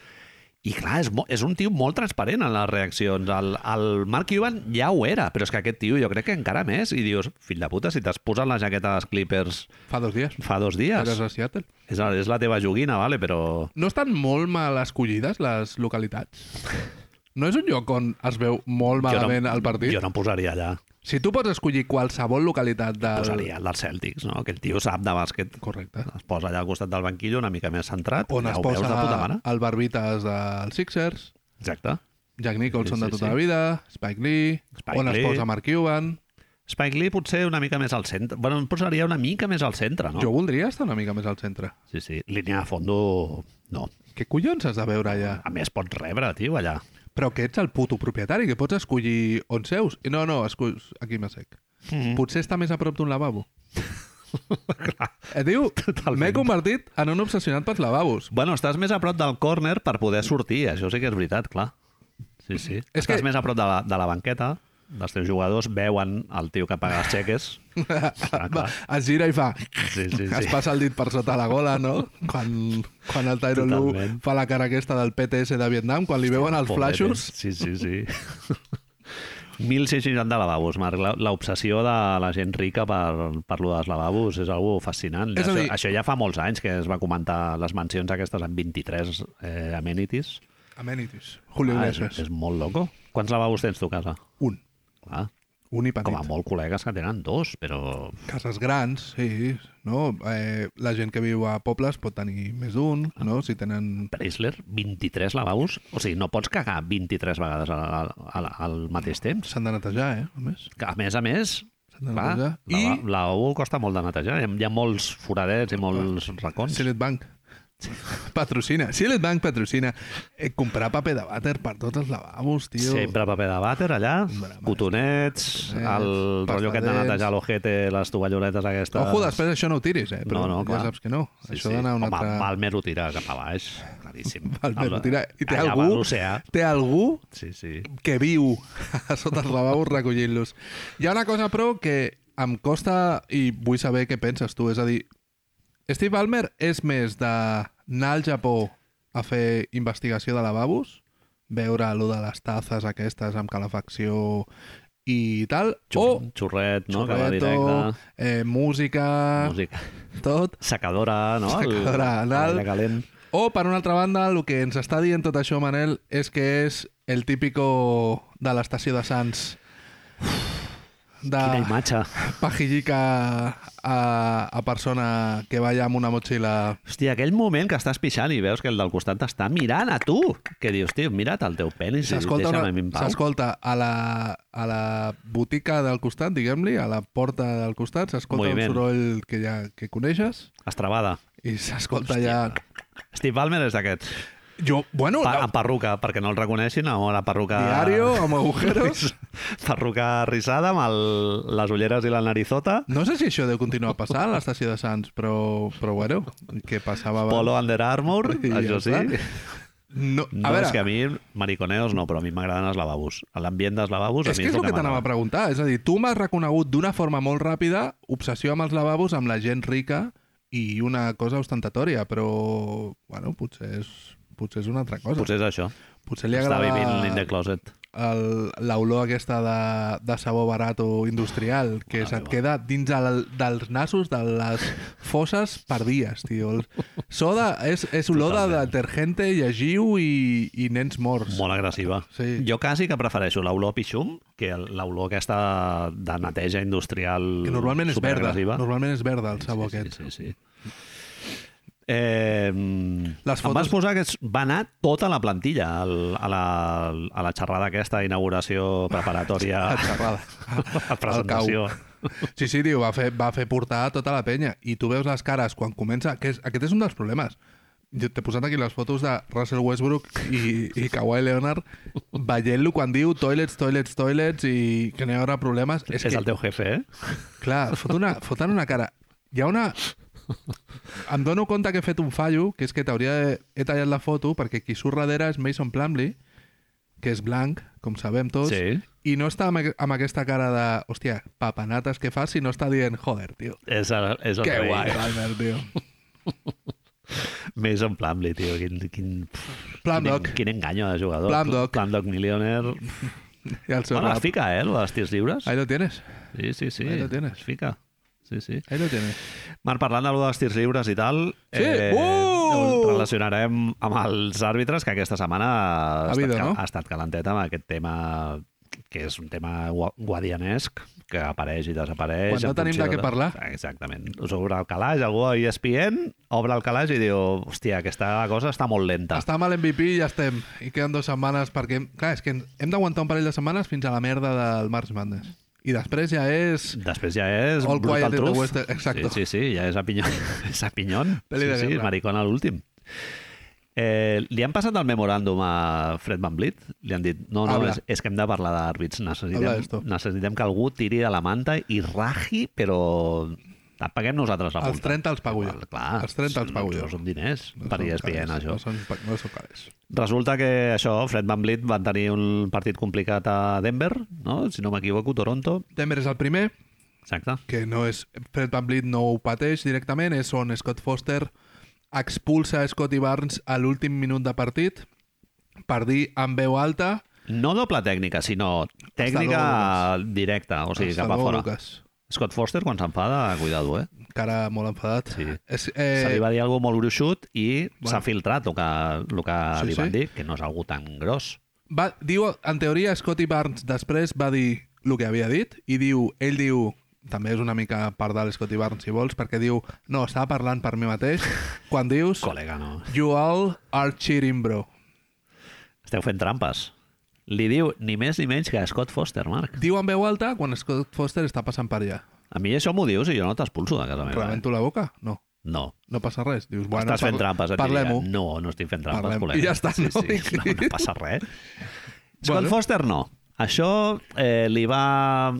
S1: I clar, és, mo- és un tio molt transparent en les reaccions. El, el Mark Cuban ja ho era, però és que aquest tio jo crec que encara més. I dius, fill de puta, si t'has posat la jaqueta dels Clippers
S2: Fa dos dies.
S1: fa dos dies.
S2: Eres a Seattle.
S1: És, la- és la teva joguina, vale, però...
S2: No estan molt mal escollides les localitats? No és un lloc on es veu molt malament
S1: jo no,
S2: el partit?
S1: Jo no em posaria allà.
S2: Si tu pots escollir qualsevol localitat del...
S1: Posaria el dels Celtics, no? Aquell tio sap de bàsquet.
S2: Correcte.
S1: Es posa allà al costat del banquillo una mica més centrat.
S2: On
S1: ja
S2: es
S1: ho veus
S2: posa
S1: de puta mare.
S2: el barbites dels Sixers.
S1: Exacte.
S2: Jack Nicholson
S1: Sí, sí,
S2: de tota
S1: sí.
S2: la vida, Spike Lee,
S1: Spike
S2: on
S1: Lee.
S2: es posa Mark Cuban.
S1: Spike Lee potser una mica més al centre. Bueno, em posaria una mica més al centre, no?
S2: Jo voldria estar una mica més al centre.
S1: Sí, sí. Línia de fondo, no.
S2: Què collons has de veure allà?
S1: A més, pots rebre, tio, allà.
S2: Però que ets el puto propietari, que pots
S1: Mm-hmm.
S2: escollir on seus. I no, no, escu... aquí m'assec. Mm -hmm. Potser està més a prop d'un lavabo. Eh, diu,
S1: Totalment.
S2: m'he convertit en un obsessionat pels lavabos.
S1: Bueno, estàs més a prop del córner per poder sortir, això sí que és veritat, clar. Sí, sí.
S2: És
S1: estàs
S2: que-
S1: més a prop de la, de la banqueta, els teus jugadors veuen el tio que paga els xeques. Clar,
S2: Va,
S1: clar.
S2: es gira i fa...
S1: Sí, sí,
S2: Es
S1: sí.
S2: passa el dit per sota la gola, no? Quan, quan el Tyron Lu
S1: Totalment.
S2: fa la cara aquesta del PTS de Vietnam, quan li veuen els
S1: Pobretes.
S2: flashos...
S1: Sí, sí, sí. 1.660 lavabos, Marc. La- L'obsessió de la gent rica per, per lo dels lavabos és algo fascinant.
S2: És a
S1: això,
S2: dir-
S1: això ja fa molts anys que es va comentar les mansions aquestes amb 23 eh, amenities.
S2: Amenities. Julio
S1: Ah, és,
S2: Iglesias.
S1: és molt loco. Quants lavabos tens tu a casa?
S2: Un.
S1: Clar,
S2: Un i
S1: com a
S2: petit.
S1: molt col·legues que tenen dos, però...
S2: Cases grans, sí, no? Eh, la gent que viu a pobles pot tenir més d'un,
S1: Ah.
S2: no? Si tenen...
S1: Preisler, 23 lavabos? O sigui, no pots cagar 23 vegades al, al, al mateix temps?
S2: S'han de netejar, eh? A més.
S1: Que, A més a més,
S2: S'han de
S1: clar, la,
S2: netejar.
S1: I...
S2: I-
S1: la U costa molt de netejar. Hi ha, hi ha molts foradets i molts racons.
S2: Silet Bank. Patrocina. Silet Bank patrocina. Eh, comprar paper de vàter per tots els lavabos, tio.
S1: Sempre paper de vàter allà,
S2: Mare
S1: cotonets,
S2: cotonets,
S1: el rotllo que et de
S2: pastadets.
S1: netejar l'ojete, les tovalloletes aquestes...
S2: Ojo, després això no ho tiris, eh? Però
S1: No, no, clar.
S2: ja saps que no.
S1: Sí,
S2: això
S1: sí.
S2: d'anar a una
S1: Home,
S2: altra...
S1: val més ho tirar cap a baix, claríssim.
S2: Val més
S1: Al-
S2: ho tirar. I té
S1: allà
S2: algú-
S1: va l'oceà.
S2: Té algú
S1: Sí, sí.
S2: que viu a sota els lavabos recollint-los. Hi ha una cosa, però, que em costa i vull saber què penses tu. És a dir, Steve Ballmer és més d'anar al Japó a fer investigació de lavabos, veure lo de les tasses aquestes amb calefacció i tal,
S1: Xur,
S2: o
S1: xurret, no? que va
S2: xorreto,
S1: directe.
S2: eh, música,
S1: Música.
S2: tot,
S1: Secadora, no? El-
S2: Secadora anal.
S1: l'aire calent.
S2: O, per una altra banda, el que ens està dient tot això, Manel, és que és el típico de l'estació de Sants de
S1: Quina imatge.
S2: pajillica a, a persona que va allà amb una motxilla
S1: Hòstia, aquell moment que estàs pixant i veus que el del costat t'està mirant a tu, que dius, tio, mira't el teu penis i
S2: s'escolta
S1: deixa'm
S2: una-
S1: a mi en pau.
S2: s'escolta a, la, a la botica del costat, diguem-li, a la porta del costat, s'escolta un
S1: Moviment.
S2: soroll que ja que coneixes
S1: Estrabada.
S2: i s'escolta
S1: Hòstia.
S2: allà...
S1: Steve Ballmer és d'aquests.
S2: Jo, bueno,
S1: Pa
S2: la,
S1: amb perruca, perquè no el reconeixin, amb la perruca...
S2: diario amb agujeros...
S1: Perruca rissada, amb el, les ulleres i la narizota.
S2: No sé si això deu continuar passant a l'estació de Sants, però, però bueno, què passava abans?
S1: Polo Under Armour,
S2: I ja
S1: això sí.
S2: està. No, a
S1: No,
S2: veure,
S1: és que a mi, mariconeos no, però a mi m'agraden els lavabos. L'ambient dels lavabos a
S2: és
S1: mi
S2: que és el que t'anava a
S1: m'agrada.
S2: preguntar. És a dir, tu m'has reconegut d'una forma molt ràpida obsessió amb els lavabos, amb la gent rica i una cosa ostentatòria, però, bueno, potser és, potser és una altra cosa.
S1: Potser és això.
S2: potser li
S1: Està vivint in
S2: agrada
S1: the closet.
S2: el- l'olor aquesta de, de sabó barat o industrial que
S1: Mare
S2: se't
S1: meva.
S2: queda dins el, dels nassos de les fosses per dies, tio. El, so de, és, és olor de
S1: Totalment.
S2: detergente, llegiu i, i nens morts.
S1: Molt agressiva.
S2: Sí.
S1: Jo quasi que prefereixo l'olor a pixum que l'olor aquesta de neteja industrial
S2: que normalment és verda.
S1: superagressiva.
S2: Normalment és verda el sabó sí, aquest.
S1: Sí, sí, sí. Eh, Les
S2: fotos-
S1: fotos... Em vas posar que es- va anar tota la plantilla al, a, la, a la xerrada aquesta inauguració preparatòria
S2: La xerrada.
S1: a presentació.
S2: Sí, sí, tio, va fer, va fer portar tota la penya. I tu veus les cares quan comença... Que és, aquest és un dels problemes. Jo T'he posat aquí les fotos de Russell Westbrook i, i Kawhi Leonard veient-lo quan diu toilets, toilets, toilets i que no hi haurà problemes.
S1: És, és que... el teu jefe, eh?
S2: Clar, fot una, foten una cara. Hi ha una... Em dono compte que he fet un fallo, que és que t'hauria... de- He tallat la foto perquè qui surt darrere és Mason Plumlee, que és blanc, com sabem tots,
S1: Sí.
S2: i no està amb, aqu- amb aquesta cara de, hòstia, papanates que fas, sinó està dient, joder, tio,
S1: És el, és el
S2: que
S1: rei.
S2: guai, Albert, tio.
S1: Més en Plumlee, tio. Quin, quin,
S2: Plumdoc.
S1: quin, quin enganyo de jugador.
S2: Plumdoc.
S1: Plumdoc Millionaire.
S2: I el seu
S1: Bueno, es
S2: rap.
S1: fica, eh, lo dels tirs lliures.
S2: Ahí lo tienes,
S1: Sí, sí, sí.
S2: Ahí lo tienes.
S1: Es fica. Sí, sí.
S2: ahí lo tienes.
S1: Marc, parlant de lo dels tirs lliures i tal, eh,
S2: Sí.
S1: ho
S2: Uh!
S1: relacionarem amb els àrbitres, que aquesta setmana ha,
S2: Habido,
S1: estat, cal-
S2: no?
S1: ha estat calenteta amb aquest tema que és un tema gua- guadianesc, que apareix i desapareix.
S2: Quan no
S1: en
S2: tenim
S1: funció
S2: de què parlar.
S1: Exactament. S'obre el calaix, algú a E ESPN obre el calaix i diu hòstia, aquesta cosa està molt lenta.
S2: Està mal MVP i ja estem. I queden dues setmanes perquè... Clar, és que hem d'aguantar un parell de setmanes fins a la merda del March Madness. I després ja és...
S1: Després ja és
S2: All
S1: Brutal
S2: Quiet in the
S1: Truth.
S2: Western- exacto.
S1: Sí, sí, sí, ja és a pinyon. és a pinyon.
S2: Peli de
S1: Sí, sí,
S2: guerra.
S1: maricón a l'últim. Eh, li han passat el memoràndum a Fred Van Vliet? Li han dit, no, no,
S2: Habla.
S1: és, és que hem de parlar d'àrbits.
S2: Habla
S1: Necessitem,
S2: d'esto.
S1: necessitem que algú tiri de la manta i raji, però La paguem nosaltres la multa.
S2: Els 30 els pago jo.
S1: Val, Clar,
S2: Els 30 els pago
S1: No
S2: jo.
S1: són diners
S2: No
S1: per
S2: són
S1: ESPN,
S2: calés,
S1: això.
S2: No són, pa- no són calés.
S1: Resulta que això, Fred Van Vliet van tenir un partit complicat a Denver, no? si no m'equivoco, Toronto.
S2: Denver és el primer,
S1: Exacte.
S2: que no és... Fred VanVleet no ho pateix directament, és on Scott Foster expulsa Scotty Barnes a l'últim minut de partit per dir amb veu alta
S1: No doble tècnica, sinó tècnica directa, o sigui, cap a
S2: "Salvador
S1: fora.
S2: Lucas.
S1: Scott Foster, quan s'enfada, cuidado, eh?
S2: Cara molt enfadat.
S1: Sí.
S2: És,
S1: Eh... Se li va dir alguna molt gruixut i
S2: Bueno.
S1: s'ha filtrat el que, el que
S2: Sí,
S1: sí, li van
S2: sí.
S1: dir, que no és algú tan gros.
S2: va, diu, en teoria, Scotty Barnes després va dir el que havia dit i diu, ell diu, també és una mica part de l'Scotty Barnes, si vols, perquè diu, no, estava parlant per mi mateix, quan dius,
S1: Col·lega, no?
S2: you all are cheating, bro.
S1: Esteu fent trampes. Li diu ni més ni menys que a Scott Foster, Marc.
S2: Diu en veu alta quan Scott Foster està passant per allà.
S1: A mi això m'ho dius i jo no t'expulso de casa meva. eh?
S2: Rebento la boca? No,
S1: No.
S2: no passa res. Dius, bueno,
S1: Estàs fent
S2: parla-
S1: trampes, eh? et
S2: Parlem-ho.
S1: diria. No, no estic fent trampes,
S2: Parlem.
S1: col·lega.
S2: I ja està,
S1: sí,
S2: no?
S1: Sí. No, no passa res. Scott
S2: Bueno.
S1: Foster no. Això eh, li va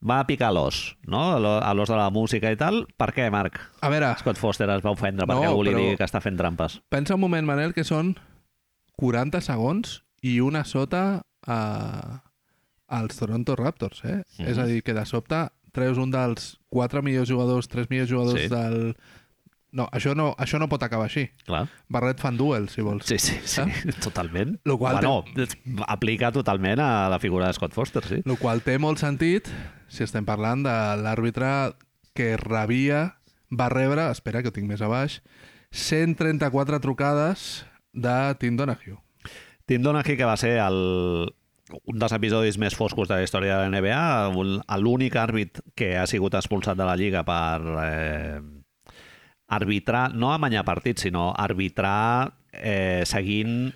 S1: va picar l'os, no? A l'o- A l'os de la música i tal. Per què, Marc?
S2: A veure,
S1: Scott Foster es va ofendre
S2: No,
S1: perquè algú li
S2: però-
S1: digui que està fent trampes.
S2: pensa un moment, Manel, que són 40 segons i una sota a... als Toronto Raptors, eh?
S1: Mhm.
S2: És a dir, que de sobte treus un dels 4 millors jugadors, 3 millors jugadors
S1: Sí.
S2: del... No, això no, això no pot acabar així.
S1: Clar.
S2: Barret fan duel, si vols. Ah?
S1: Sí, sí, sí, totalment.
S2: Lo qual
S1: bueno, aplica totalment a la figura de Scott Foster, sí.
S2: El qual té molt sentit si estem parlant de l'àrbitre que rebia, va rebre, espera que ho tinc més a baix, 134 trucades de Tim Donahue.
S1: Tim Donaghy, que va ser el, un dels episodis més foscos de la història de la NBA, un- l'únic àrbit que ha sigut expulsat de la Lliga per eh, arbitrar, no amanyar partits, sinó arbitrar eh, seguint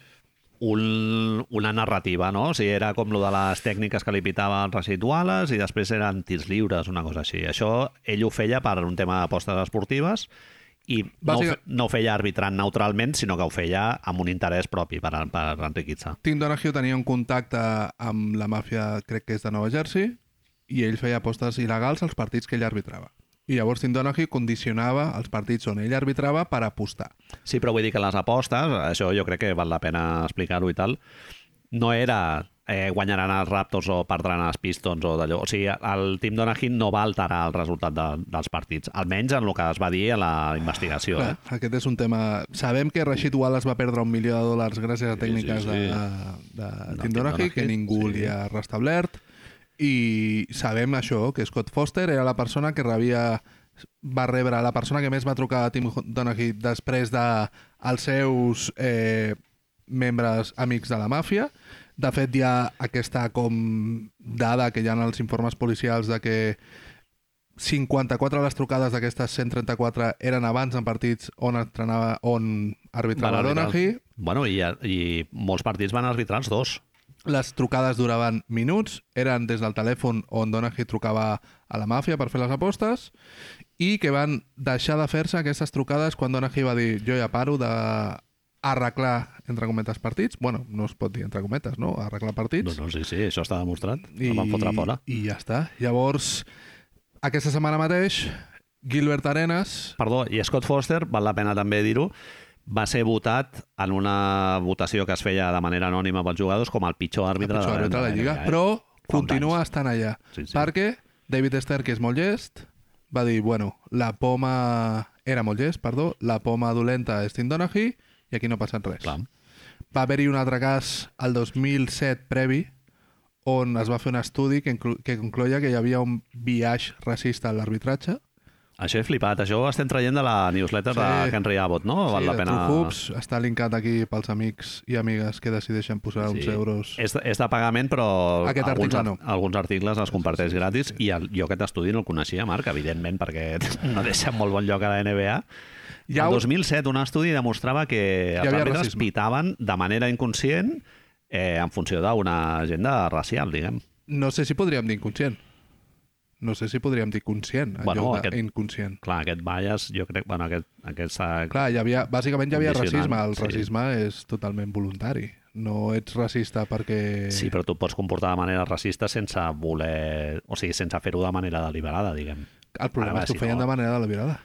S1: un, una narrativa, no? O sigui, era com lo de les tècniques que li pitava el Rashid Wallace i després eren tirs lliures, una cosa així. Això ell ho feia per un tema d'apostes esportives i no, ho fe-
S2: Bàsica-
S1: no ho feia arbitrant neutralment, sinó que ho feia amb un interès propi per, per enriquir-se.
S2: Tim Donahue tenia un contacte amb la màfia, crec que és de Nova Jersey, i ell feia apostes il·legals als partits que ell arbitrava. I llavors Tim Donahue condicionava els partits on ell arbitrava per apostar.
S1: Sí, però vull dir que les apostes, això jo crec que val la pena explicar-ho i tal, no era eh, guanyaran els Raptors o perdran els Pistons o d'allò. O sigui, el Tim Donaghy no va alterar el resultat de, dels partits, almenys en el que es va dir a la investigació.
S2: Clar,
S1: Eh?
S2: aquest és un tema... Sabem que Rashid Wallace va perdre un milió de dòlars gràcies a
S1: Sí,
S2: tècniques
S1: sí, sí.
S2: sí, sí. de, de
S1: Del
S2: Tim
S1: Tim
S2: Donaghy, que
S1: Donaghy,
S2: ningú
S1: sí.
S2: sí. li ha restablert. I sabem això, que Scott Foster era la persona que rebia va rebre la persona que més va trucar a Tim Donaghy després de els seus eh, membres amics de la màfia. De fet, hi ha aquesta com dada que hi ha en els informes policials de que 54 de les trucades d'aquestes 134 eren abans en partits on entrenava, on arbitrava
S1: Van arbitrar-
S2: Donaghy.
S1: Bueno, i, i molts partits van arbitrar els dos.
S2: Les trucades duraven minuts, eren des del telèfon on Donaghy trucava a la màfia per fer les apostes i que van deixar de fer-se aquestes trucades quan Donaghy va dir jo ja paro de arreglar, entre cometes, partits. Bueno, no es pot dir entre cometes, no? Arreglar partits.
S1: No, no, sí, sí, això està demostrat. I... El van fotre fora.
S2: I ja està. Llavors, aquesta setmana mateix, Gilbert Arenas...
S1: Perdó, i Scott Foster, val la pena també dir-ho, va ser votat en una votació que es feia de manera anònima pels jugadors com el pitjor àrbitre,
S2: pitjor àrbitre de la Lliga,
S1: NBA, eh?
S2: però
S1: Fa uns
S2: continua estant allà.
S1: Sí, sí.
S2: Perquè David Stern, que és molt llest, va dir, bueno, la poma... Era molt llest, perdó. La poma dolenta és Tim Donaghy i aquí no ha passat res.
S1: Clar.
S2: Va haver-hi un altre cas al 2007 previ on es va fer un estudi que, inclu- que concloia que hi havia un biaix racista a l'arbitratge.
S1: Això he flipat, això ho estem traient de la newsletter
S2: Sí.
S1: de Henry Abbott, no? Val la
S2: de
S1: pena...
S2: True Hoops, està linkat aquí pels amics i amigues que decideixen posar uns euros.
S1: És, és de pagament, però
S2: Aquest
S1: alguns,
S2: article
S1: ar-
S2: no.
S1: alguns articles els comparteix gratis i el, jo aquest estudi no el coneixia, Marc, evidentment, perquè no deixa en molt bon lloc a la NBA.
S2: Hi ha
S1: El
S2: un-
S1: 2007 un estudi demostrava que els
S2: havia
S1: àrbitres
S2: racisme.
S1: pitaven de manera inconscient eh, en funció d'una agenda racial, diguem.
S2: No sé si podríem dir inconscient. No sé si podríem dir conscient, en
S1: Bueno,
S2: bueno, lloc
S1: aquest-
S2: aquest... inconscient.
S1: Clar, aquest bias, jo crec... Bueno, aquest, aquesta...
S2: Clar, hi havia, bàsicament hi havia
S1: Condicionant,
S2: racisme. El
S1: sí.
S2: racisme és totalment voluntari. No ets racista perquè...
S1: Sí, però tu et pots comportar de manera racista sense voler... O sigui, sense fer-ho de manera deliberada, diguem.
S2: El problema
S1: Ara,
S2: és
S1: si
S2: que ho feien
S1: no-
S2: de manera de la virada.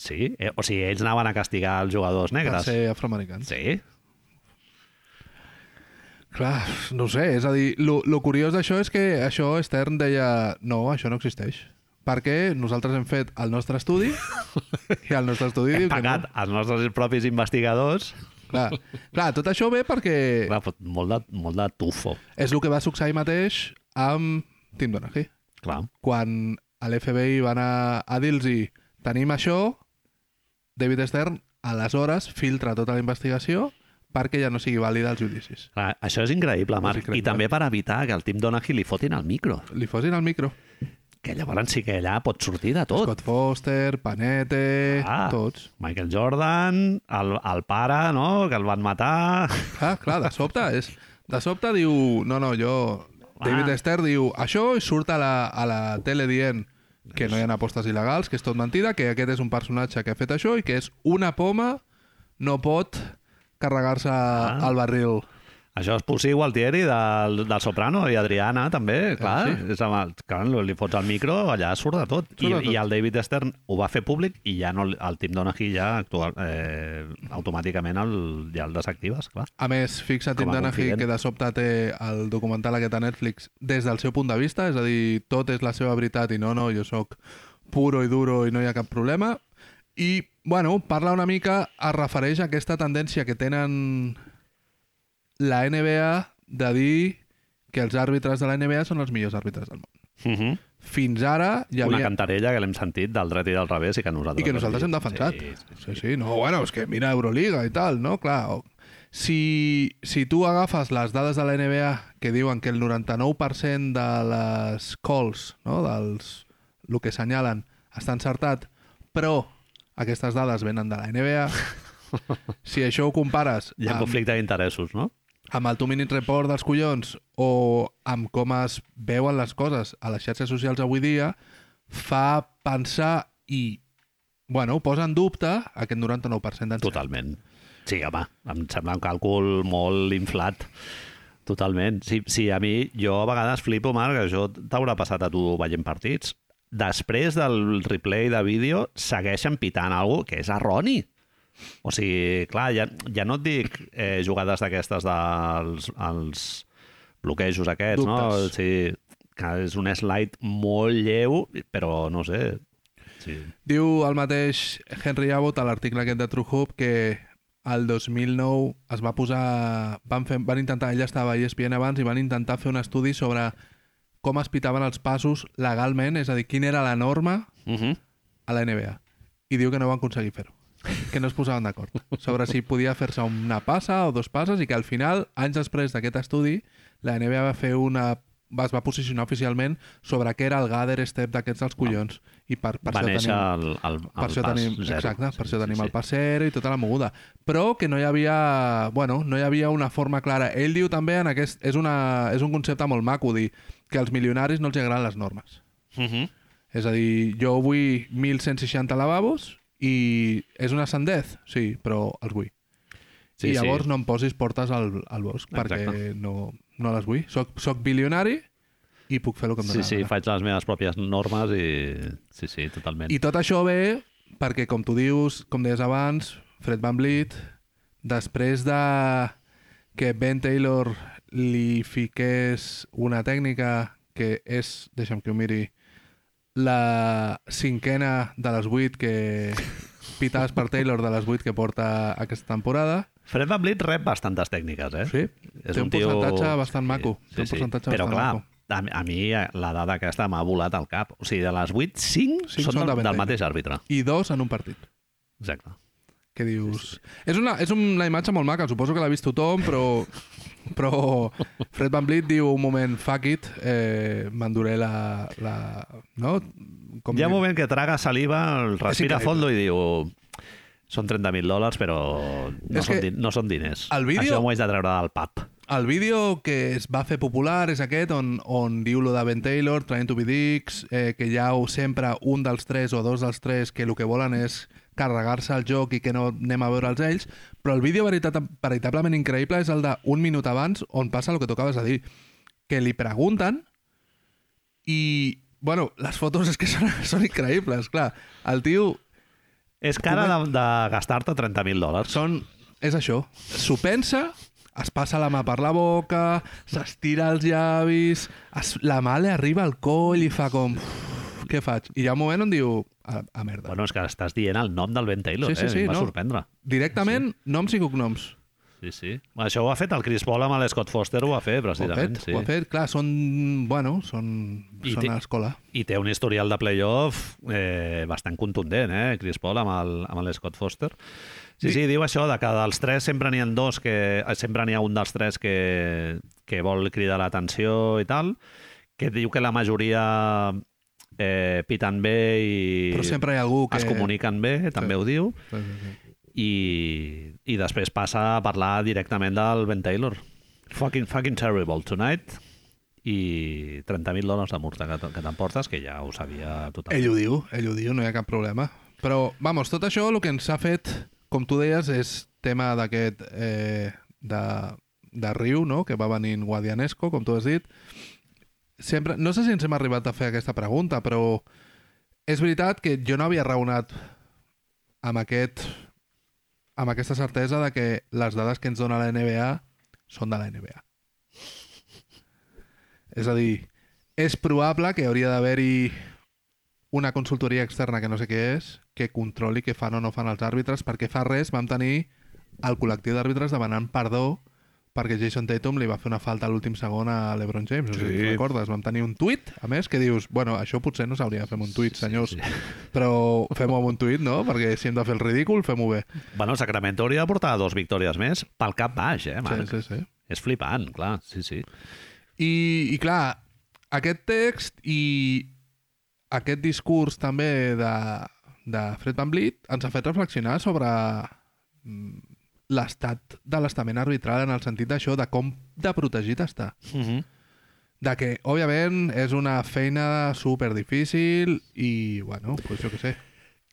S1: Sí? Eh, o sigui, ells anaven a castigar els jugadors
S2: Per
S1: negres.
S2: ser afroamericans.
S1: Ah, Sí?
S2: Clar, no ho sé, és a dir, lo, lo curiós d'això és que això Stern deia no, això no existeix. Perquè nosaltres hem fet el nostre estudi i el nostre estudi
S1: Hem
S2: diu que no.
S1: pagat els nostres propis investigadors.
S2: Clar, clar, tot això ve perquè
S1: Clar, fot- molt de, molt de tufo.
S2: és el que va succeir mateix amb Tim Donaghy.
S1: Clar.
S2: Quan a l'FBI van a, a dir-los tenim això, David Stern aleshores filtra tota la investigació perquè ja no sigui vàlida els judicis.
S1: Clar, això és increïble, Marc.
S2: increïble.
S1: I també per evitar que el Tim Donaghy li fotin al micro.
S2: Li fosin al micro.
S1: Que llavors sí que allà pot sortir de tot.
S2: Scott Foster, Panete,
S1: Ah.
S2: tots.
S1: Michael Jordan, el, el pare, no?, que el van matar...
S2: Clar, Ah, clar, de sobte és... De sobte diu... No, no, jo... David
S1: Ah.
S2: Stern diu això i surt a la, a la tele dient que no hi ha apostes il·legals, que és tot mentida, que aquest és un personatge que ha fet això i que és una poma no pot carregar-se ah. el barril.
S1: Això és Pussy Gualtieri del, del Soprano i Adriana, també, clar.
S2: Eh, sí.
S1: Sí. És amb el, clar li fots al micro, allà surt de tot. I,
S2: Surt de tot.
S1: I el David Stern ho va fer públic i ja no, el Tim Donaghy ja actual, eh, automàticament el, ja el desactives, clar.
S2: A més, fixa't Tim
S1: Com a
S2: Donaghy,
S1: confident.
S2: que de sobte té el documental aquest a Netflix des del seu punt de vista, és a dir, tot és la seva veritat i no, no, jo sóc puro i duro i no hi ha cap problema. I, bueno, parla una mica, es refereix a aquesta tendència que tenen la NBA de dir que els àrbitres de la NBA són els millors àrbitres del món.
S1: Uh -huh.
S2: Fins ara Mhm. hi
S1: Una
S2: havia...
S1: cantarella que l'hem sentit del dret i del revés i que nosaltres...
S2: I que nosaltres hem defensat.
S1: Sí,
S2: Sí, sí, no, bueno, és que mira Euroliga i tal, no? Clar, o- si, si tu agafes les dades de la NBA que diuen que el 99% de les calls, no? dels el que senyalen, està encertat, però aquestes dades venen de la NBA, si això ho compares
S1: Hi ha
S2: amb,
S1: conflicte d'interessos, no?
S2: amb el 2 minute report dels collons o amb com es veuen les coses a les xarxes socials avui dia, fa pensar i bueno, posa en dubte aquest 99% d'encert.
S1: Totalment. Sí, home, em sembla un càlcul molt inflat. Totalment. Sí, sí, a mi, jo a vegades flipo, Marc, que això t'haurà passat a tu veient partits. Després del replay de vídeo segueixen pitant alguna que és erroni. O sigui, clar, ja, ja no et dic eh, jugades d'aquestes dels els bloquejos aquests, no?
S2: Dubtes.
S1: Sí, que és un slide molt lleu, però no sé... Sí.
S2: Diu el mateix Henry Abbott a l'article aquest de True Hoop que al 2009 es va posar... Van, fer, van intentar... Ella estava a E ESPN abans i van intentar fer un estudi sobre com es pitaven els passos legalment, és a dir, quina era la norma
S1: Uh -huh.
S2: a la NBA. I diu que no van aconseguir fer-ho. Que no es posaven d'acord sobre si podia fer-se una passa o dos passes i que al final, anys després d'aquest estudi, la NBA va fer una va- es va posicionar oficialment sobre què era el gather step d'aquests dels collons i per, per
S1: Va
S2: això
S1: néixer
S2: tenim,
S1: el, el, el
S2: per això
S1: pas
S2: tenim,
S1: zero.
S2: exacte, per això tenim
S1: sí,
S2: el pas zero i tota la moguda. Però que no hi havia, bueno, no hi havia una forma clara. Ell diu també en aquest, és, una, és un concepte molt maco dir que als milionaris no els agraden les normes.
S1: Sí. Uh -huh.
S2: És a dir, jo vull 1.160 lavabos i és una sandez, sí, però els vull. Sí, I llavors sí. no em posis portes al, al bosc
S1: Exacte.
S2: perquè no, no les vull. Soc, soc bilionari i puc fer el que em
S1: Sí,
S2: dóna
S1: sí,
S2: la gana.
S1: faig les meves pròpies normes i... Sí, sí, totalment.
S2: I tot això ve perquè, com tu dius, com deies abans, Fred Van Vliet, després de que Ben Taylor li fiqués una tècnica que és, deixa'm que ho miri, la cinquena de les vuit que pitades per Taylor de les vuit que porta aquesta temporada.
S1: Fred Van Vliet rep bastantes tècniques, eh?
S2: Sí, té un percentatge bastant maco, té un percentatge
S1: Però
S2: bastant
S1: clar,
S2: maco.
S1: a, mi- a mi eh, la dada aquesta m'ha volat al cap. O sigui, de les 8, 5,
S2: Cinc
S1: 5 són,
S2: són de
S1: del,
S2: Ben
S1: del
S2: Taylor.
S1: mateix àrbitre.
S2: I dos en un partit.
S1: Exacte.
S2: que dius... És una, és una imatge molt maca, suposo que l'ha vist tothom, però, però Fred Van Vliet diu un moment, fuck it, eh, m'enduré la, la... No? Com
S1: Hi ha
S2: dir-
S1: un moment que traga saliva, el respira a
S2: increïble.
S1: fondo i diu... Són 30.000 dòlars, però no
S2: És
S1: són,
S2: que
S1: din no són diners.
S2: el vídeo-
S1: Això m'ho haig de treure del pub.
S2: El vídeo que es va fer popular és aquest on, on diu lo de Ben Taylor, Trying to be dicks, eh, que hi ha o- sempre un dels tres o dos dels tres que el que volen és carregar-se el joc i que no anem a veure'ls ells, però el vídeo veritat, veritablement increïble és el d'un minut abans on passa el que tocaves a dir, que li pregunten i Bueno, les fotos és que són, són increïbles, clar. El tio
S1: És cara de, de gastar-te 30.000 dòlars.
S2: són... És això. S'ho pensa, es passa la mà per la boca, s'estira els llavis, es, la mà li arriba al coll i fa com... "Uf, Què faig? I hi ha un moment on diu... A, a merda.
S1: Bueno, és que estàs dient el nom del Ben Taylor,
S2: Sí,
S1: eh?
S2: sí,
S1: A mi
S2: sí,
S1: em va
S2: no.
S1: sorprendre.
S2: Directament, noms i cognoms.
S1: Sí, sí. Això ho ha fet el Chris Paul amb l'Scott Foster, ho va fer,
S2: Ho ha
S1: precisament.
S2: fet,
S1: Sí.
S2: ho ha fet. Clar, són... Bueno, són,
S1: I
S2: són
S1: té-
S2: a l'escola.
S1: I té un historial de playoff eh, bastant contundent, eh? Chris Paul amb el- amb l'Scott Foster. Sí, sí, diu això de que dels tres sempre n'hi ha dos que... eh, Sempre n'hi ha un dels tres que, que vol cridar l'atenció i tal, que diu que la majoria eh, piten bé i
S2: Però sempre hi ha algú que...
S1: es comuniquen bé, també ho diu,
S2: Sí, sí, sí.
S1: i, i després passa a parlar directament del Ben Taylor. Fucking, fucking terrible tonight i 30.000 dòlars de multa que, te- que t'emportes, que ja ho sabia tothom.
S2: Ell ho diu, ell ho diu, no hi ha cap problema. Però, vamos, tot això el que ens ha fet, com tu deies, és tema d'aquest... Eh, de, de riu, no?, que va venir en Guadianesco, com tu has dit. Sempre, no sé si ens hem arribat a fer aquesta pregunta, però és veritat que jo no havia raonat amb aquest amb aquesta certesa de que les dades que ens dona la NBA són de la NBA. És a dir, és probable que hauria d'haver-hi una consultoria externa que no sé què és, que controli què fan o no fan els àrbitres, perquè fa res vam tenir el col·lectiu d'àrbitres demanant perdó perquè Jason Tatum li va fer una falta a l'últim segon a l'Ebron James. Sí.
S1: Sí.
S2: No sé si te'n recordes, vam tenir un tuit, a més, que dius, bueno, això potser no s'hauria de fer amb un tuit, senyors, sí, sí. però fem-ho amb un tuit, no? Perquè si hem de fer el ridícul, fem-ho bé.
S1: Bueno, Sacramento hauria de portar dos victòries més pel cap baix, eh,
S2: Sí,
S1: Marc?
S2: sí, sí.
S1: És flipant, clar, sí, sí.
S2: I, I clar, aquest text i aquest discurs també de, de Fred Van Vliet ens ha fet reflexionar sobre mm, l'estat de l'estament arbitral en el sentit d'això, de com de protegit està.
S1: Uh -huh.
S2: De que, òbviament, és una feina super difícil i, bueno, pues jo què sé.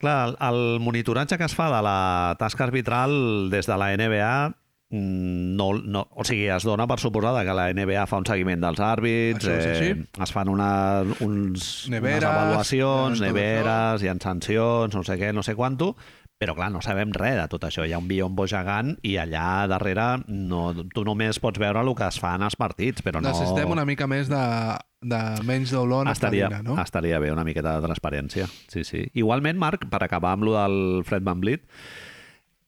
S1: Clar, el, el monitoratge que es fa de la tasca arbitral des de la NBA mm, no, no, o sigui, es dona per suposada que la NBA fa un seguiment dels àrbits, eh,
S2: Això és
S1: es fan una, uns,
S2: Neveres, eh,
S1: unes avaluacions,
S2: tot això.
S1: neveres, hi ha sancions, no sé què, no sé quanto, però clar, no sabem res de tot això. Hi ha un biombo gegant i allà darrere no, tu només pots veure el que es fa en els partits, però no...
S2: Necessitem una mica més de, de menys d'olor en esta
S1: Estaria,
S2: dina, no?
S1: estaria bé una miqueta de transparència. Sí, sí. Igualment, Marc, per acabar amb lo del Fred Van Vliet,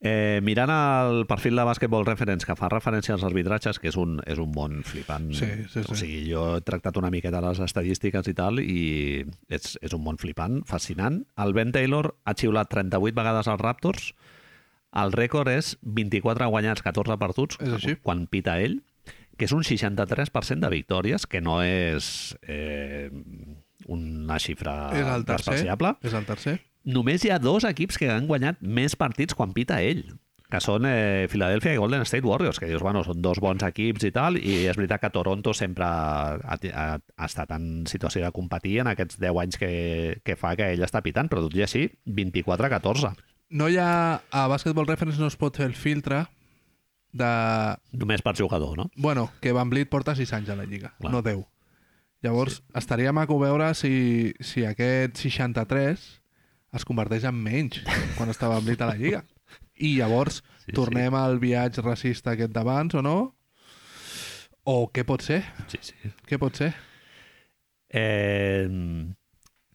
S1: eh, mirant el perfil de Basketball Reference que fa referència als arbitratges, que és un, és un món flipant.
S2: Sí, sí, sí.
S1: O sigui, jo he tractat una miqueta les estadístiques i tal, i és, és un món flipant, fascinant. El Ben Taylor ha xiulat 38 vegades als Raptors, el rècord és 24 guanyats, 14 perduts,
S2: És així.
S1: quan pita ell, que és un 63% de victòries, que no és eh, una xifra
S2: és el tercer.
S1: despreciable.
S2: És el tercer.
S1: Només hi ha dos equips que han guanyat més partits quan pita ell, que són eh, Philadelphia i Golden State Warriors, que dius, bueno, són dos bons equips i tal, i és veritat que Toronto sempre ha, ha, ha estat en situació de competir en aquests 10 anys que, que fa que ell està pitant, però tot i així, 24-14.
S2: No hi ha... A Basketball Reference no es pot fer el filtre de...
S1: Només per jugador, no?
S2: Bueno, que Van Vliet porta 6 anys a la Lliga,
S1: Clar.
S2: no 10. Llavors, sí. estaria maco veure si, si aquest 63 es converteix en menys quan està Van Vliet a la Lliga. I llavors,
S1: sí.
S2: sí, tornem sí. al viatge racista aquest d'abans o no? O què pot ser?
S1: Sí, sí.
S2: Què pot ser?
S1: Eh,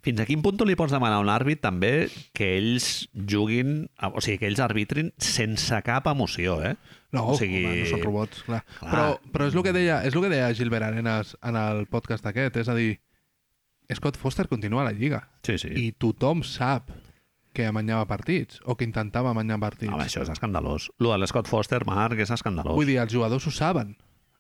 S1: fins a quin punt tu li pots demanar a un àrbit també que ells juguin, o sigui, que ells arbitrin sense cap emoció, eh?
S2: No,
S1: O
S2: o
S1: sigui-
S2: sigui... home, no són robots, clar.
S1: Clar.
S2: clar. Però, però és el que deia, és el que deia Gilbert Arenas en el podcast aquest, és a dir, Scott Foster continua a la Lliga
S1: Sí, sí.
S2: i tothom sap que amanyava partits o que intentava amanyar partits.
S1: Home, això és escandalós. Lo de l'Scott Foster, Marc, és escandalós.
S2: Vull dir, els jugadors ho saben.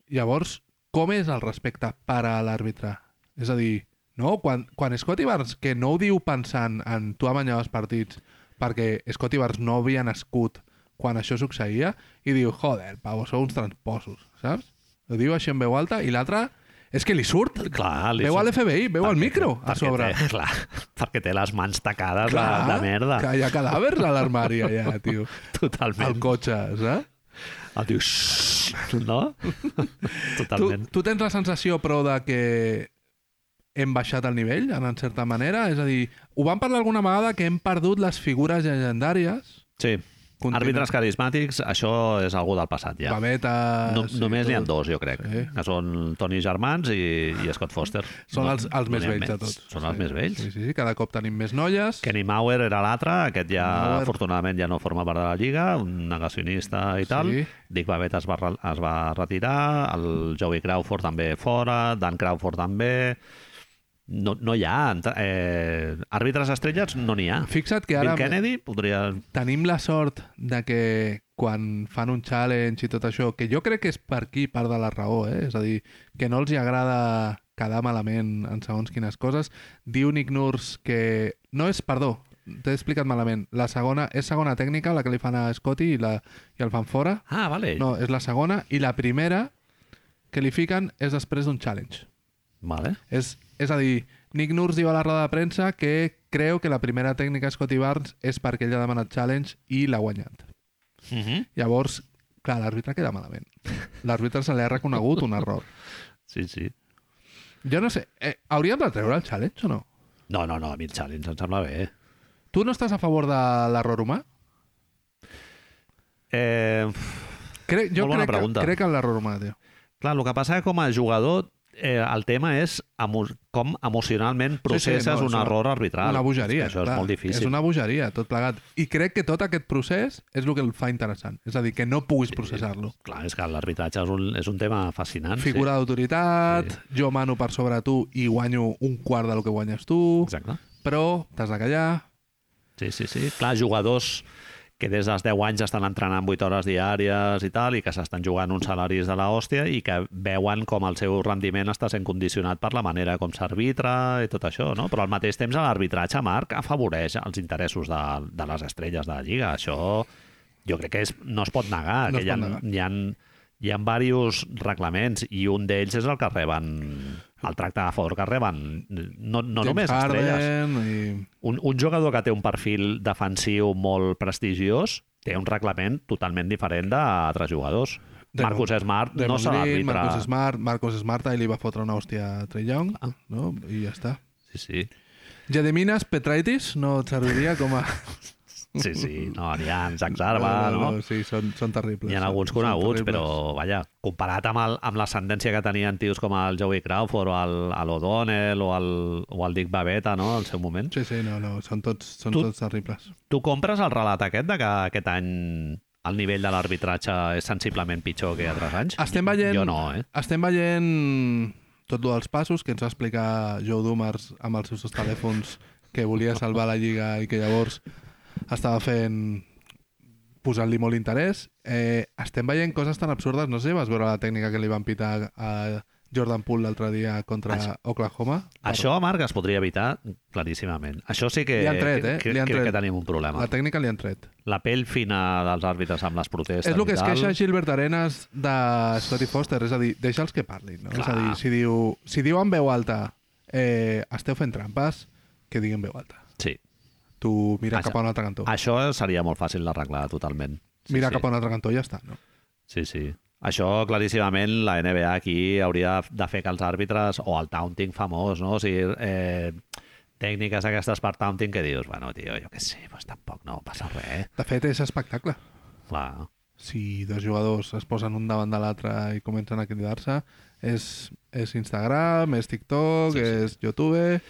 S2: Llavors, com és el respecte per a l'àrbitre? És a dir, no? Quan, quan Scott Ivars, que no ho diu pensant en tu amanyaves partits, perquè Scott Ivars no havia nascut quan això succeïa, i diu, joder, Pau, sou uns transposos, saps? Ho diu així en veu alta, i l'altre... És que li surt.
S1: Clar, Ah, li
S2: veu
S1: surt.
S2: a l'FBI, veu al micro, a
S1: Perquè
S2: sobre.
S1: Té, clar, perquè té les mans tacades clar, de, de merda.
S2: Que hi ha cadàvers a l'armari allà, tio. Al
S1: Totalment.
S2: cotxe, saps?
S1: El tio... "Xxxt", No?
S2: Tu,
S1: Totalment.
S2: tu tens la sensació, però, de que hem baixat el nivell, en en certa manera. És a dir, ho vam parlar alguna vegada que hem perdut les figures llegendàries,
S1: Sí.
S2: Continu-
S1: Àrbitres carismàtics, això és algú del passat ja.
S2: Babetes...
S1: No,
S2: i
S1: només n'hi ha
S2: Ah, tot.
S1: dos, jo crec, sí.
S2: Sí.
S1: que són Tony Germans i, i Scott Foster.
S2: Són
S1: No-
S2: els, els
S1: no
S2: més
S1: n'hi ha
S2: vells de tots.
S1: Són els
S2: Sí,
S1: més vells.
S2: Sí, sí, sí, cada cop tenim més noies.
S1: Kenny Mauer era l'altre, aquest ja,
S2: Mauer.
S1: afortunadament, ja no forma part de la Lliga, un negacionista i tal.
S2: Sí.
S1: Dick Babette es va, re- es va retirar, el Joey Crawford també fora, Dan Crawford també... No, no hi ha... ent- Eh, àrbitres estrelles no n'hi ha.
S2: Fixa't que
S1: Bill
S2: ara
S1: Kennedy podria...
S2: tenim la sort de que quan fan un challenge i tot això, que jo crec que és per aquí part de la raó, eh? és a dir, que no els hi agrada quedar malament en segons quines coses, diu Nick Nurs que... No és, perdó, t'he explicat malament. La segona és segona tècnica, la que li fan a Scotty i, la, i el fan fora.
S1: Ah, vale.
S2: No, és la segona. I la primera que li fiquen és després d'un challenge.
S1: Vale.
S2: És, és a dir, Nick Nurse diu a la roda de premsa que creu que la primera tècnica Scotty Barnes és perquè ell ha demanat challenge i l'ha guanyat.
S1: Uh -huh.
S2: Llavors, clar, l'àrbitre queda malament. L'àrbitre se li ha reconegut un error.
S1: Sí, sí.
S2: Jo no sé, eh, hauríem de treure el challenge o no?
S1: No, no, no, a mi el challenge em sembla bé.
S2: Tu no estàs a favor de l'error humà?
S1: Eh,
S2: Crec,
S1: Molt
S2: jo
S1: bona
S2: crec, que-
S1: pregunta.
S2: crec en l'error humà, tio.
S1: clar, el que passa que com a jugador eh, el tema és emo com emocionalment processes sí, sí,
S2: no,
S1: no,
S2: és
S1: un
S2: una-
S1: error arbitral.
S2: Una bogeria.
S1: És que Això
S2: clar.
S1: és molt difícil.
S2: És una bogeria, tot plegat. I crec que tot aquest procés és el que el fa interessant. És a dir, que no puguis processar-lo.
S1: Clar, és que l'arbitratge és, un, és un tema fascinant.
S2: Figura d'autoritat,
S1: Sí.
S2: jo mano per sobre tu i guanyo un quart del que guanyes tu,
S1: Sí. Exacte.
S2: però t'has de callar.
S1: Sí, sí, sí. Clar, jugadors que des dels 10 anys estan entrenant 8 hores diàries i tal, i que s'estan jugant uns salaris de la hòstia i que veuen com el seu rendiment està sent condicionat per la manera com s'arbitra i tot això, no? Però al mateix temps l'arbitratge, Marc, afavoreix els interessos de, de les estrelles de la Lliga. Això jo crec que és, no es pot negar.
S2: No
S1: que
S2: es
S1: hi ha,
S2: pot negar.
S1: Hi ha, hi ha diversos reglaments i un d'ells és el que reben el tracte a favor que reben no, no
S2: James
S1: només estrelles
S2: Harden i...
S1: un, un jugador que té un perfil defensiu molt prestigiós té un reglament totalment diferent d'altres jugadors.
S2: De
S1: Marcus Smart no
S2: Draymond
S1: se
S2: Green,
S1: l'àrbitre.
S2: Marcus Smart, Marcus Smart i li va fotre una hòstia a Trey Young,
S1: Ah.
S2: no? I ja està.
S1: Sí, sí.
S2: Gedemines Petraitis no et serviria com a...
S1: Sí, sí. No, n'hi ha en Zach
S2: Ah,
S1: Zarba, no?
S2: Sí, són, són terribles.
S1: Hi ha
S2: són-
S1: alguns
S2: són
S1: coneguts,
S2: terribles.
S1: però, vaja, comparat amb el- amb l'ascendència que tenien tios com el Joey Crawford o el, el O'Donnell o el, o el Dick Bavetta, no?, al seu moment.
S2: Sí, sí, no, no, són tots, són
S1: Tu-
S2: tots terribles.
S1: Tu compres el relat aquest de que aquest any el nivell de l'arbitratge és sensiblement pitjor que altres anys?
S2: Estem veient-
S1: Jo no, eh?
S2: Estem veient tot lo dels passos que ens va explicar Joe Dumars amb els seus telèfons que volia salvar la Lliga i que llavors estava fent posant-li molt interès. Eh, estem veient coses tan absurdes, no sé si vas veure la tècnica que li van pitar a Jordan Poole l'altre dia contra
S1: Això-
S2: Oklahoma.
S1: Això, Marc, es podria evitar claríssimament. Això sí que,
S2: Li han tret, eh?
S1: que,
S2: Li han
S1: crec
S2: tret.
S1: que tenim un problema.
S2: La tècnica li han tret.
S1: La pell fina dels àrbitres amb les protestes
S2: És el que
S1: i
S2: es
S1: tal,
S2: queixa Gilbert Arenas de Scottie Foster, és a dir, deixa'ls que parlin, no?
S1: Clar.
S2: És a dir, si diu, si diu en veu alta eh, esteu fent trampes, que diguin veu alta.
S1: Sí.
S2: Tu mira
S1: Vaja.
S2: cap a un altre cantó.
S1: Això seria molt fàcil d'arreglar totalment. ah, Sí,
S2: mira
S1: sí.
S2: cap a un altre cantó i ja està, no?
S1: Sí, sí. Això, claríssimament, la NBA aquí hauria de fer que els àrbitres, o el taunting famós, no? O sigui, eh, tècniques aquestes per taunting que dius, bueno, tio, jo què sé, pues tampoc no passa res.
S2: De fet, és espectacle.
S1: Clar.
S2: Si dos jugadors es posen un davant de l'altre i comencen a cridar-se, és, és Instagram, és TikTok,
S1: Sí,
S2: sí,
S1: sí.
S2: és YouTube,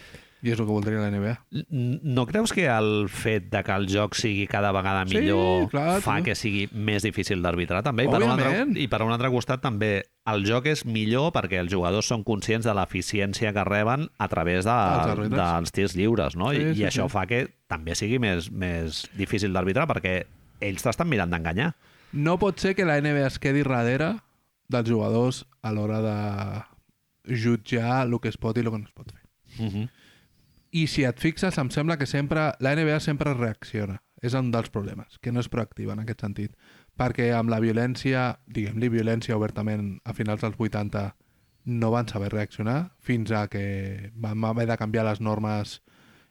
S2: i és el que voldria la NBA.
S1: N- No creus que el fet de que el joc sigui cada vegada
S2: Sí,
S1: millor
S2: clar,
S1: fa
S2: tio.
S1: que sigui més difícil d'arbitrar també? I per, un altre,
S2: Òbviament.
S1: I per un altre costat també el joc és millor perquè els jugadors són conscients de l'eficiència que reben a través
S2: Els
S1: de,
S2: àrbitres.
S1: dels tirs lliures, no?
S2: Sí,
S1: I,
S2: sí,
S1: I això
S2: sí.
S1: fa que també sigui més, més difícil d'arbitrar perquè ells t'estan mirant d'enganyar.
S2: No pot ser que la NBA es quedi darrere dels jugadors a l'hora de jutjar el que es pot i el que no es pot fer.
S1: Uh
S2: Mhm.
S1: -huh.
S2: I si et fixes, em sembla que sempre la NBA sempre reacciona. És un dels problemes, que no és proactiva en aquest sentit. Perquè amb la violència, diguem-li violència obertament a finals dels 80, no van saber reaccionar fins a que vam haver de canviar les normes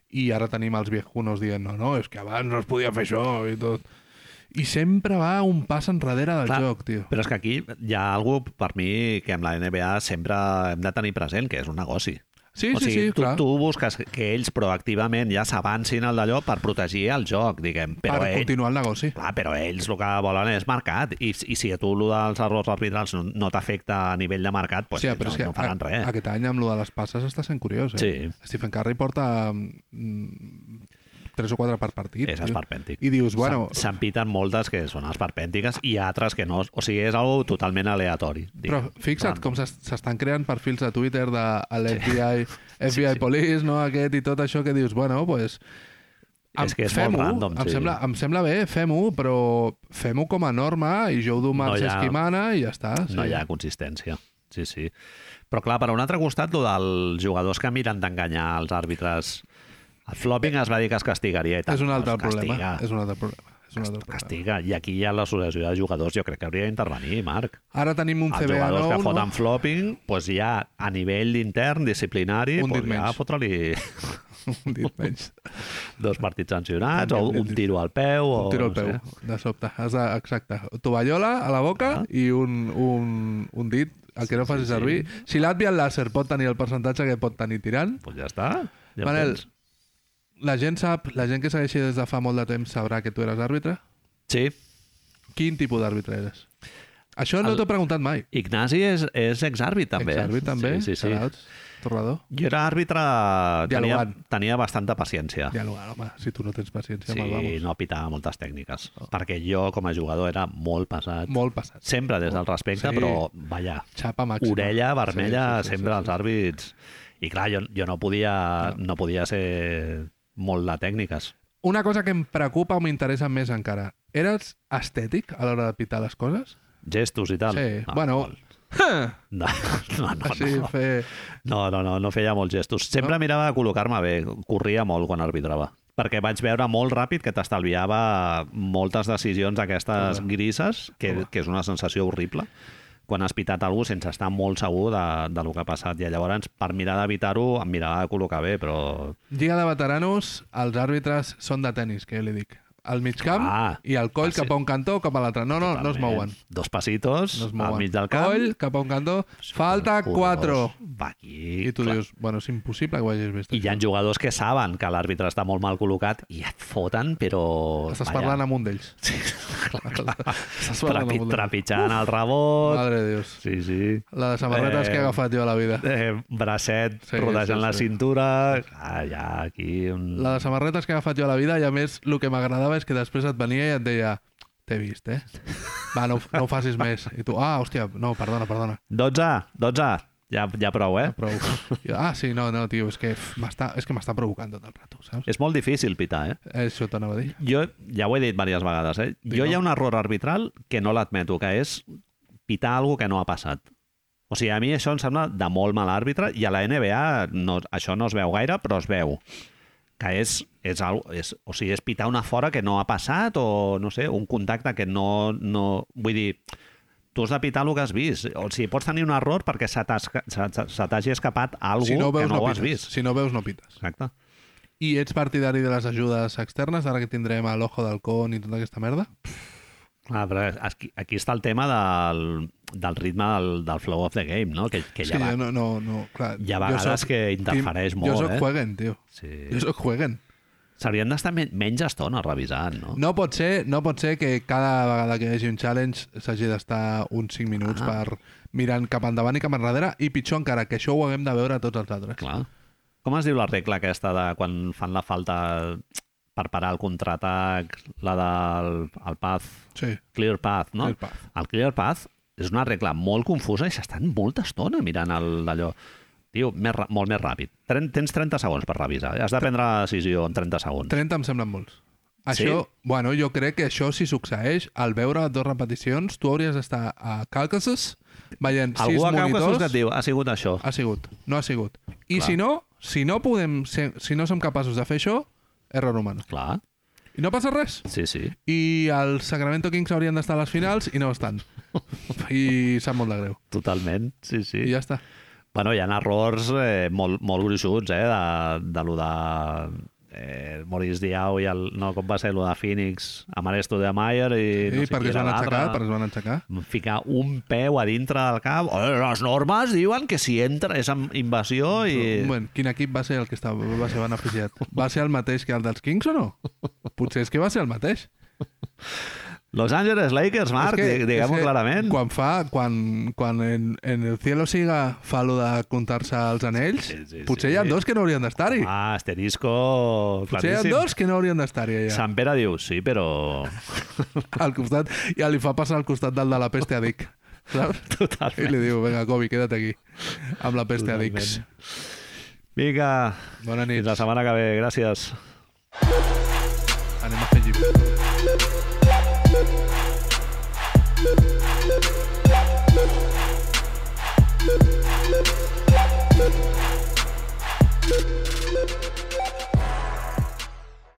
S2: i ara tenim els viejunos dient no, no, és que abans no es podia fer això i tot. I sempre va un pas enrere del
S1: Clar,
S2: joc, tio.
S1: Però és que aquí hi ha algú per mi que amb la NBA sempre hem de tenir present, que és un negoci.
S2: Sí,
S1: o
S2: sí,
S1: sigui,
S2: sí,
S1: tu,
S2: clar.
S1: tu busques que ells proactivament ja s'avancin al d'allò per protegir el joc, diguem. Però eh?
S2: per
S1: ell,
S2: continuar el negoci.
S1: Clar, però ells el que volen és mercat i, i si a tu el dels errors arbitrals no, no t'afecta a nivell de mercat, pues,
S2: Hòstia,
S1: no, no faran
S2: a-
S1: res.
S2: aquest any amb lo de les passes està sent curiós, eh?
S1: Sí.
S2: Stephen Curry porta mm, tres o quatre per partit.
S1: És
S2: tio.
S1: esperpèntic.
S2: I dius, bueno,
S1: Se'n- S'empiten moltes que són esperpèntiques i altres que no. O sigui, és algo totalment aleatori.
S2: però
S1: diguem.
S2: fixa't
S1: Random.
S2: com s'es- s'estan creant perfils de Twitter de l'FBI FBI Police, no? aquest i tot això que dius, bueno, pues, em-
S1: És que és molt
S2: fem-ho,
S1: random,
S2: em,
S1: sí.
S2: sembla, em sembla bé, fem-ho, però fem-ho com a norma i jo ho duc
S1: No
S2: no
S1: hi ha-
S2: qui mana i ja està. Sí.
S1: no hi ha consistència. Sí, sí. Però clar, per un altre costat, el dels jugadors que miren d'enganyar els àrbitres... El flopping es va dir que es castigaria i tant.
S2: És un altre
S1: doncs
S2: problema.
S1: castiga,
S2: És un altre problema. És un altre problema.
S1: Castiga. I aquí hi ha l'associació de jugadors, jo crec que hauria d'intervenir, Marc.
S2: Ara tenim un
S1: Els
S2: CBA
S1: jugadors
S2: nou,
S1: que foten
S2: no?
S1: flopping, doncs ja a nivell intern, disciplinari,
S2: Un
S1: doncs
S2: dit
S1: ja
S2: menys.
S1: fotre-li
S2: un dit menys.
S1: dos partits sancionats o
S2: Canvia'm
S1: un
S2: dit.
S1: tiro al peu. O,
S2: Un tiro al
S1: no sé.
S2: peu, eh? de sobte. Has de, exacte. Tovallola a la boca
S1: Ah.
S2: i un, un, un dit, el que no
S1: sí.
S2: faci servir. Si l'Advia el làser pot tenir el percentatge que pot tenir tirant,
S1: Doncs ja està. Ja ho
S2: Manel.
S1: tens.
S2: la gent sap, la gent que segueixi des de fa molt de temps sabrà que tu eres àrbitre.
S1: Sí.
S2: Quin tipus d'àrbitre eres? Això no
S1: El-
S2: t'ho he preguntat mai.
S1: Ignasi és, és exàrbit, també. eh?
S2: Exàrbit, també.
S1: Sí, sí, sí.
S2: Xarauts, Torrador.
S1: Jo era àrbitre... Tenia,
S2: Dialogant.
S1: tenia bastanta paciència.
S2: Dialogar, home, si tu no tens paciència,
S1: Ah. Sí,
S2: me'l vamos. Oh.
S1: no pitava moltes tècniques. Perquè jo, com a jugador, era molt pesat.
S2: Molt passat.
S1: Sempre des del respecte,
S2: Sí.
S1: però, vaja,
S2: Xapa màxima.
S1: orella
S2: Sí,
S1: vermella
S2: sí, sí,
S1: sempre
S2: sí,
S1: als àrbits. I clar, jo, jo no podia, no podia ser molt de tècniques.
S2: una cosa que em preocupa o m'interessa més encara. Eres estètic a l'hora de pitar les coses?
S1: Gestos i tal.
S2: Sí,
S1: No,
S2: bueno,
S1: Ah, molt. No, no, no,
S2: així
S1: no.
S2: fer...
S1: No, no, no, no feia molts gestos. Sempre mirava de col·locar-me bé, corria molt quan arbitrava. Perquè vaig veure molt ràpid que t'estalviava moltes decisions aquestes grises, que, que és una sensació horrible, quan has pitat algú sense estar molt segur de, de lo que ha passat. I llavors, per mirar d'evitar-ho, em mirava de col·locar bé, però...
S2: Lliga de veteranos, els àrbitres són de tennis, que jo li dic. Al mig camp
S1: Ah,
S2: i el coll
S1: ah, sí.
S2: cap a un cantó o cap a l'altre. No, no, no es
S1: Totalment.
S2: mouen.
S1: Dos passitos,
S2: No es
S1: al
S2: mouen.
S1: mig del camp.
S2: Coll cap a un cantó. Falta
S1: Un,
S2: 4.
S1: dos. Va aquí.
S2: I tu
S1: clar.
S2: dius, bueno, és impossible que ho hagis vist.
S1: I hi ha jugadors que saben que l'àrbitre està molt mal col·locat i et foten, però...
S2: Estàs
S1: vaja.
S2: parlant amb un d'ells.
S1: Sí, clar, clar.
S2: Estàs parlant
S1: Trapi,
S2: amb un d'ells.
S1: trepitjant el rebot.
S2: Madre de Dios.
S1: Sí, sí.
S2: La de samarretes
S1: Eh,
S2: que he agafat jo a la vida.
S1: Eh, bracet sí,
S2: Sí,
S1: rodejant
S2: sí,
S1: la
S2: sí.
S1: cintura. Clar, ja aquí... Un...
S2: La de samarretes que he agafat jo a la vida i a més el que m'agradava és que després et venia i et deia t'he vist, eh? Va, no, no ho facis més. I tu, ah, hòstia, no, perdona, perdona.
S1: 12, 12. Ja, ja prou, eh?
S2: Prou. Jo, ah, sí, no, no, tio, és que pff, m'està és que m'està provocant tot el rato, saps?
S1: És molt difícil pitar, eh?
S2: Això t'anava a dir.
S1: Jo ja ho he dit diverses vegades, eh? Jo
S2: Digue'm.
S1: hi ha un error arbitral que no l'admeto, que és pitar algo que no ha passat. O sigui, a mi això em sembla de molt mal àrbitre i a la NBA no, això no es veu gaire, però es veu que és, és, al- és, o sigui, és pitar una fora que no ha passat o, no sé, un contacte que no... no vull dir, tu has de pitar el que has vist. O sigui, pots tenir un error perquè se t'has- se- se- se t'hagi escapat algú
S2: Si no ho veus,
S1: que no,
S2: no,
S1: ho has
S2: pites.
S1: vist.
S2: Si no ho veus, no pites.
S1: Exacte.
S2: I ets partidari de les ajudes externes, ara que tindrem a l'Ojo del Con i tota aquesta merda?
S1: Clar, però aquí, aquí està el tema del, del ritme del, del flow of the game, no? Que, que
S2: És
S1: ja
S2: que
S1: va...
S2: jo no, no, no, clar.
S1: hi ha
S2: jo
S1: vegades
S2: soc
S1: que
S2: team-
S1: interfereix
S2: Jo
S1: molt,
S2: soc
S1: eh?
S2: jueguen, tio.
S1: Sí.
S2: Jo soc jueguen.
S1: S'haurien d'estar men menys estona revisant, no?
S2: No pot ser, no pot ser que cada vegada que hi hagi un challenge s'hagi d'estar uns 5 minuts ah. per mirant cap endavant i cap enrere i pitjor encara, que això ho haguem de veure tots els altres.
S1: Clar. Com es diu la regla aquesta de quan fan la falta per parar el contraatac, la del el path,
S2: Sí,
S1: clear path, no?
S2: Clear path.
S1: El clear path és una regla molt confusa i s'estan molta estona mirant el- allò. Tio, més, ra- molt més ràpid. Tren- Tens 30 segons per revisar. eh? Has de prendre la decisió en 30 segons.
S2: 30 em semblen molts.
S1: Sí?
S2: Això, bueno, jo crec que això si succeeix, al veure dues repeticions, tu hauries d'estar a Caucasus veient sis
S1: Algú a Caucasus
S2: monitors.
S1: que et diu, ha sigut això.
S2: Ha sigut, no ha sigut. I
S1: Clar.
S2: si no, si no podem ser, si no som capaços de fer això, error humana.
S1: Clar,
S2: I no passa res.
S1: sí, sí.
S2: i els Sacramento Kings haurien d'estar a les finals i no estan. I sap molt de greu.
S1: Totalment, sí, sí.
S2: I
S1: Ja.
S2: ja està.
S1: Bueno, hi ha errors eh, molt, molt gruixuts, eh, de, de lo de eh, Maurice Diaw i el, no, com va ser lo de Phoenix amb Aresto de Mayer i
S2: Sí,
S1: no sé
S2: perquè
S1: qui
S2: es
S1: era
S2: van aixecar,
S1: l'altre.
S2: perquè es van aixecar.
S1: ficar un peu a dintre del cap. Eh, Les normes diuen que si entra és amb invasió i...
S2: Un moment, quin equip va ser el que estava, va ser beneficiat? Va ser el mateix que el dels Kings o no? Potser és que va ser el mateix.
S1: Los Angeles Lakers, Marc,
S2: És
S1: que, diguem-ho
S2: és
S1: clarament.
S2: Quan fa, quan, quan en, en el cielo siga fa lo de comptar-se els anells,
S1: Sí, sí,
S2: potser
S1: sí.
S2: hi ha dos que no haurien d'estar-hi.
S1: Ah, asterisco
S2: potser hi ha
S1: claríssim.
S2: dos que no haurien d'estar-hi allà.
S1: Sant Pere diu, sí, però...
S2: al costat, i li fa passar al costat del de la peste a Dick. Saps? I
S1: Totalment.
S2: li diu, vinga, Kobe, queda't aquí. Amb la peste a Dicks.
S1: Totalment. Vinga,
S2: Bona nit.
S1: fins la setmana que ve. Gràcies.
S2: Anem a fer llibre.
S3: Thank